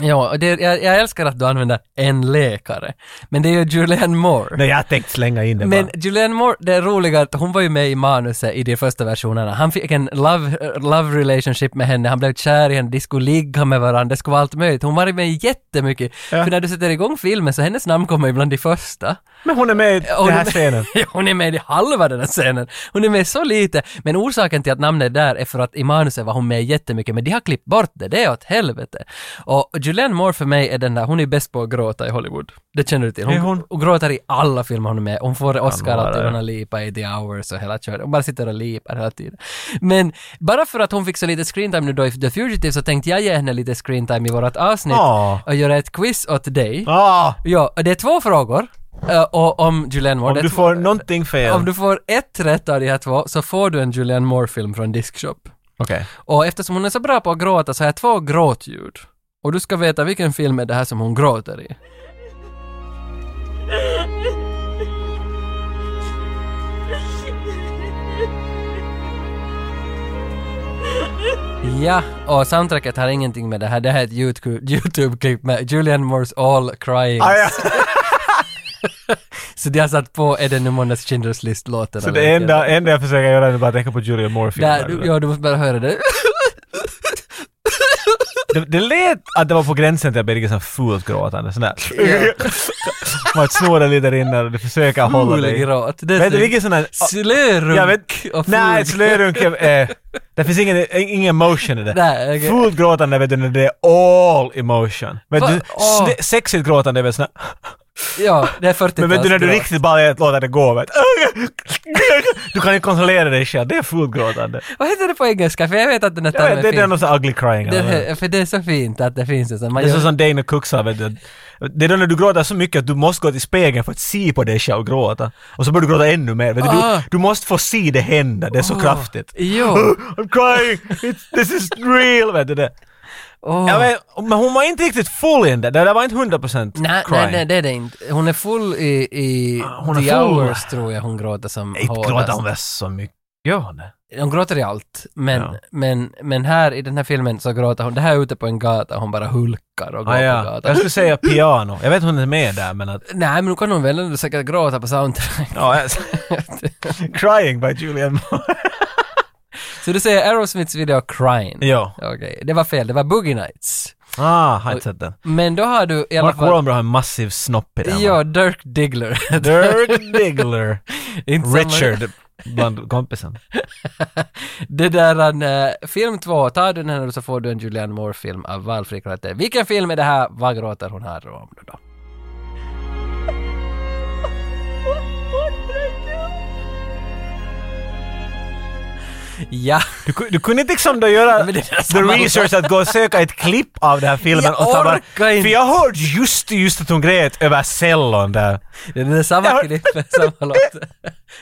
Speaker 1: Ja, och det, jag, jag älskar att du använder en läkare. Men det är ju Julianne Moore.
Speaker 2: Nej jag tänkte slänga in det
Speaker 1: Men
Speaker 2: bara.
Speaker 1: Julianne Moore, det är roliga att hon var ju med i manuset i de första versionerna. Han fick en love, eh, love relationship med henne, han blev kär i henne, de skulle ligga med varandra, det skulle vara allt möjligt. Hon var ju med jättemycket.
Speaker 2: Ja.
Speaker 1: För när du sätter igång filmen så hennes namn kommer ibland de första.
Speaker 2: Men hon är med i
Speaker 1: Hon
Speaker 2: den
Speaker 1: är
Speaker 2: här
Speaker 1: med-
Speaker 2: scenen.
Speaker 1: (laughs) Ja, hon är med i halva den här scenen. Hon är med så lite. Men orsaken till att namnet är där är för att i manuset var hon med jättemycket, men de har klippt bort det. Det är åt helvete. Och Julianne Moore för mig är den där, hon är bäst på att gråta i Hollywood. Det känner du till. Hon,
Speaker 2: Är hon?
Speaker 1: gråter i alla filmer hon är med. Hon får Oscar
Speaker 2: vara
Speaker 1: alltid,
Speaker 2: det.
Speaker 1: hon har lipa i The Hours och hela köret. Hon bara sitter och lipar hela tiden. Men bara för att hon fick så lite screentime nu då i The Fugitive så tänkte jag ge henne lite screentime i vårt avsnitt
Speaker 2: Ja.
Speaker 1: och göra ett quiz åt dig.
Speaker 2: Ah,
Speaker 1: Ja, och det är två frågor. eh, och om Julianne Moore.
Speaker 2: om
Speaker 1: Det är
Speaker 2: du
Speaker 1: två-
Speaker 2: får någonting fel.
Speaker 1: om du får ett rätt av de här två så får du en Julianne Moore-film från Diskshop.
Speaker 2: Okej.
Speaker 1: Och eftersom hon är så bra på att gråta så har jag två gråtljud. Och du ska veta vilken film är det här som hon gråter i. Ja, och soundtracket har ingenting med det här. Det här är ett YouTube- YouTube-klipp med Julianne Moores All Crying.
Speaker 2: Ah,
Speaker 1: (laughs)
Speaker 2: ja.
Speaker 1: Så de har satt på Är det nu måndags Schindler's List-låten.
Speaker 2: Så
Speaker 1: eller
Speaker 2: det
Speaker 1: något jävla-
Speaker 2: enda, enda jag försöker göra är att bara tänka på Julia Moore-filmer.
Speaker 1: Där, du, ja, du måste bara höra det.
Speaker 2: Det, det lät att det var på gränsen till att bli liksom fult gråtande. Sån där... Man snor lite rinner och du försöker (laughs) hålla dig.
Speaker 1: Gråt. Det är
Speaker 2: Vet du,
Speaker 1: snyggt.
Speaker 2: vilken sån där...
Speaker 1: Slörunk
Speaker 2: Jag vet,
Speaker 1: och ful-
Speaker 2: nej, slörunk. Eh, det finns ingen, ingen emotion i det.
Speaker 1: Nej, okej.
Speaker 2: Fult gråtande vet du när det är all emotion. Vet
Speaker 1: Va?
Speaker 2: du,
Speaker 1: Åh.
Speaker 2: sne- sexigt gråtande är väl sån här-
Speaker 1: Ja, det är 40
Speaker 2: Men vet du när du riktigt bara låter det gå vet du. Du kan inte kontrollera dig själv, det är fult gråtande.
Speaker 1: Vad heter det på engelska? För jag vet att den här
Speaker 2: Jag vet,
Speaker 1: termen
Speaker 2: det är den
Speaker 1: finns.
Speaker 2: och så ugly crying. eller vad det är.
Speaker 1: Det, för det är så fint att det finns en sån. Man
Speaker 2: Det är så
Speaker 1: gör-
Speaker 2: som Dana Cook sa, vet du. Det är då när du gråter så mycket att du måste gå till spegeln för att se på dig själv och gråta. Och så börjar du gråta ännu mer. Vet du.
Speaker 1: Ah.
Speaker 2: Du, du måste få se det hända, det är så kraftigt. (gasps)
Speaker 1: Jo,
Speaker 2: I'm crying! It's, this is real! Vet du det?
Speaker 1: åh.
Speaker 2: Ja, men, men hon var inte riktigt full in det, det där var inte 100%
Speaker 1: Nej,
Speaker 2: crying. Ah,
Speaker 1: nej, nej, det är det inte. Hon är full i, i
Speaker 2: hon är
Speaker 1: The
Speaker 2: full.
Speaker 1: Hours tror jag hon gråter som
Speaker 2: Inte gråter
Speaker 1: alltså.
Speaker 2: hon väl så mycket? Gör hon det?
Speaker 1: Hon gråter i allt, men,
Speaker 2: Ja.
Speaker 1: men, men här i den här filmen så gråter hon. Det här är ute på en gata, hon bara hulkar och går
Speaker 2: Ah,
Speaker 1: på
Speaker 2: ja.
Speaker 1: gatan.
Speaker 2: Jag skulle säga piano. Jag vet hon är med där men att...
Speaker 1: Nej, men nu kan hon väl ändå säkert gråta på soundtrack.
Speaker 2: Ja, jag-
Speaker 1: (laughs)
Speaker 2: crying by Julian Moore.
Speaker 1: Så du säger Aerosmiths video Crying?
Speaker 2: ja.
Speaker 1: Okej, det var fel. Det var Boogie Nights.
Speaker 2: Ah, har inte sett den.
Speaker 1: Men då har du i alla
Speaker 2: Mark
Speaker 1: fall...
Speaker 2: Wahlberg har en massiv snopp i den. va?
Speaker 1: Ja, Dirk Diggler. (laughs)
Speaker 2: (laughs) Dirk Diggler.
Speaker 1: Inte samma-
Speaker 2: Richard bland kompisen.
Speaker 1: Det där, han, eh, film två, tar du den här så får du en Julianne Moore-film av valfri karaktär. eh, Vilken film är det här? Vad gråter hon här om nu då? (laughs) Ja,
Speaker 2: Du, ku- du kunde inte liksom då göra
Speaker 1: Men det är
Speaker 2: the
Speaker 1: samma-
Speaker 2: research att gå och söka ett klipp av den här filmen
Speaker 1: Jag
Speaker 2: och ta bara,
Speaker 1: orkar inte.
Speaker 2: För jag hörde just, just att hon grät över cellon där.
Speaker 1: det är samma klipp, samma
Speaker 2: (laughs)
Speaker 1: låt.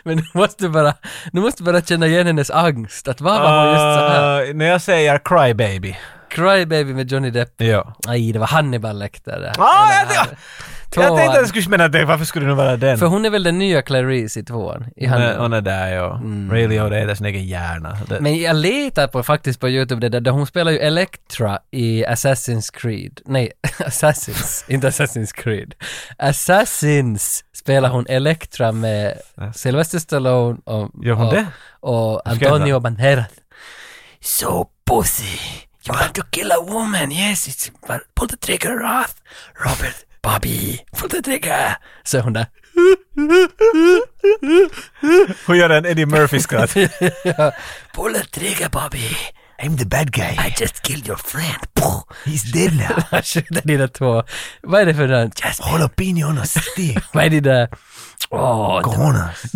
Speaker 1: Men nu måste du bara, nu måste du bara känna igen hennes angst, att vad var hon just så här?
Speaker 2: Uh, när jag säger Cry Baby.
Speaker 1: Cry Baby med Johnny Depp.
Speaker 2: Ja.
Speaker 1: Nej, det var Hannibal Lecter det här.
Speaker 2: Ah,
Speaker 1: Eller
Speaker 2: jag, jag,
Speaker 1: här.
Speaker 2: jag
Speaker 1: Tvåan.
Speaker 2: tänkte att du skulle mena det, varför skulle det nu vara den?
Speaker 1: För hon är väl den nya Clarice i tvåan? I
Speaker 2: hon, är,
Speaker 1: Hannibal.
Speaker 2: hon är där ja. Ray Liotta är där sin egen hjärna. Det,
Speaker 1: Mm. Men jag letar på, faktiskt på YouTube det där, där hon spelar ju Elektra i Assassin's Creed. Nej, (laughs) Assassins, inte Assassin's Creed. Assassins spelar hon Elektra med Sylvester Stallone och,
Speaker 2: Gör hon
Speaker 1: och,
Speaker 2: det?
Speaker 1: och
Speaker 2: ska jag
Speaker 1: Antonio Banderas. So pussy, you want to kill a woman, yes, it's, but pull the trigger Roth, Robert, Bobby, pull the trigger. Så är hon där. (laughs)
Speaker 2: hon gör en
Speaker 1: (laughs)
Speaker 2: Eddie Murphy-skratt.
Speaker 1: Pull the trigger Bobby,
Speaker 2: I'm the bad guy.
Speaker 1: I just killed your friend.
Speaker 2: He's dead
Speaker 1: (laughs)
Speaker 2: now.
Speaker 1: Han skjuter Alltså, dina två. Vad är det för nån? Just,
Speaker 2: Jalapenos stick.
Speaker 1: vad är det där? Åh, oh,
Speaker 2: Cojones. (laughs)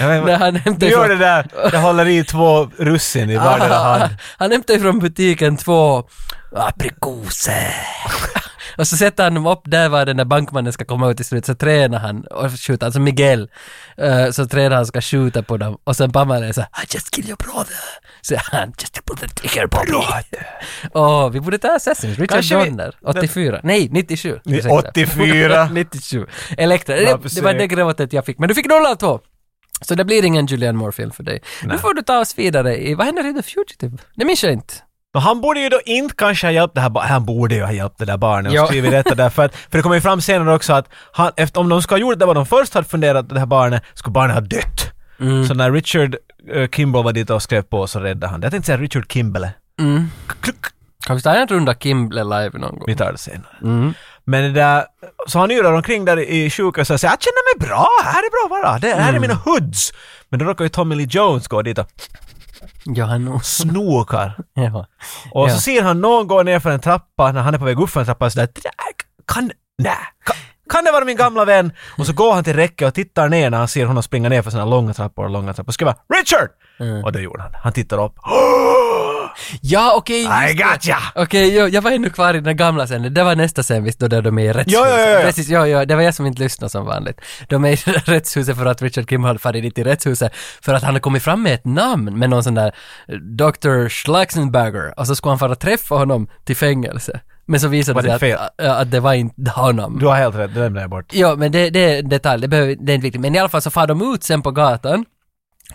Speaker 1: när han hämtar
Speaker 2: Du gör
Speaker 1: (laughs)
Speaker 2: det där, jag håller i två russin i vardera hand.
Speaker 1: han hämtar ifrån butiken två Aprikoser. och så sätter han dem upp där var den där bankmannen ska komma ut till slut, så tränar han och skjuter, alltså Miguel, eh, så tränar han ska skjuta på dem och sen Pamela är så här, I just kill your brother. Så han, just put the trigger på me. Åh, vi borde ta Assassins, Richard
Speaker 2: Kanske vi-
Speaker 1: Donner, 84, nej 97.
Speaker 2: Ni-
Speaker 1: ursäkta.
Speaker 2: 84.
Speaker 1: 97. Elektra,
Speaker 2: Ja,
Speaker 1: det, det var
Speaker 2: precis.
Speaker 1: det gråtet jag fick, men du fick 0 av 2. Så det blir ingen Julianne Moore-film för dig. Nu får du ta oss vidare i, vad händer i The Fugitive? Det minns jag inte.
Speaker 2: Men han borde ju då inte kanske ha hjälpt det här ba- Han borde ju ha hjälpt det där barnet
Speaker 1: Ja.
Speaker 2: och skrivit detta där för att, för det kommer ju fram senare också att han, efter, om de ska ha gjort det vad de först hade funderat det här barnet, skulle barnet ha dött. Så när Richard uh, Kimball var dit och skrev på så räddade han det. Jag tänkte säga Richard Kimble.
Speaker 1: Kan vi ta en runda Kimble live någon gång?
Speaker 2: Vi tar det senare. Men det där, så han yrar omkring där i sjukhuset och säger jag känner mig bra, här är bra vara, det här är mina hoods. Men då råkar ju Tommy Lee Jones gå dit och
Speaker 1: Ja, han också.
Speaker 2: snokar.
Speaker 1: Ja.
Speaker 2: Och
Speaker 1: Ja.
Speaker 2: så ser han någon gå ner för en trappa, när han är på väg upp för en trappa, sådär "Det där kan, nej, kan, kan det vara min gamla vän? Och så går han till räcket och tittar ner när han ser honom springa ner för sina långa trappor och långa trappor och skriver Richard! Och det gjorde han. Han tittar upp.
Speaker 1: Ja, okej.
Speaker 2: I
Speaker 1: just det.
Speaker 2: got ya!
Speaker 1: Okej, jo, jag var ännu kvar i den gamla scenen. Det var nästa scen visst, då där de är i rättshuset.
Speaker 2: Ja, ja, ja, ja.
Speaker 1: Precis, ja, ja, det var jag som inte lyssnade som vanligt. De är i det där rättshuset för att Richard Kim hade farit dit till rättshuset för att han har kommit fram med ett namn med någon sån där eh, Dr. Schlaxenberger och så skulle han fara träffa honom till fängelse. Men så visade
Speaker 2: Var
Speaker 1: det
Speaker 2: det
Speaker 1: sig
Speaker 2: fel?
Speaker 1: att, att, att det var inte honom.
Speaker 2: Du har helt rätt, det lämnar jag bort.
Speaker 1: Ja, men det, det är en detalj, det, behöver, det är inte viktigt. Men i alla fall så far de ut sen på gatan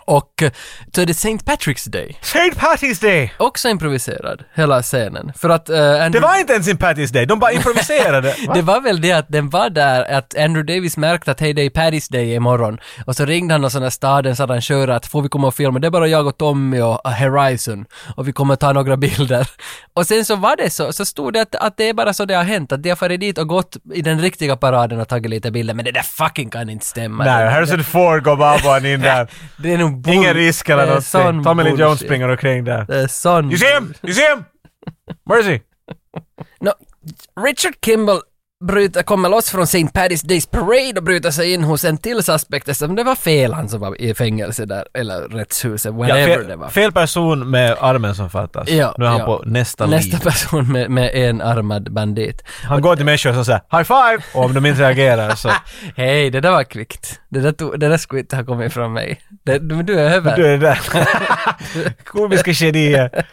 Speaker 1: och eh, så är det St. Patrick's Day.
Speaker 2: St. Patty's Day!
Speaker 1: Också improviserad, hela scenen. För att... eh, Andrew,
Speaker 2: Det var inte ens en Patty's Day,
Speaker 1: (laughs)
Speaker 2: de bara improviserade. Va?
Speaker 1: det var väl det att den var där, att Andrew Davis märkte att hej det är Paddy's Day imorgon. Och så ringde han någon sån där staden så hade han kört att får vi komma och filma, det är bara jag och Tommy och eh, Horizon och vi kommer ta några (laughs) bilder. Och sen så var det så, så stod det att, att det är bara så det har hänt, att de har farit dit och gått i den riktiga paraden och tagit lite bilder, men det där fucking kan inte stämma.
Speaker 2: Nej, Harrison Ford går bara
Speaker 1: (laughs)
Speaker 2: bara in där.
Speaker 1: Det är nog bull-
Speaker 2: Ingen risk eller
Speaker 1: det är sån
Speaker 2: någonting. Tommy Lee Jones
Speaker 1: bullshit.
Speaker 2: springer omkring där.
Speaker 1: Det är sån...
Speaker 2: You see him? You see him? Mercy!
Speaker 1: No, Richard Kimball bryter, kommer loss från St. Paddy's Days Parade och bryter sig in hos en till suspect eftersom det var fel han som var i fängelse där, eller rättshuset,
Speaker 2: Ja,
Speaker 1: whatever det var.
Speaker 2: fel, fel person med armen som fattas.
Speaker 1: Ja,
Speaker 2: nu är han
Speaker 1: ja.
Speaker 2: på nästa,
Speaker 1: Nästa
Speaker 2: nästa
Speaker 1: person med, med en armad bandit.
Speaker 2: Han går till människor som säger ”high five” och om de inte
Speaker 1: (laughs)
Speaker 2: reagerar så
Speaker 1: Hej, det där var kvickt. Det där, tog, det där skulle inte ha kommit från mig. Det, men du är över.
Speaker 2: du är där. (laughs) Komiska genier.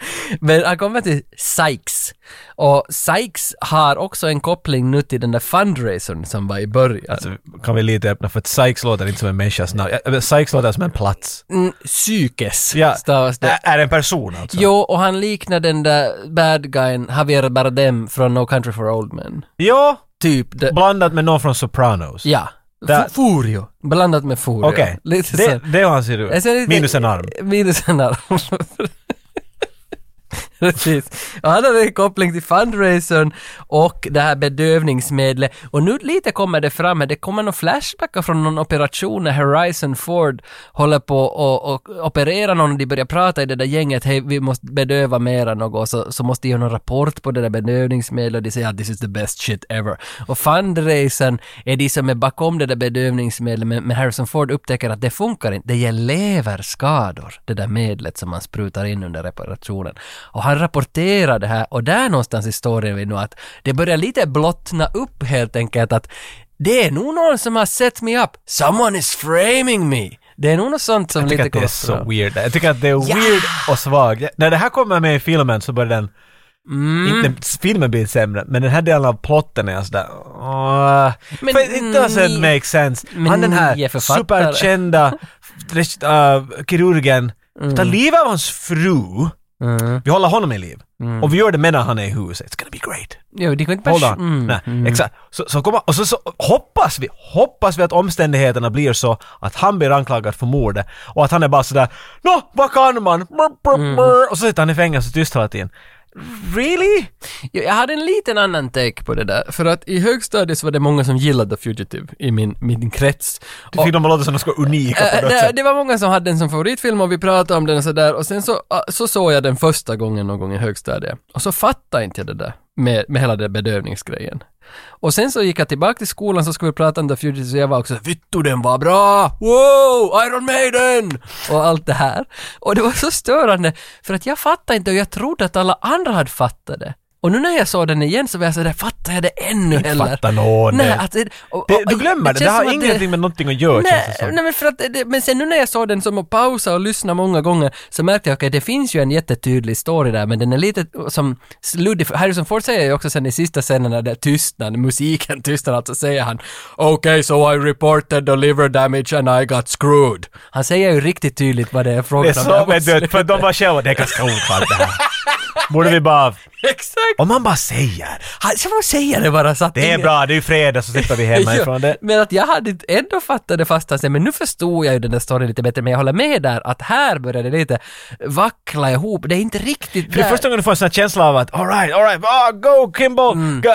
Speaker 1: Men han kommer till Sykes. Och Sykes har också en koppling nu till den där fundraisern som var i början.
Speaker 2: Så kan vi lite öppna för att Sykes låter inte som en människas namn. Ja, men Sykes låter som en plats.
Speaker 1: Mm, psykes
Speaker 2: Ja.
Speaker 1: stavas det.
Speaker 2: Ä- är det en person alltså?
Speaker 1: Jo, och han liknar den där bad guyen Javier Bardem från No Country for Old Men.
Speaker 2: Ja,
Speaker 1: Typ. Det,
Speaker 2: blandat med någon från Sopranos.
Speaker 1: ja.
Speaker 2: Där-
Speaker 1: F- Furio. Blandat med Furio.
Speaker 2: Okej,
Speaker 1: Lite så.
Speaker 2: det, det har han ser
Speaker 1: Jag ser
Speaker 2: ut.
Speaker 1: lite-
Speaker 2: Minus en arm.
Speaker 1: Minus en arm. (laughs) Precis. Och han hade en koppling till fundraisern och det här bedövningsmedlet. Och nu lite kommer det fram här, det kommer några flashbackar från någon operation när Horizon Ford håller på och, och operera någon och de börjar prata i det där gänget, hej vi måste bedöva mera något, så, så måste de göra någon rapport på det där bedövningsmedlet och de säger att this is the best shit ever. Och fundraisern är de som är bakom det där bedövningsmedlet, men, men Harrison Ford upptäcker att det funkar inte, det ger leverskador, det där medlet som man sprutar in under reparationen. Och han rapporterar det här och där någonstans i storyn vi nu att det börjar lite blottna upp helt enkelt att det är nog någon som har set me up, someone is framing me. Det är nog något sånt som
Speaker 2: Jag tycker
Speaker 1: lite
Speaker 2: att det är
Speaker 1: kommer
Speaker 2: så
Speaker 1: fram.
Speaker 2: weird. Jag tycker att det är weird och svag. När det här kommer med i filmen så börjar den...
Speaker 1: Mm.
Speaker 2: Inte filmen blir sämre, men den här delen av plotten är sådär... Uh,
Speaker 1: Men
Speaker 2: men, it doesn't
Speaker 1: ni-
Speaker 2: make sense. Han den
Speaker 1: ni är
Speaker 2: här
Speaker 1: författare. (laughs)
Speaker 2: superkända reg- äh, kirurgen tar
Speaker 1: Mm.
Speaker 2: livet av hans fru. Vi håller honom i liv.
Speaker 1: Mm.
Speaker 2: Och vi gör det medan han är i huset. It's gonna be great.
Speaker 1: Jo, det kan inte mm.
Speaker 2: Hold
Speaker 1: bara...
Speaker 2: on. Nej, Exakt. Så, så kommer, och så, så hoppas vi, hoppas vi att omständigheterna blir så att han blir anklagad för mordet och att han är bara sådär Nå, vad kan man? Brr, brr,
Speaker 1: Mm.
Speaker 2: brr. Och så sitter han i fängelse tyst hela tiden. Really?
Speaker 1: Jo, Jag hade en liten annan take på det där, för att i högstadiet så var det många som gillade The Fugitive i min, min krets.
Speaker 2: Du fick dem att låta som de skulle vara unika på
Speaker 1: Äh,
Speaker 2: något
Speaker 1: det,
Speaker 2: sätt.
Speaker 1: det var många som hade den som favoritfilm och vi pratade om den och sådär och sen så, ah, så såg jag den första gången någon gång i högstadiet och så fattade inte jag det där med, med hela den där bedövningsgrejen. Och sen så gick jag tillbaka till skolan så skulle vi prata om The Fugitive så jag var också Vittu den var bra! Wow! Iron Maiden! Och allt det här. Och det var så störande för att jag fattade inte och jag trodde att alla andra hade fattat det. Och nu när jag såg den igen så var jag sådär, fattar jag det ännu
Speaker 2: Inte
Speaker 1: heller?
Speaker 2: fattar någon
Speaker 1: nej,
Speaker 2: det.
Speaker 1: alltså, det- och-
Speaker 2: Det,
Speaker 1: och-
Speaker 2: du glömmer det, det
Speaker 1: känns
Speaker 2: har
Speaker 1: som att
Speaker 2: ingenting med någonting att göra känns det
Speaker 1: Nej,
Speaker 2: som.
Speaker 1: nej men, för att det, men sen nu när jag såg den som att pausa och lyssna många gånger så märkte jag att det finns ju en jättetydlig story där men den är lite som luddig. För Harrison Ford säger ju också sen i sista scenen när det tystnar, när musiken tystnar, alltså säger han “Okay, so I reported the liver damage and I got screwed”. Han säger ju riktigt tydligt vad det är frågan
Speaker 2: Det är
Speaker 1: om där
Speaker 2: så,
Speaker 1: mot
Speaker 2: vet du, för de var själva, det är ganska allt det här. Borde vi bara...
Speaker 1: slutet. (laughs) Exakt!
Speaker 2: Om man bara säger.
Speaker 1: Han, så får säga det bara så att
Speaker 2: Det är
Speaker 1: ingen-
Speaker 2: bra, det är ju fredag så slipper
Speaker 1: (laughs)
Speaker 2: vi hemma
Speaker 1: Ja,
Speaker 2: ifrån det.
Speaker 1: Men att jag hade inte ändå fattat det fast han säger, men nu förstod jag ju den där storyn lite bättre, men jag håller med där att här börjar det lite vackla ihop, det är inte riktigt
Speaker 2: För det är
Speaker 1: där.
Speaker 2: första gången du får en sån här känsla av att alright, alright, ah, go Kimball!
Speaker 1: Mm.
Speaker 2: Go.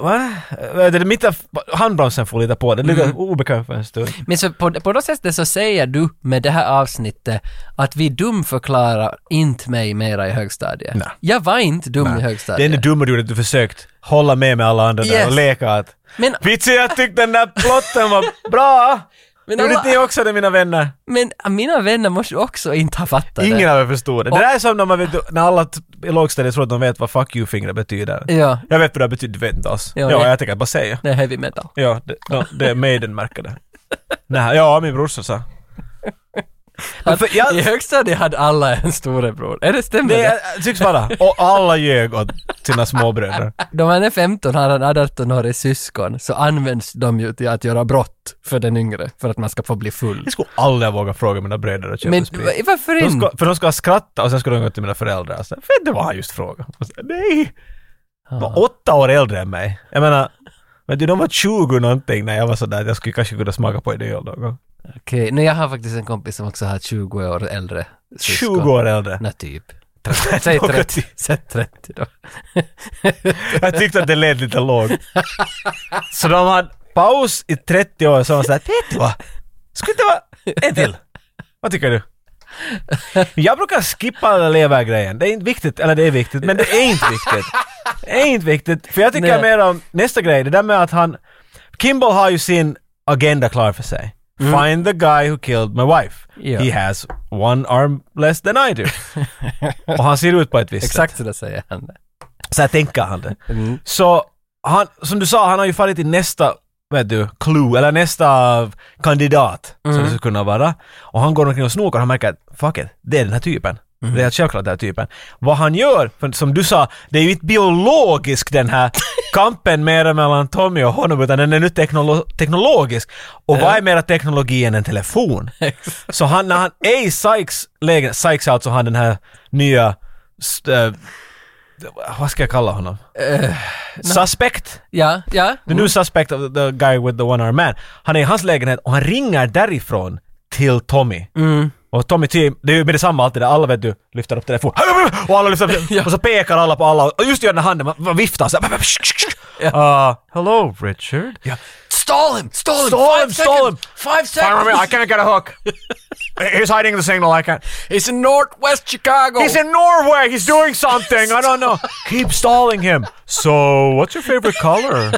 Speaker 2: Uh, va? Eh, Det är mitt av handbromsen får lite på, den är lite
Speaker 1: Mm.
Speaker 2: obekväm för en stund.
Speaker 1: Men så på, på något sätt så säger du med det här avsnittet att vi dumförklarar inte mig mera i högstadiet.
Speaker 2: Nej.
Speaker 1: Jag var inte dum i
Speaker 2: Det
Speaker 1: högstadiet.
Speaker 2: enda dumma du gjorde är att du försökt hålla med med alla andra där
Speaker 1: Yes.
Speaker 2: och leka att
Speaker 1: Men-
Speaker 2: Vitsi, jag tyckte den där plotten var
Speaker 1: (laughs)
Speaker 2: bra!
Speaker 1: Men
Speaker 2: Gjorde
Speaker 1: alla-
Speaker 2: inte ni också det mina vänner?
Speaker 1: Men mina vänner måste ju också inte ha fattat
Speaker 2: Ingen
Speaker 1: det.
Speaker 2: av er förstod det. Det där är som när, man vet, när alla t- i lågstadiet tror att de vet vad 'fuck you-fingrar' betyder.
Speaker 1: Ja.
Speaker 2: Jag vet vad det här betyder, du vet inte alls.
Speaker 1: Ja,
Speaker 2: Ja,
Speaker 1: nej.
Speaker 2: jag tänker bara säga.
Speaker 1: Det är heavy metal.
Speaker 2: Ja, det, no, det är Maiden-märke det. Nej, ja, min brorsa sa.
Speaker 1: Att,
Speaker 2: för jag-
Speaker 1: I högstadiet hade alla en storebror. Är det stämmer
Speaker 2: Det
Speaker 1: det?
Speaker 2: är- tycks vara. Och alla ljög åt sina småbröder.
Speaker 1: Då man är 15 har en 18-årig syskon så används de ju till att göra brott för den yngre för att man ska få bli full.
Speaker 2: Jag skulle aldrig våga fråga mina bröder att köpa
Speaker 1: Men
Speaker 2: sprit.
Speaker 1: va- varför
Speaker 2: De
Speaker 1: inte?
Speaker 2: ska, för de ska skratta och sen ska de gå till mina föräldrar och säga ”Vet du vad han just frågade?” och säga, ”Nej!” De var åtta år äldre än mig. Jag menar, vet du, de var 20 någonting när jag var sådär att jag skulle kanske kunna smaka på det någon gång.
Speaker 1: Okej, nu jag har faktiskt en kompis som också har 20 år äldre syskon.
Speaker 2: 20 år äldre.
Speaker 1: Nej, typ.
Speaker 2: (laughs)
Speaker 1: 30. Säg 30.
Speaker 2: Något.
Speaker 1: Säg 30 då.
Speaker 2: Jag tyckte att det lät lite lågt. Så de hade paus i 30 år och så var de sådär ”Vet du vad? Skulle inte vara en till?” Vad tycker du? Jag brukar skippa alla levergrejen. Det är inte viktigt, eller det är viktigt, men det är inte viktigt. Det är inte viktigt, för jag tycker
Speaker 1: Nej.
Speaker 2: mer om nästa grej, det där med att han... Kimball har ju sin agenda klar för sig. Find the guy who killed my wife.
Speaker 1: Mm. Ja.
Speaker 2: He has one arm less than
Speaker 1: (laughs)
Speaker 2: I do. och han ser ut på ett visst sätt.
Speaker 1: Exakt så där säger han.
Speaker 2: Så här tänker han det.
Speaker 1: Mm.
Speaker 2: Så han, som du sa, han har ju fallit i nästa, vet du, clue, eller nästa kandidat som det skulle kunna vara. Och han går omkring och snokar och han märker att fuck it, det är den här typen. Det är helt självklart den här typen. Vad han gör, för som du sa, det är ju inte biologisk den här kampen mera mellan Tommy och honom, utan den är nu teknolo- teknologisk. Och vad är mera teknologi än en telefon? Så han, när han är i Sykes lägenhet, Sykes är alltså han den här nya st- eh, vad ska jag kalla honom? Suspect?
Speaker 1: Ja, ja.
Speaker 2: The new suspect of the guy with the one-armed man. Han är i hans lägenhet och han ringer därifrån till Tommy. Och Tommy T, det är ju med detsamma alltid där, alla vet du, lyfter upp telefon. Och alla lyfter (laughs) upp Och så pekar alla på alla. Och just gör den här handen, man- man viftar så (laughs) här. Uh, hello Richard.
Speaker 1: Stall him! Stall him!
Speaker 2: Stall him,
Speaker 1: Five
Speaker 2: stall
Speaker 1: seconds! Five
Speaker 2: Fire me,
Speaker 1: seconds!
Speaker 2: I can't get a (laughs) hook. He's hiding the signal, I can't.
Speaker 1: He's in Northwest Chicago!
Speaker 2: He's in Norway. He's doing something. I don't know. Keep stalling him. So, what's your favorite color?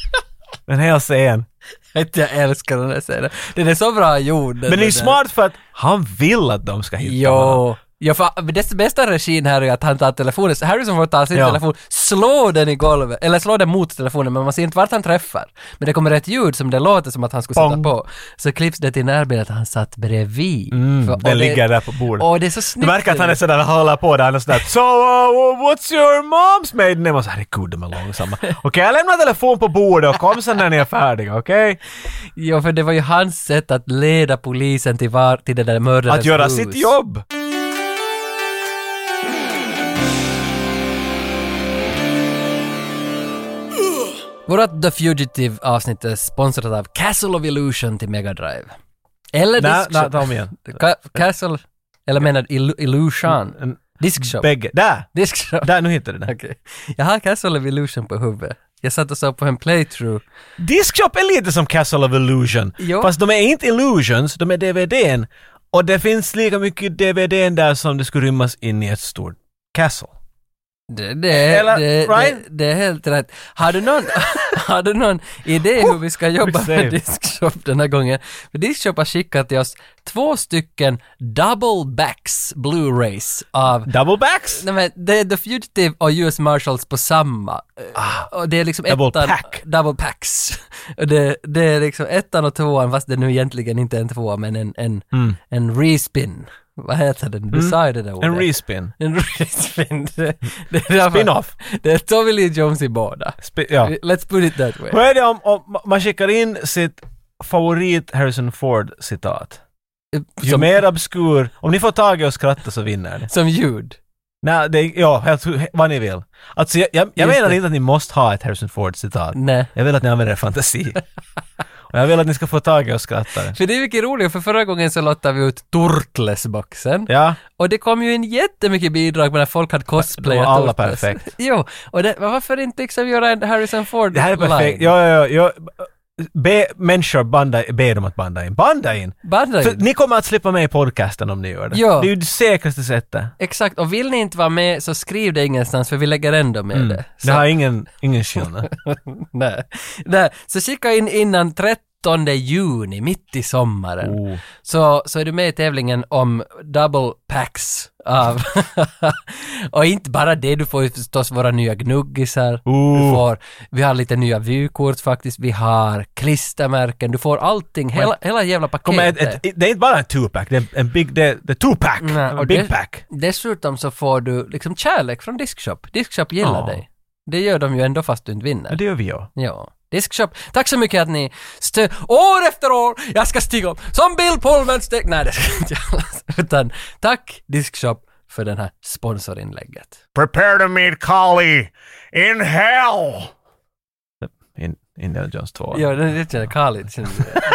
Speaker 2: (laughs) Den hel scen.
Speaker 1: (laughs) Jag älskar den där scenen. Den är så bra gjord. den
Speaker 2: Men det är
Speaker 1: där.
Speaker 2: smart för att han vill att de ska hitta honom.
Speaker 1: Jo. Ja, för men det bästa regin här är att han tar telefonen, så Harrison får ta sin
Speaker 2: Ja.
Speaker 1: telefon, slå den i golvet, eller slå den mot telefonen, men man ser inte vart han träffar. Men det kommer ett ljud som det låter som att han skulle sätta
Speaker 2: Pong.
Speaker 1: på. Så klipps det till närbild att han satt bredvid. För- och
Speaker 2: Mm, Den ligger där på bordet.
Speaker 1: Åh, det är så snyggt.
Speaker 2: Du märker att han är sådär, han håller på där, han är sådär So, uh, what's your mom's maiden name? Och så, herregud, de är långsamma.
Speaker 1: (laughs)
Speaker 2: Okej, jag lämnar telefonen på bordet och kom sen när ni är
Speaker 1: (laughs)
Speaker 2: färdiga, okej?
Speaker 1: Ja, för det var ju hans sätt att leda polisen till, var, till det där mördarens
Speaker 2: Att göra
Speaker 1: hus.
Speaker 2: sitt jobb!
Speaker 1: Vårat The Fugitive avsnitt är sponsrat av Castle of Illusion till Mega Drive. Eller
Speaker 2: Nej,
Speaker 1: Disc
Speaker 2: nej,
Speaker 1: Shop.
Speaker 2: ta om igen.
Speaker 1: Ka- Castle, eller menar du Illu- Illusion?
Speaker 2: en-
Speaker 1: Disc Shop.
Speaker 2: Bägge. Där!
Speaker 1: Disc Shop.
Speaker 2: Där, nu hittade du
Speaker 1: (laughs)
Speaker 2: den.
Speaker 1: Okej. Jag har Castle of Illusion på huvudet. Jag satt och såg på en playthrough.
Speaker 2: Discshop är lite som Castle of Illusion.
Speaker 1: Jo.
Speaker 2: Fast de är inte illusions, de är DVDn. Och det finns lika mycket DVDn där som det skulle rymmas in i ett stort castle.
Speaker 1: Det, det,
Speaker 2: Eh, Eller-
Speaker 1: det,
Speaker 2: right?
Speaker 1: det, det är helt rätt. Har du någon, (laughs) har du någon idé hur vi ska jobba
Speaker 2: save.
Speaker 1: med Diskshop den här gången? För Diskshop har skickat till oss två stycken double backs Blu-rays av
Speaker 2: Double backs?
Speaker 1: Nej, men det är The Fugitive och US Marshals på samma. och det är liksom
Speaker 2: Ah. double
Speaker 1: ettan,
Speaker 2: pack.
Speaker 1: Double packs. Och det, det är liksom ettan och tvåan, fast det nu egentligen inte är en tvåa, men en, en, en respin. Vad heter den? Du sa ju det där ordet.
Speaker 2: Mm. En respin.
Speaker 1: En respin. Det, det är därför-
Speaker 2: Spin-off.
Speaker 1: Det är Tommy Lee Jones i båda.
Speaker 2: Spi- ja.
Speaker 1: Let's put it that way.
Speaker 2: Vad är det om, om ma- man skickar in sitt favorit Harrison Ford-citat? Ju
Speaker 1: Som,
Speaker 2: mer obskur, om ni får tag i och skratta så vinner ni.
Speaker 1: som ljud.
Speaker 2: Nej, det, är- ja, helt, he- vad ni vill. Alltså jag, jag, jag
Speaker 1: Just
Speaker 2: menar
Speaker 1: det.
Speaker 2: inte att ni måste ha ett Harrison Ford-citat.
Speaker 1: Nej.
Speaker 2: Jag vill att ni använder
Speaker 1: (laughs)
Speaker 2: er fantasi. och jag vill att ni ska få tag i och skratta.
Speaker 1: För det är mycket roligt, för förra gången så lottade vi ut Turtles-boxen.
Speaker 2: Ja,
Speaker 1: Och det kom ju in jättemycket bidrag med när folk hade cosplayat.
Speaker 2: De var alla
Speaker 1: åt oss.
Speaker 2: perfekt.
Speaker 1: (laughs) jo, och det, varför inte liksom göra en Harrison Ford
Speaker 2: det här är perfekt. Ja, ja, ja. ja. Be människor banda, be dem att banda in. Banda in!
Speaker 1: Banda
Speaker 2: För
Speaker 1: in.
Speaker 2: ni kommer att slippa med i podcasten om ni gör det.
Speaker 1: Ja.
Speaker 2: Det är ju det säkraste sättet.
Speaker 1: Exakt, och vill ni inte vara med så skriv det ingenstans för vi lägger ändå med det. Så,
Speaker 2: Mm. Det har ingen, ingen skillnad.
Speaker 1: (laughs) nej. Nej. så skicka in innan 13 juni, mitt i sommaren.
Speaker 2: Oh.
Speaker 1: Så, så är du med i tävlingen om double packs av... (laughs) och inte bara det, du får ju förstås våra nya gnuggisar. Du
Speaker 2: Oh.
Speaker 1: får, vi har lite nya vykort faktiskt, vi har klistermärken, du får allting, hela, hela jävla paketet.
Speaker 2: Kommer ett, ett, det är inte bara en two-pack, det är en- en big, det, det är two-pack.
Speaker 1: Nej, och
Speaker 2: en big
Speaker 1: det-
Speaker 2: pack.
Speaker 1: Dessutom så får du liksom kärlek från Diskshop. Diskshop gillar
Speaker 2: Ja.
Speaker 1: dig. Det gör de ju ändå fast du inte vinner.
Speaker 2: Ja, det gör vi ju.
Speaker 1: Ja. Diskshop. Tack så mycket att ni stö... År efter år, jag ska stiga upp som Bill Pullman steg... Nej, det ska jag inte göra. (laughs) Utan tack Diskshop för den här sponsorinlägget.
Speaker 8: Prepare to meet Kali in hell.
Speaker 2: In, Indiana Jones 2.
Speaker 1: Ja, det känner Khalid. känner det. (laughs)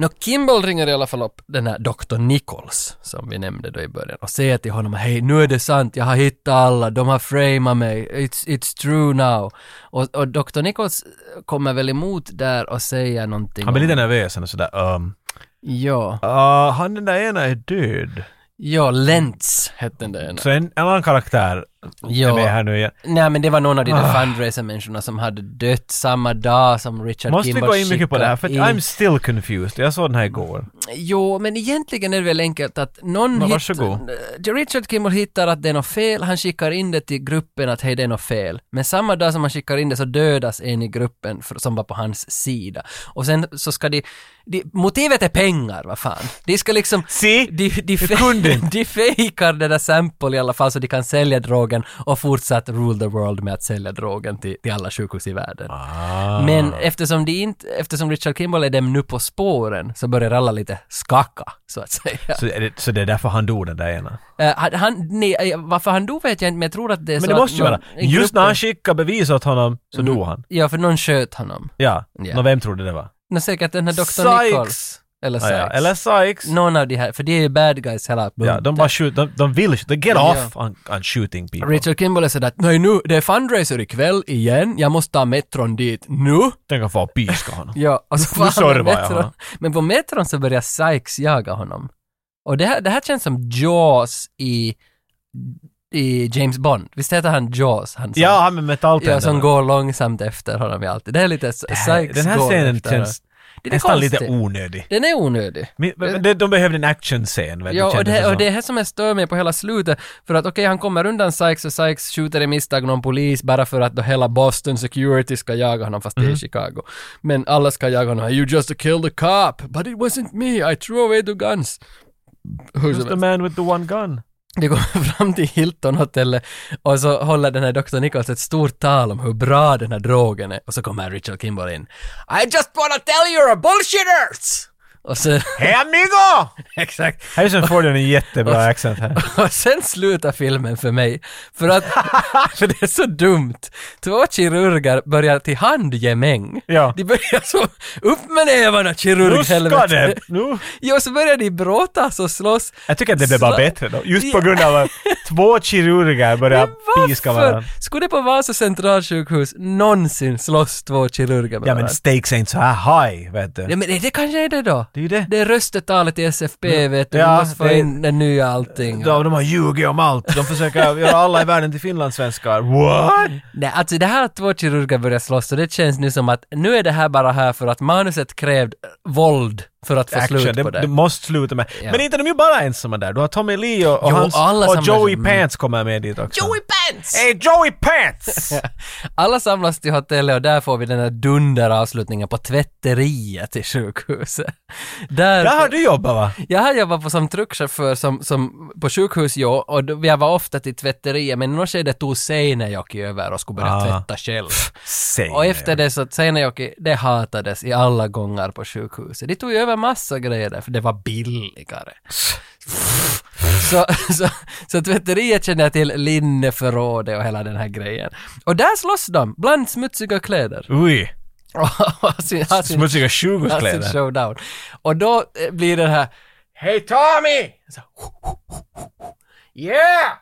Speaker 1: Nå, Kimball ringer i alla fall upp den här Dr. Nichols, som vi nämnde då i början, och säger till honom hej, nu är det sant, jag har hittat alla, de har framat mig, it's, it's true now. Och, och Dr. Nichols kommer väl emot där och säger någonting.
Speaker 2: Han blir
Speaker 1: om-
Speaker 2: lite nervös och sådär. Um,
Speaker 1: Ja,
Speaker 2: ah, han den där ena är död.
Speaker 1: ja, Lentz hette den där ena.
Speaker 2: Så en, en annan karaktär är med
Speaker 1: Ja,
Speaker 2: här nu igen.
Speaker 1: nej men det var någon av de där
Speaker 2: Ah.
Speaker 1: fundraiser-människorna som hade dött samma dag som Richard
Speaker 2: Måste vi
Speaker 1: Kimball
Speaker 2: gå in mycket på det här? För att
Speaker 1: skickade in-
Speaker 2: I'm still confused. Jag såg den här igår.
Speaker 1: Jo, men egentligen är det väl enkelt att någon
Speaker 2: Nå,
Speaker 1: hitt-
Speaker 2: varsågod.
Speaker 1: Eh, Richard Kimball hittar att det är något fel, han skickar in det till gruppen att hej det är något fel. Men samma dag som han skickar in det så dödas en i gruppen för, som var på hans sida. Och sen så ska de, de motivet är pengar, vad fan. De ska liksom...
Speaker 2: See?
Speaker 1: De, de, fe- (laughs) de fejkar det där sample i alla fall så de kan sälja drogen och fortsatt rule the world med att sälja drogen till, till alla sjukhus i världen.
Speaker 2: Ah.
Speaker 1: Men eftersom, de inte, eftersom Richard Kimball är dem nu på spåren så börjar alla lite skaka, så att säga.
Speaker 2: (laughs) Så, är det, så det är därför han dog den där ena.
Speaker 1: Eh, han- han, nej, eh, varför han dog vet jag inte, men jag tror att det är så
Speaker 2: Men det måste ju
Speaker 1: att
Speaker 2: vara.
Speaker 1: någon i
Speaker 2: Just när
Speaker 1: gruppen-
Speaker 2: han skickade bevis åt honom så dog han.
Speaker 1: Ja, för någon sköt honom.
Speaker 2: Ja.
Speaker 1: Mm. Ja.
Speaker 2: Nå, vem trodde det var?
Speaker 1: Men säkert den här Dr.
Speaker 2: Sykes.
Speaker 1: Nichols. Eller
Speaker 2: Ah,
Speaker 1: Sykes.
Speaker 2: ja. Eller Sykes.
Speaker 1: Någon av de här, för det är ju bad guys hela
Speaker 2: Ja, de bara skjuter, de, de vill skjuta. Get
Speaker 1: uh, Ja.
Speaker 2: off on, on shooting people.
Speaker 1: Richard Kimball är sådär att nej nu, det är fundraiser ikväll igen, jag måste ta metron dit nu.
Speaker 2: Tänk att få piska honom.
Speaker 1: (laughs) Ja, och så
Speaker 2: Nu
Speaker 1: får han på
Speaker 2: servar jag
Speaker 1: metron.
Speaker 2: honom.
Speaker 1: Men på metron så börjar Sykes jaga honom. Och det här, det här känns som Jaws i, i James Bond. Visst heter han Jaws? Han som,
Speaker 2: Ja, han med metalltänderna.
Speaker 1: ja, som går långsamt efter honom i alltid. Det är lite
Speaker 2: Det
Speaker 1: Sykes
Speaker 2: här- Den här
Speaker 1: går
Speaker 2: scenen
Speaker 1: efter
Speaker 2: känns
Speaker 1: honom. Det är
Speaker 2: nästan lite
Speaker 1: konstigt.
Speaker 2: onödig.
Speaker 1: Den är onödig.
Speaker 2: Men- men De, de behövde en actionscen. vet du,
Speaker 1: Ja, och
Speaker 2: kändes
Speaker 1: det, och
Speaker 2: som.
Speaker 1: det är här som jag stör mig på hela slutet. För att okej, han kommer undan Sykes och Sykes skjuter i misstag någon polis bara för att då hela Boston Security ska jaga honom fast
Speaker 2: Mhm.
Speaker 1: det är Chicago. Men alla ska jaga honom. You just killed a cop, but it wasn't me, I threw away the guns. Hur som
Speaker 2: Just the
Speaker 1: helst.
Speaker 2: man with the one
Speaker 1: (laughs)
Speaker 2: gun.
Speaker 1: De kommer fram till Hilton-hotellet och så håller den här Dr. Nichols ett stort tal om hur bra den här drogen är. Och så kommer Richard Kimball in. I just wanna tell you you're a bullshitters! Och så, (laughs)
Speaker 2: Hey amigo!
Speaker 1: exakt.
Speaker 2: Harrison Ford gör
Speaker 1: (laughs)
Speaker 2: en jättebra accent här.
Speaker 1: Och sen slutar filmen för mig, för att (laughs) för det är så dumt. Två kirurger börjar till handgemäng.
Speaker 2: Ja.
Speaker 1: De börjar så, upp med nävarna
Speaker 2: Nu ska
Speaker 1: kirurghelvete!
Speaker 2: det! Nu.
Speaker 1: (laughs) Ja, så börjar de bråtas och slåss.
Speaker 2: Jag tycker att det
Speaker 1: (laughs)
Speaker 2: blev bara
Speaker 1: Sla-
Speaker 2: bättre då. Just på
Speaker 1: Ja.
Speaker 2: grund
Speaker 1: (laughs)
Speaker 2: av att två kirurger började
Speaker 1: Men
Speaker 2: piska
Speaker 1: varför?
Speaker 2: varandra.
Speaker 1: Skulle det på Vasa centralsjukhus någonsin slåss två kirurger med
Speaker 2: Ja
Speaker 1: varandra?
Speaker 2: men stakes ain't så här high, vet du.
Speaker 1: Ja, men det, det kanske är det då.
Speaker 2: Det är ju det.
Speaker 1: Det är röstetalet i SFP vet du,
Speaker 2: Ja,
Speaker 1: vi måste få
Speaker 2: det-
Speaker 1: in det nya allting.
Speaker 2: De, de har ljugit om allt. De försöker (laughs) göra alla i världen till finlandssvenskar. What?
Speaker 1: Nej, alltså det här att två kirurger börjar slåss och det känns nu som att nu är det här bara här för att manuset krävde våld för att få
Speaker 2: Action.
Speaker 1: slut
Speaker 2: Det,
Speaker 1: på det.
Speaker 2: det måste sluta med.
Speaker 1: Ja.
Speaker 2: Men inte de är ju bara ensamma där. Du har Tommy Lee och, och,
Speaker 1: Jo,
Speaker 2: hans,
Speaker 1: alla
Speaker 2: och
Speaker 1: samlas-
Speaker 2: Joey
Speaker 1: mm.
Speaker 2: Pants kommer med dit också.
Speaker 1: Joey Pants!
Speaker 2: Hey Joey
Speaker 1: (laughs)
Speaker 2: Pants!
Speaker 1: Alla samlas till hotellet och där får vi den här dunderavslutningen på tvätteriet i sjukhuset. Där,
Speaker 2: Där har du jobbat va?
Speaker 1: Jag har jobbat på, som truckchaufför som, som, på sjukhus jo, och då- jag var ofta till tvätteriet men i något skede tog Seinejoki över och skulle börja
Speaker 2: Ah.
Speaker 1: tvätta själv.
Speaker 2: Säg
Speaker 1: Och efter det så, Seinejoki, det hatades i alla gångar på sjukhuset. De tog ju över massa grejer där, för det var billigare. Så, så, så tvätteriet känner till linneförrådet och hela den här grejen. Och där slåss de, bland smutsiga kläder. (laughs)
Speaker 2: Ui,
Speaker 1: Och har sin- har sin-
Speaker 2: smutsiga
Speaker 1: har sin
Speaker 2: sjukhuskläder.
Speaker 1: showdown. Och då eh, blir det här
Speaker 8: Hey, Tommy! Yeah!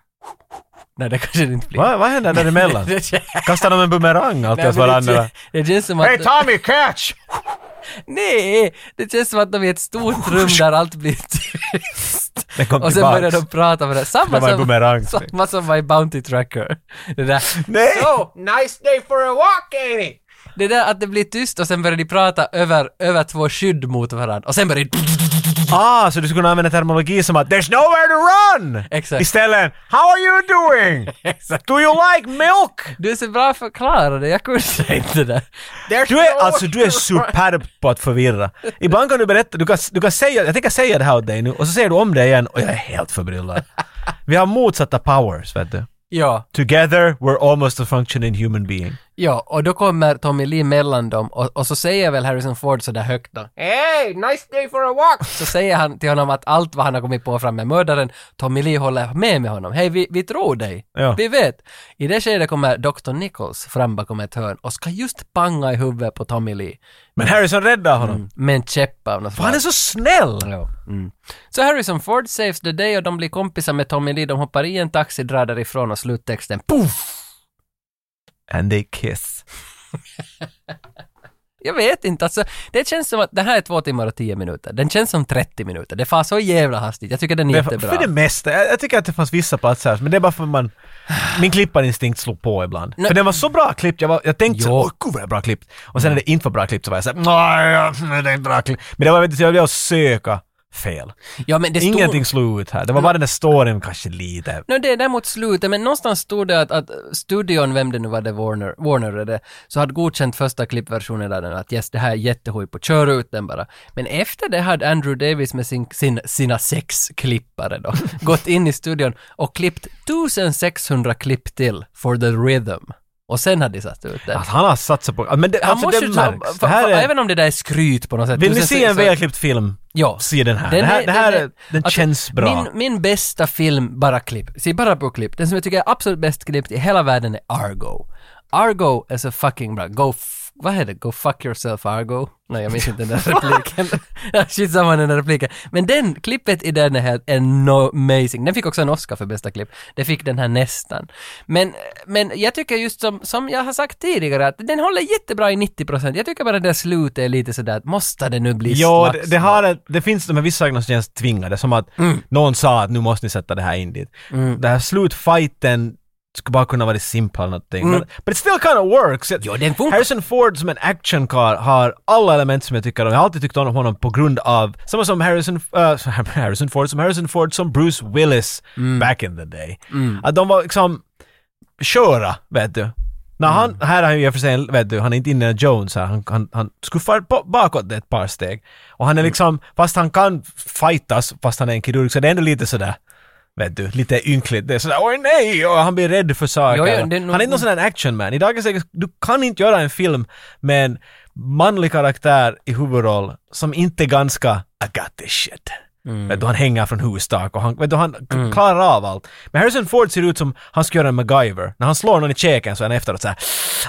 Speaker 1: Nej, det kanske det inte blir.
Speaker 2: Va, vad händer däremellan?
Speaker 1: (laughs) Det, kän-
Speaker 2: Kastar de en bumerang alltid
Speaker 1: Nej,
Speaker 2: åt
Speaker 1: men det,
Speaker 2: varandra?
Speaker 1: kän- det känns som att...
Speaker 8: Hey, Tommy, catch!
Speaker 1: nej! Det känns som att de är ett stort rum där allt blir (laughs) tyst.
Speaker 2: Den Oh, kom
Speaker 1: Och sen
Speaker 2: tillbaks.
Speaker 1: börjar de prata med varandra. Samma
Speaker 2: Det var en bumerang.
Speaker 1: som, samma som var i Bounty Tracker. Det där,
Speaker 2: Nej!
Speaker 8: So, nice day for a walk, ain't it?
Speaker 1: det där att det blir tyst och sen börjar de prata över, över två skydd mot varandra. Och sen börjar de...
Speaker 2: Ah, så du skulle kunna använda terminologi som att “There's nowhere to run!”
Speaker 1: Exakt.
Speaker 2: Istället “How are you doing?
Speaker 1: (laughs)
Speaker 2: Do you like milk?”
Speaker 1: Du är så bra förklarade, jag kunde inte det.
Speaker 8: There's
Speaker 2: Du är,
Speaker 1: (laughs)
Speaker 2: alltså du är superb på att förvirra. Ibland kan du berätta, du kan, du kan säga, jag tänker säga det här åt dig nu och så säger du om det igen och jag är helt förbryllad. Vi har motsatta powers, vet du.
Speaker 1: Ja,
Speaker 2: Together we're almost a functioning human being.
Speaker 1: ja, och då kommer Tommy Lee mellan dem och, och så säger väl Harrison Ford sådär högt då.
Speaker 8: Hey, nice day for a walk.
Speaker 1: så säger han till honom att allt vad han har kommit på fram med mördaren, Tommy Lee håller med med honom. Hej, vi, vi tror dig.
Speaker 2: Ja.
Speaker 1: Vi vet. I det skedet kommer Dr. Nichols fram bakom ett hörn och ska just panga i huvudet på Tommy Lee
Speaker 2: Men Harrison räddar honom.
Speaker 1: med en käpp av något
Speaker 2: För han är så snäll!
Speaker 1: Mm. Ja. Mm. Så Harrison Ford saves the day och de blir kompisar med Tommy Lee. De hoppar i en taxi, drar därifrån och sluttexten poff!
Speaker 2: And they kiss.
Speaker 1: Jag vet inte, alltså, det känns som att det här är två timmar och tio minuter. Den känns som 30 minuter. Det far så jävla hastigt. Jag tycker den är
Speaker 2: Men för,
Speaker 1: jättebra.
Speaker 2: för det mesta, jag, jag tycker att det fanns vissa platser, men det är bara för att man... Min klipparinstinkt slog på ibland.
Speaker 1: Nej.
Speaker 2: För den var så bra klippt, jag, var, jag tänkte så,
Speaker 1: Jo.
Speaker 2: åh gud vad det är bra klippt. Och
Speaker 1: Mm.
Speaker 2: sen när det inte var bra klippt så var jag såhär, nej det är inte bra klippt. Men det var, vet du, så jag ville söka fel.
Speaker 1: ja, men det stod-
Speaker 2: Ingenting slog ut här, det var bara den där storyn kanske lite.
Speaker 1: No, det är däremot slutet, men någonstans stod det att, att studion, vem det nu var, det Warner, Warner är det, så hade godkänt första klippversionen där den att yes, det här är jättehoj på, kör ut den bara. Men efter det hade Andrew Davis med sin, sin, sina sex klippare då, (laughs) gått in i studion och klippt 1600 klipp till for the rhythm. Och sen hade de satt ut den.
Speaker 2: Att han har satsat på... Men det,
Speaker 1: Han
Speaker 2: alltså, det
Speaker 1: ju ta-
Speaker 2: märks.
Speaker 1: för,
Speaker 2: Det här
Speaker 1: för,
Speaker 2: är,
Speaker 1: Även om det där är skryt på något sätt.
Speaker 2: vill ni
Speaker 1: 1600
Speaker 2: se en välklippt film?
Speaker 1: Ja.
Speaker 2: Se den här.
Speaker 1: Den
Speaker 2: det här,
Speaker 1: är-
Speaker 2: det här
Speaker 1: den är-
Speaker 2: är, den
Speaker 1: alltså,
Speaker 2: känns bra.
Speaker 1: Min, min bästa film, bara klipp, se bara på klipp, den som jag tycker är absolut bäst klippt i hela världen är Argo. Argo är så fucking bra. Go f- vad heter det? Go fuck yourself Argo? Nej, jag minns inte den där repliken. (laughs) Shit, samma den där repliken. Men den, klippet i den är helt eno- amazing. Den fick också en Oscar för bästa klipp. Det fick den här nästan. Men, men jag tycker just som, som jag har sagt tidigare att den håller jättebra i 90%. Jag tycker bara det där slutet är lite sådär att måste det nu bli
Speaker 2: Ja, det, det,
Speaker 1: slagsmål?
Speaker 2: har, ett- det finns de här vissa sakerna som känns tvingade, som att
Speaker 1: Mm.
Speaker 2: någon sa att nu måste ni sätta det här in dit. Mm. Det här slutfighten skulle bara kunna vara simpel eller någonting. Men, but it still kind of works.
Speaker 1: Jo, Mm. den funkar.
Speaker 2: Harrison Ford som en actionkar har alla element som jag tycker om. Jag har alltid tyckt om honom på grund av, samma som Harrison, äh, (laughs) Harrison Ford, som Harrison Ford som Bruce Willis
Speaker 1: Mm.
Speaker 2: back in the day. Att de var liksom köra, vet du. När han,
Speaker 1: Mm.
Speaker 2: här är han ju i och för sig, en- vet du, han är inte Indiana Jones här, han, han, han skuffar på, bakåt ett par steg. Och han är
Speaker 1: Mm.
Speaker 2: liksom, fast han kan fightas, fast han är en kirurg, så det är ändå lite sådär, vet du, lite ynkligt. Det är sådär ”Oj nej!” och han blir rädd för saker.
Speaker 1: Jo, jo, det är nog-
Speaker 2: han är inte någon sån där actionman. I dagens läge, du kan inte göra en film med en manlig karaktär i huvudroll som inte är ganska ”I got this shit”.
Speaker 1: Mm.
Speaker 2: Vet du, han hänger från hustak och han, vet du, han k- klarar av allt. Men Harrison Ford ser ut som han ska göra en MacGyver. När han slår någon i käken så är han efteråt såhär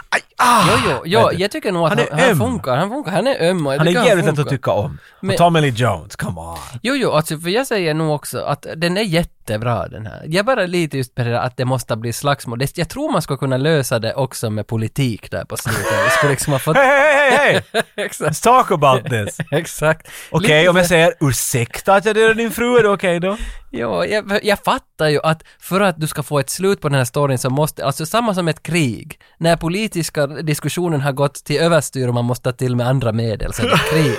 Speaker 2: aj, ah!"
Speaker 1: Jo, jo, jo
Speaker 2: Vet du.
Speaker 1: jag tycker nog att
Speaker 2: Han
Speaker 1: han,
Speaker 2: är
Speaker 1: han,
Speaker 2: öm.
Speaker 1: funkar, han funkar, han är öm och jag
Speaker 2: Han
Speaker 1: tycker
Speaker 2: är jävligt lätt
Speaker 1: funkar.
Speaker 2: att tycka om.
Speaker 1: Men-
Speaker 2: Och Tommy Lee Jones, come on.
Speaker 1: Jo, jo, alltså för jag säger nog också att den är jättebra den här. Jag bara lite just på det där att det måste bli slagsmål. Det- Jag tror man ska kunna lösa det också med politik där på slutet. Vi skulle liksom ha fått...
Speaker 2: Hej, hej, hej, hej!
Speaker 1: (laughs) exakt.
Speaker 2: Let's talk about
Speaker 1: (laughs)
Speaker 2: this.
Speaker 1: Exakt.
Speaker 2: Okej,
Speaker 1: Lite
Speaker 2: om jag säger ursäkta att jag dödade din fru, är det okej då?
Speaker 1: Ja, jag, jag fattar ju att för att du ska få ett slut på den här storyn så måste, alltså samma som ett krig, när politiska diskussionen har gått till överstyr och man måste ta till med andra medel så är det
Speaker 2: (laughs)
Speaker 1: krig.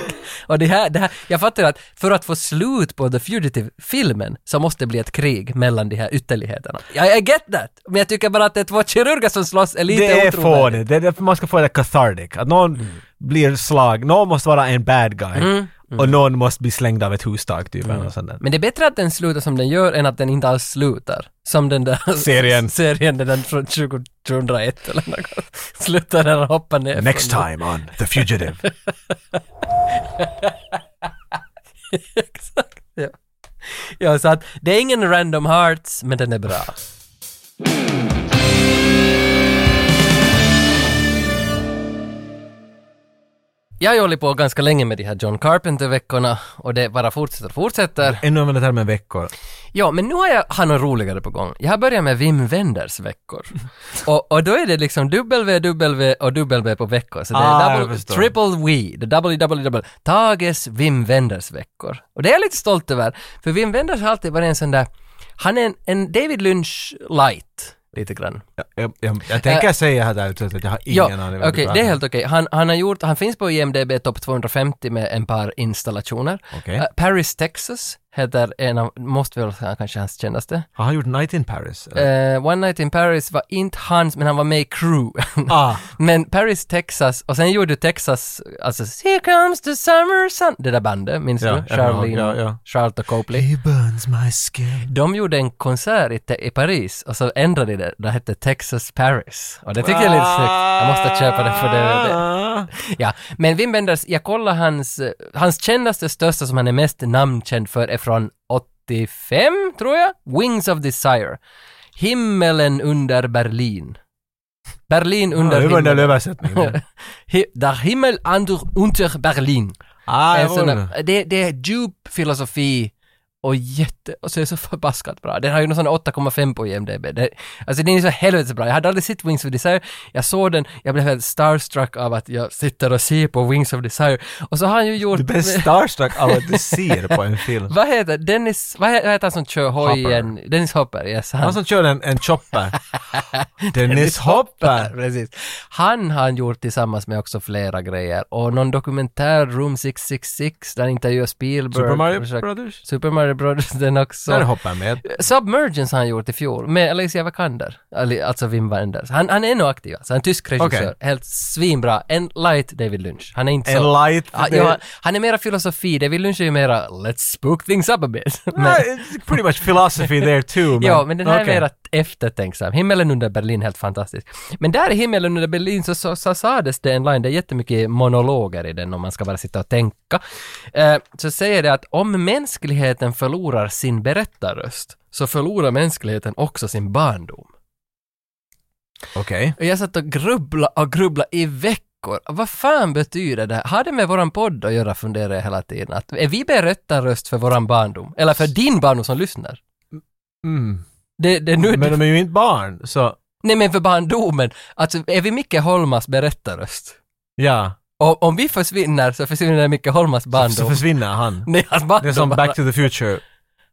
Speaker 1: Och det här, det här, jag fattar ju att för att få slut på The Fugitive-filmen så måste det bli ett krig mellan de här ytterligheterna. Ja, I get that! Men jag tycker bara att det är två kirurger som slåss är lite Mm.
Speaker 2: det är
Speaker 1: otrovärdigt.
Speaker 2: fånigt. Det är därför man ska få det cathartic. Att någon blir slag, någon måste vara en bad guy. Och någon måste bli slängd av ett hustak typ. eller något sånt där.
Speaker 1: Mm. Men det är bättre att den slutar som den gör än att den inte alls slutar. Som den där (laughs)
Speaker 2: Serien.
Speaker 1: serien den där från 20 2001 eller något. Slutar den och hoppar ner.
Speaker 2: Next
Speaker 1: från-
Speaker 2: time on The Fugitive.
Speaker 1: (laughs)
Speaker 2: (laughs)
Speaker 1: Exakt. Ja. ja, så att det är ingen random hearts, men den är bra. Jag har ju hållit på ganska länge med de här John Carpenter-veckorna och det bara fortsätter och fortsätter.
Speaker 2: Ännu använder termen veckor.
Speaker 1: Ja, men nu har jag har något roligare på gång. Jag har börjat med Wim Wenders
Speaker 2: (laughs)
Speaker 1: veckor. och, och då är det liksom W, W och W på veckor. Så det är
Speaker 2: Ah, jag
Speaker 1: double,
Speaker 2: förstår.
Speaker 1: triple W, the WWW, Tages Wim Wenders veckor. Och det är jag lite stolt över, för Wim Wenders har alltid varit en sån där, han är en, en David Lynch light, lite grann.
Speaker 2: Jag, jag, jag tänker säga här där ute att jag har ingen aning
Speaker 1: Äh, Okej,
Speaker 2: vad pratar
Speaker 1: det är
Speaker 2: om.
Speaker 1: helt okej. Han, han har gjort, han finns på IMDB topp 250 med en par installationer.
Speaker 2: Okej.
Speaker 1: Eh, Paris, Texas heter en av, måste väl säga kanske hans kändaste.
Speaker 2: Har han gjort Night in Paris? eller?
Speaker 1: Eh, One Night in Paris var inte hans, men han var med i Crew. (laughs)
Speaker 2: Ah.
Speaker 1: men Paris, Texas, och sen gjorde Texas, alltså Here comes the summer sun, det där bandet, minns
Speaker 2: Ja,
Speaker 1: du?
Speaker 2: jag kommer ihåg,
Speaker 1: Charlene,
Speaker 2: ja, ja.
Speaker 1: Charlotte Copley.
Speaker 2: He burns my skin.
Speaker 1: De gjorde en konsert i, te- i Paris och så ändrade de det, det hette Texas Paris. Och det tycker jag är
Speaker 2: Ah.
Speaker 1: lite snyggt. Jag måste köpa det för DVD. (laughs) Ja, men Wim Wenders, jag kollar hans, eh, hans kändaste, största som han är mest namnkänd för är från 85, tror jag? Wings of Desire. Himmelen under Berlin. Berlin under
Speaker 2: Ja, Det var den där
Speaker 1: himmelen. (laughs)
Speaker 2: översättningen.
Speaker 1: Hi- Der Himmel under, unter Berlin.
Speaker 2: Ah,
Speaker 1: En
Speaker 2: jag
Speaker 1: sån
Speaker 2: var
Speaker 1: där, Eh, det, det är djup filosofi och jätte... Och så är det så förbaskat bra. Den har ju någon sån 8,5 på IMDB. Det, alltså den är så helvetes bra. Jag hade aldrig sett Wings of Desire. Jag såg den, jag blev helt starstruck av att jag sitter och ser på Wings of Desire. Och så har han ju gjort...
Speaker 2: Du blir starstruck av att du ser på en film.
Speaker 1: Vad heter Dennis... Vad he- vad heter han som kör hojen? Dennis Hopper, yes. Han,
Speaker 2: Han som kör en, en (laughs) chopper. Dennis Hopper!
Speaker 1: Precis. Han har han gjort tillsammans med också flera grejer. Och någon dokumentär, Room 666, där han intervjuar Spielberg.
Speaker 2: Super Mario
Speaker 1: Försöker-
Speaker 2: Brothers?
Speaker 1: Super Mario Brothers, den också.
Speaker 2: Där är Hopper med.
Speaker 1: Submergence har han gjort i fjol med Alicia Vikander, Ali- alltså Wim Wenders. Han, han är nog aktiv, alltså en tysk regissör.
Speaker 2: Okej.
Speaker 1: Helt svinbra. En light David Lynch. Han är inte
Speaker 2: En
Speaker 1: så...
Speaker 2: light
Speaker 1: Ja,
Speaker 2: David-
Speaker 1: ja, han är mera filosofi. David Lynch är ju mera “Let's spook things up a bit”. Men,
Speaker 2: Ah, it's pretty much philosophy there too. (laughs) Men,
Speaker 1: ja, men den här
Speaker 2: okej.
Speaker 1: är mera eftertänksam. Himmelen under Berlin, helt fantastisk. Men där i Himmelen under Berlin så, så, så sades det en line, det är jättemycket monologer i den om man ska bara sitta och tänka. Eh, så säger det att om mänskligheten förlorar sin berättarröst så förlorar mänskligheten också sin barndom.
Speaker 2: Okej.
Speaker 1: Och jag satt och grubbla och grubbla i veckor. Vad fan betyder det? här? Har det med våran podd att göra funderar jag hela tiden. Att är vi berättarröst för våran barndom? Eller för din barndom som lyssnar?
Speaker 2: Mm.
Speaker 1: Det, det är nu,
Speaker 2: Men de är ju inte barn, så
Speaker 1: Nej men för barndomen. Alltså är vi Micke Holmas berättarröst?
Speaker 2: ja.
Speaker 1: Och, om vi försvinner så försvinner Micke Holmas barndom.
Speaker 2: Så försvinner (laughs) han.
Speaker 1: (laughs) Nej, hans
Speaker 2: Det är som
Speaker 1: barndom.
Speaker 2: Back to the Future.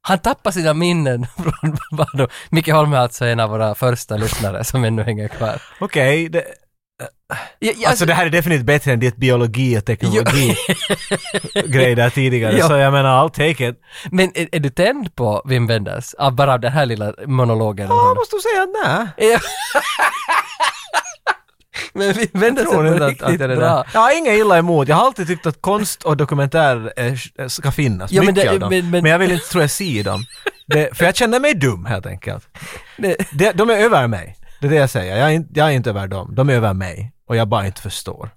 Speaker 1: Han tappar sina minnen (laughs) från barndom. Micke Holm är alltså en av våra första lyssnare som ännu hänger kvar.
Speaker 2: Okej, det,
Speaker 1: Ja, ja,
Speaker 2: alltså det här är definitivt bättre än ditt biologi och teknologi (laughs) grej där tidigare.
Speaker 1: Ja.
Speaker 2: Så jag menar, I'll take it.
Speaker 1: Men är, är du tänd på Wim Wenders? Av bara av den här lilla monologen?
Speaker 2: Ja, (laughs) måste du säga nej.
Speaker 1: Ja. (laughs) Men Wim Wenders
Speaker 2: tror
Speaker 1: är Alltså, på
Speaker 2: inte
Speaker 1: riktigt
Speaker 2: att, att det är det
Speaker 1: bra.
Speaker 2: där. Jag har inget illa emot. Jag har alltid tyckt att konst och dokumentär eh, ska finnas.
Speaker 1: Ja, men
Speaker 2: mycket
Speaker 1: det-
Speaker 2: av dem.
Speaker 1: men-
Speaker 2: Men,
Speaker 1: men-
Speaker 2: jag vill inte, tror jag, se dem. Det, för jag känner mig dum helt enkelt.
Speaker 1: Det,
Speaker 2: De, de är över mig. Det är det jag säger. Jag är, inte, jag är inte över dem. De är över mig. Och jag bara inte förstår.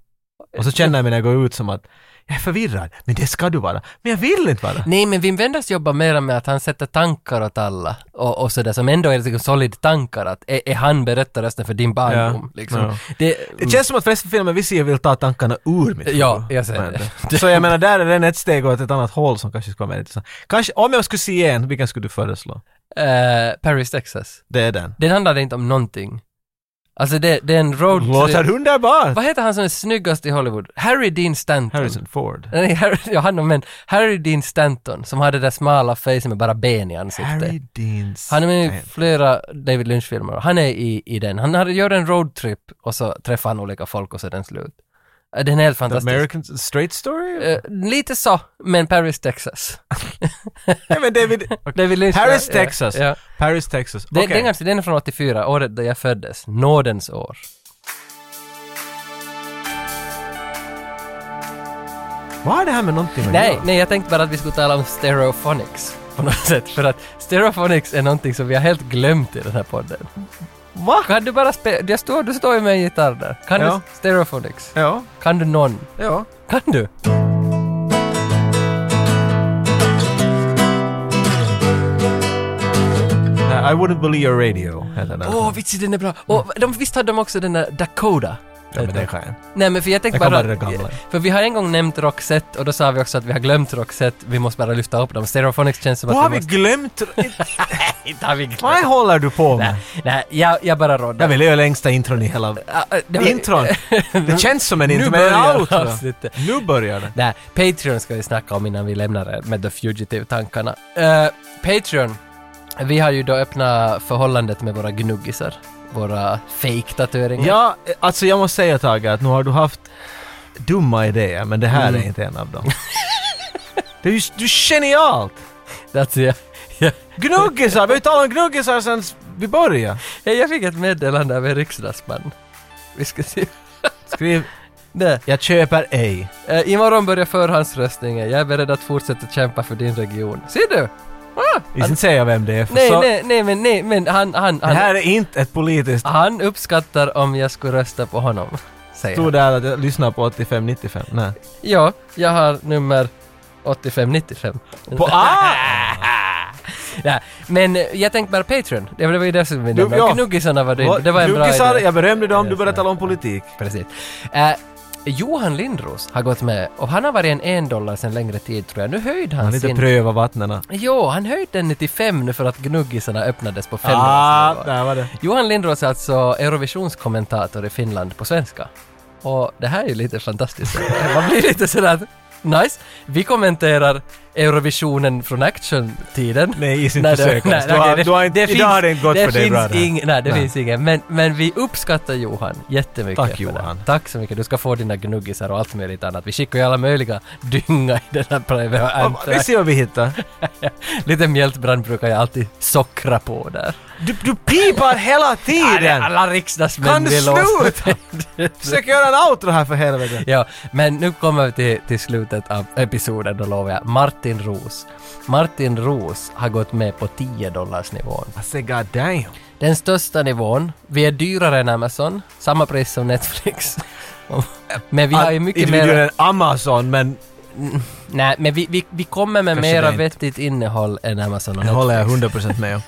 Speaker 2: Och så känner jag mig när jag går ut som att jag är förvirrad, men det ska du vara. Men jag vill inte vara.
Speaker 1: Nej, men Wim Wenders jobbar mera med att han sätter tankar åt alla och, och sådär som ändå är liksom solid tankar att är, är han berättarrösten för din barndom?
Speaker 2: Ja.
Speaker 1: Liksom.
Speaker 2: Ja.
Speaker 1: Det,
Speaker 2: Det känns som att förresten filmen vi ser vill ta tankarna ur mitt huvud.
Speaker 1: Ja, jag ser
Speaker 2: Men-
Speaker 1: det.
Speaker 2: Så jag menar, där är den ett steg åt ett annat håll som kanske skulle vara mer intressant. Kanske, om jag skulle se en, vilken skulle du föreslå?
Speaker 1: Eh, Paris, Texas.
Speaker 2: Det är den.
Speaker 1: Den handlade inte om någonting. Alltså det, det är en road
Speaker 2: Låter underbart!
Speaker 1: Vad heter han som är snyggast i Hollywood? Harry Dean Stanton.
Speaker 2: Harrison Ford.
Speaker 1: Nej, Harry, (laughs) ja, han men Harry Dean Stanton som hade det där smala facet med bara ben i ansiktet.
Speaker 2: Harry Dean
Speaker 1: Han är med i
Speaker 2: Stanton.
Speaker 1: flera David Lynch-filmer. Han är i, i den. Han hade- gör en roadtrip och så träffar han olika folk och så är den slut. Eh, Den är helt fantastisk.
Speaker 2: American Straight Story?
Speaker 1: Eh, lite så, men Paris,
Speaker 2: (laughs)
Speaker 1: Texas.
Speaker 2: Nej men David...
Speaker 1: (laughs) David Lynch.
Speaker 2: Paris,
Speaker 1: ja,
Speaker 2: Texas.
Speaker 1: Ja.
Speaker 2: Paris, Texas.
Speaker 1: Den,
Speaker 2: Okej.
Speaker 1: den, ganska- den är från 84, året där jag föddes. Nådens år.
Speaker 2: Vad har det här med någonting att
Speaker 1: Nej,
Speaker 2: göra?
Speaker 1: nej, jag tänkte bara att vi skulle tala om stereophonics på något sätt. För att stereophonics är någonting som vi har helt glömt i den här podden.
Speaker 2: Va?
Speaker 1: Kan du bara spela? Du står, du står ju med en gitarr där. Kan
Speaker 2: Ja.
Speaker 1: du stereophonics?
Speaker 2: Ja.
Speaker 1: Kan du någon?
Speaker 2: Ja.
Speaker 1: Kan du?
Speaker 2: Nej, I wouldn't believe your radio, heter den.
Speaker 1: Åh, vitsi den är bra!
Speaker 2: Mm.
Speaker 1: Och de, visst hade de också den där Dakota?
Speaker 2: ja, men det kan jag.
Speaker 1: Nej men för jag tänkte
Speaker 2: Jag kan
Speaker 1: bara...
Speaker 2: bara det gamla.
Speaker 1: För vi har en gång nämnt Roxette och då sa vi också att vi har glömt Roxette, vi måste bara lyfta upp dem. Stereophonics känns som
Speaker 2: Vad har
Speaker 1: att
Speaker 2: vi
Speaker 1: måste... (laughs)
Speaker 2: glömt?
Speaker 1: Inte har vi
Speaker 2: Vad
Speaker 1: glömt!
Speaker 2: håller du på med?
Speaker 1: Nej, nej, jag, jag bara
Speaker 2: Jag
Speaker 1: råddar.
Speaker 2: vill göra längsta intron i hela...
Speaker 1: Ah, ah, det var- (laughs)
Speaker 2: Intron? Det känns som en
Speaker 1: Nu
Speaker 2: intro, men det
Speaker 1: börjar
Speaker 2: är outro.
Speaker 1: avsnittet.
Speaker 2: Nu börjar det.
Speaker 1: Nej, Patreon ska vi snacka om innan vi lämnar det med The Fugitive-tankarna. Eh, Patreon, vi har ju då öppnat förhållandet med våra gnuggisar. Våra fake-tatueringar.
Speaker 2: Ja, alltså jag måste säga Tage att nu har du haft dumma idéer, men det här är inte en av dem. det är ju du är genialt!
Speaker 1: That's, (laughs) yeah. Yeah.
Speaker 2: Gnuggisar! Vi har ju talat om gnuggisar sen vi började.
Speaker 1: Hej, Jag fick ett meddelande av en riksdagsman. Vi ska se.
Speaker 2: Skriv
Speaker 1: Nej.
Speaker 2: “Jag köper ej”.
Speaker 1: Eh, imorgon börjar förhandsröstningen. Jag är beredd att fortsätta kämpa för din region. Ser du? Ah!
Speaker 2: Vi ska inte säga vem det är, för
Speaker 1: Nej,
Speaker 2: så...
Speaker 1: nej, nej, men nej, men han, han,
Speaker 2: Det
Speaker 1: han,
Speaker 2: här är inte ett politiskt...
Speaker 1: han uppskattar om jag skulle rösta på honom. Säger
Speaker 2: Stod
Speaker 1: han.
Speaker 2: där att jag lyssnar på 85-95. Nej.
Speaker 1: Ja, jag har nummer 8595. (laughs)
Speaker 2: På Ah! A! (laughs)
Speaker 1: Ja, men eh, jag tänkte bara Patreon. Det var det var ju det som vi
Speaker 2: Du,
Speaker 1: nämnde.
Speaker 2: ja.
Speaker 1: Och Gnuggisarna var det. Det var en bra
Speaker 2: Gnuggisar,
Speaker 1: idé.
Speaker 2: jag berömde dem, du började tala om politik.
Speaker 1: Precis. Eh, Johan Lindros har gått med och han har varit en en dollar sedan längre tid tror jag. Nu höjde han,
Speaker 2: Han inte
Speaker 1: sin...
Speaker 2: pröva vattnena.
Speaker 1: Jo, han höjde den till fem nu för att gnuggisarna öppnades på fem
Speaker 2: Ah,
Speaker 1: dollarsnivån.
Speaker 2: där var det.
Speaker 1: Johan Lindros är alltså Eurovisionskommentator i Finland på svenska. Och det här är ju lite fantastiskt. Man blir lite sådär att, nice. Vi kommenterar Eurovisionen från action-tiden.
Speaker 2: Nej, is inte
Speaker 1: Nej, det-
Speaker 2: försök
Speaker 1: nej,
Speaker 2: ens. Du
Speaker 1: okej,
Speaker 2: har-
Speaker 1: det-
Speaker 2: du har inte- idag har det inte gått för dig
Speaker 1: finns
Speaker 2: bra det här.
Speaker 1: ing- Nej, det
Speaker 2: Nej.
Speaker 1: finns ingen. Men, men vi uppskattar Johan jättemycket.
Speaker 2: Tack,
Speaker 1: för det.
Speaker 2: Johan.
Speaker 1: Tack så mycket. Du ska få dina gnuggisar och allt möjligt annat. Vi skickar ju alla möjliga dynga i den här
Speaker 2: Vi
Speaker 1: brevet.
Speaker 2: ser vad vi hittar.
Speaker 1: (laughs) Lite mjältbrand brukar jag alltid sockra på där.
Speaker 2: Du, du pipar hela tiden!
Speaker 1: Alla riksdagsmän
Speaker 2: Kan du
Speaker 1: vill åt-
Speaker 2: Försök göra en outro här för helvete.
Speaker 1: (laughs) Ja, men nu kommer vi till, till slutet av episoden, då lovar jag. Martin Ros. Martin Ros har gått med på 10 dollars nivån.
Speaker 2: I say god damn.
Speaker 1: Den största nivån. Vi är dyrare än Amazon, samma pris som Netflix. (laughs) Men vi har ju mycket
Speaker 2: Inte vi gör
Speaker 1: mer...
Speaker 2: en Amazon, men
Speaker 1: Nej, men vi, vi, vi kommer med
Speaker 2: Kanske
Speaker 1: mera
Speaker 2: det är inte-
Speaker 1: vettigt innehåll än Amazon och
Speaker 2: det
Speaker 1: Netflix.
Speaker 2: håller jag 100% (laughs) med om.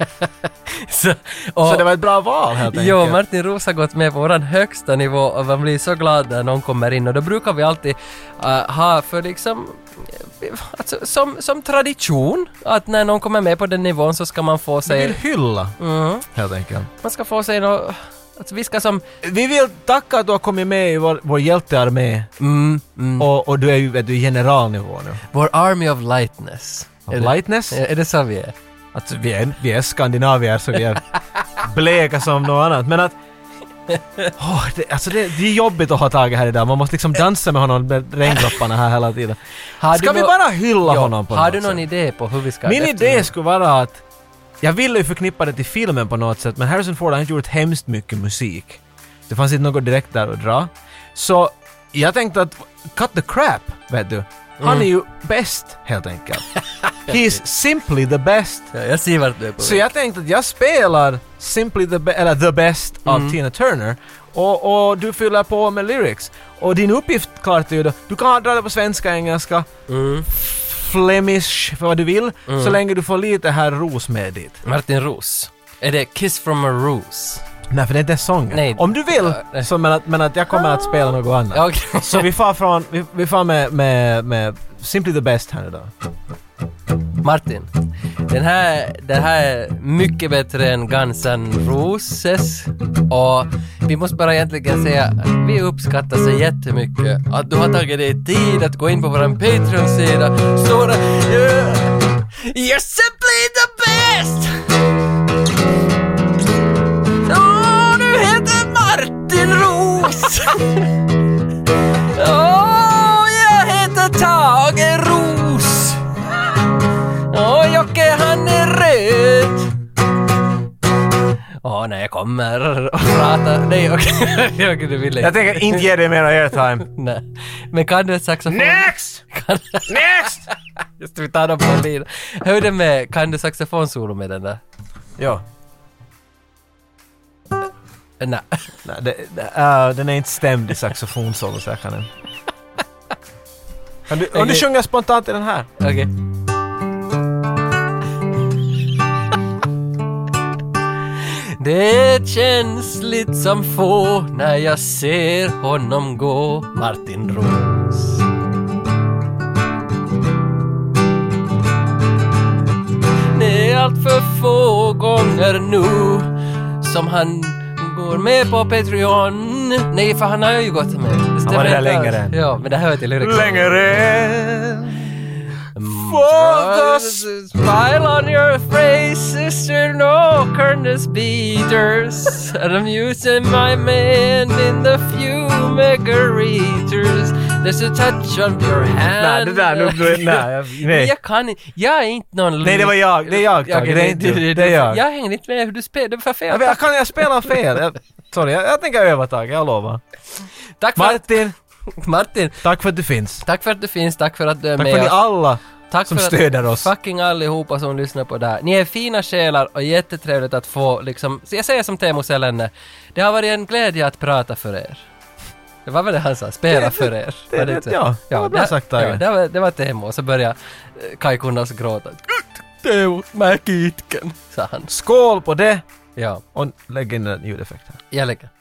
Speaker 1: Så,
Speaker 2: Så
Speaker 1: och,
Speaker 2: det var ett bra val helt enkelt.
Speaker 1: Jo, Martin Roos har gått med på våran högsta nivå och man blir så glad när någon kommer in och då brukar vi alltid eh, ha för liksom eh, Alltså, som, som tradition att när någon kommer med på den nivån så ska man få
Speaker 2: Vi vill
Speaker 1: sig,
Speaker 2: hylla,
Speaker 1: Mm.
Speaker 2: helt enkelt.
Speaker 1: man ska få sig något, att vi ska som,
Speaker 2: Vi vill tacka att du har kommit med i vår, vår hjältearmé
Speaker 1: mm, mm,
Speaker 2: och, och du är ju vet du, generalnivå nu.
Speaker 1: vår army of lightness.
Speaker 2: Of
Speaker 1: Är det-
Speaker 2: lightness?
Speaker 1: Är, är det så vi är?
Speaker 2: Alltså vi är, vi är skandinavier
Speaker 1: (laughs)
Speaker 2: så vi är bleka som något annat. Men att... Åh, det, alltså det, det är jobbigt att ha Tage här idag. Man måste liksom dansa med honom med regndropparna här hela tiden.
Speaker 1: Har
Speaker 2: Ska
Speaker 1: du
Speaker 2: vi
Speaker 1: nå-
Speaker 2: bara hylla
Speaker 1: Ja,
Speaker 2: honom på
Speaker 1: Har
Speaker 2: något
Speaker 1: du någon
Speaker 2: sätt?
Speaker 1: idé på hur vi ska...
Speaker 2: Min
Speaker 1: efter-
Speaker 2: idé skulle vara att... Jag ville ju förknippa det till filmen på något sätt men Harrison Ford har inte gjort hemskt mycket musik. Det fanns inte något direkt där att dra. Så jag tänkte att cut the crap, vet du. Han
Speaker 1: Mm.
Speaker 2: är ju bäst
Speaker 1: (laughs)
Speaker 2: helt enkelt. He's simply the best.
Speaker 1: Ja, jag ser vart du är på
Speaker 2: Så
Speaker 1: väg.
Speaker 2: jag tänkte att jag spelar Simply the, be- eller the Best
Speaker 1: Mm.
Speaker 2: av Tina Turner. Och, och du fyller på med lyrics. Och din uppgift klart är ju då, du kan dra det på svenska, engelska,
Speaker 1: Mm.
Speaker 2: flemish, vad du vill, så länge du får lite här ros med dit.
Speaker 1: Martin Roos. Är det Kiss from a Rose?
Speaker 2: Nej, för det är inte sången.
Speaker 1: Nej.
Speaker 2: Om du vill,
Speaker 1: Ja, nej.
Speaker 2: så men, att, men att jag kommer att spela något annat.
Speaker 1: Ja, okej.
Speaker 2: Så vi far från, vi, vi far med, med, med Simply the Best här idag.
Speaker 1: Martin, den här, den här är mycket bättre än Guns N' Roses och vi måste bara egentligen säga att vi uppskattar så jättemycket att du har tagit dig tid att gå in på vår Patreon-sida. Stora... Yeah. You're simply the best! Åh, du heter Martin Roos! Åh, jag heter Tage Roos! Åh, Jocke han är röd. Åh, när jag kommer och pratar... Nej, okej. Jocke, (laughs) du ville
Speaker 2: Jag tänker inte ge dig mer airtime.
Speaker 1: Nej. Men kan du saxofon?
Speaker 8: Next! Next!
Speaker 1: (laughs) Just det, vi tar dem på en bil. Hur är det med... Kan du saxofonsolo med den där?
Speaker 2: ja.
Speaker 1: Nej.
Speaker 2: Nej, det, det, äh, den är inte stämd i saxofonsolo så jag kan den. Kan du, om du sjunger spontant i den här.
Speaker 1: Okej. (laughs) Det känns lite som få när jag ser honom gå, Martin Roos. Det är allt för få gånger nu som han går med på Patreon. Nej, för han har ju gått med. Det stämmer
Speaker 2: var där
Speaker 1: inte alls.
Speaker 2: längre än.
Speaker 1: Ja, men det här var till lyrics.
Speaker 2: Längre.
Speaker 1: For the smile on your face, sister, no kindness beaters. And I'm using my man in the fumigators. There's a touch of your
Speaker 2: Nej,
Speaker 1: hand.
Speaker 2: det där, nu, nu, nej, jag-
Speaker 1: Men
Speaker 2: nej.
Speaker 1: Jag kan inte, jag är inte någon
Speaker 2: Nej, det var jag, det är jag, Tage,
Speaker 1: Okej,
Speaker 2: det är inte du, det är jag.
Speaker 1: Jag hängde inte med hur du spelade, det var för
Speaker 2: Jag,
Speaker 1: fel.
Speaker 2: vet- kan jag spela fel? Jag, sorry, jag, jag tänker öva Tage, jag lovar.
Speaker 1: Tack för, att,
Speaker 2: Martin,
Speaker 1: Martin,
Speaker 2: tack för att du finns.
Speaker 1: tack för att du finns, tack för att du är
Speaker 2: Tack
Speaker 1: med
Speaker 2: för ni
Speaker 1: oss.
Speaker 2: alla.
Speaker 1: Tack
Speaker 2: som
Speaker 1: för att
Speaker 2: stöder oss.
Speaker 1: fucking allihopa som lyssnar på det här. Ni är fina själar och jättetrevligt att få liksom, så jag säger som Teemu Selänne, det har varit en glädje att prata för er. Det var väl det han sa, spela för er.
Speaker 2: det-
Speaker 1: Var
Speaker 2: det-
Speaker 1: inte?
Speaker 2: ja, det var bra sagt, Tage.
Speaker 1: ja, det, var, det var Teemu och så började eh, Kai Kunnas gråta. Teemu, märk itken, sa han.
Speaker 2: Skål på det!
Speaker 1: Ja,
Speaker 2: Och lägg in en ljudeffekt här.
Speaker 1: jag lägger.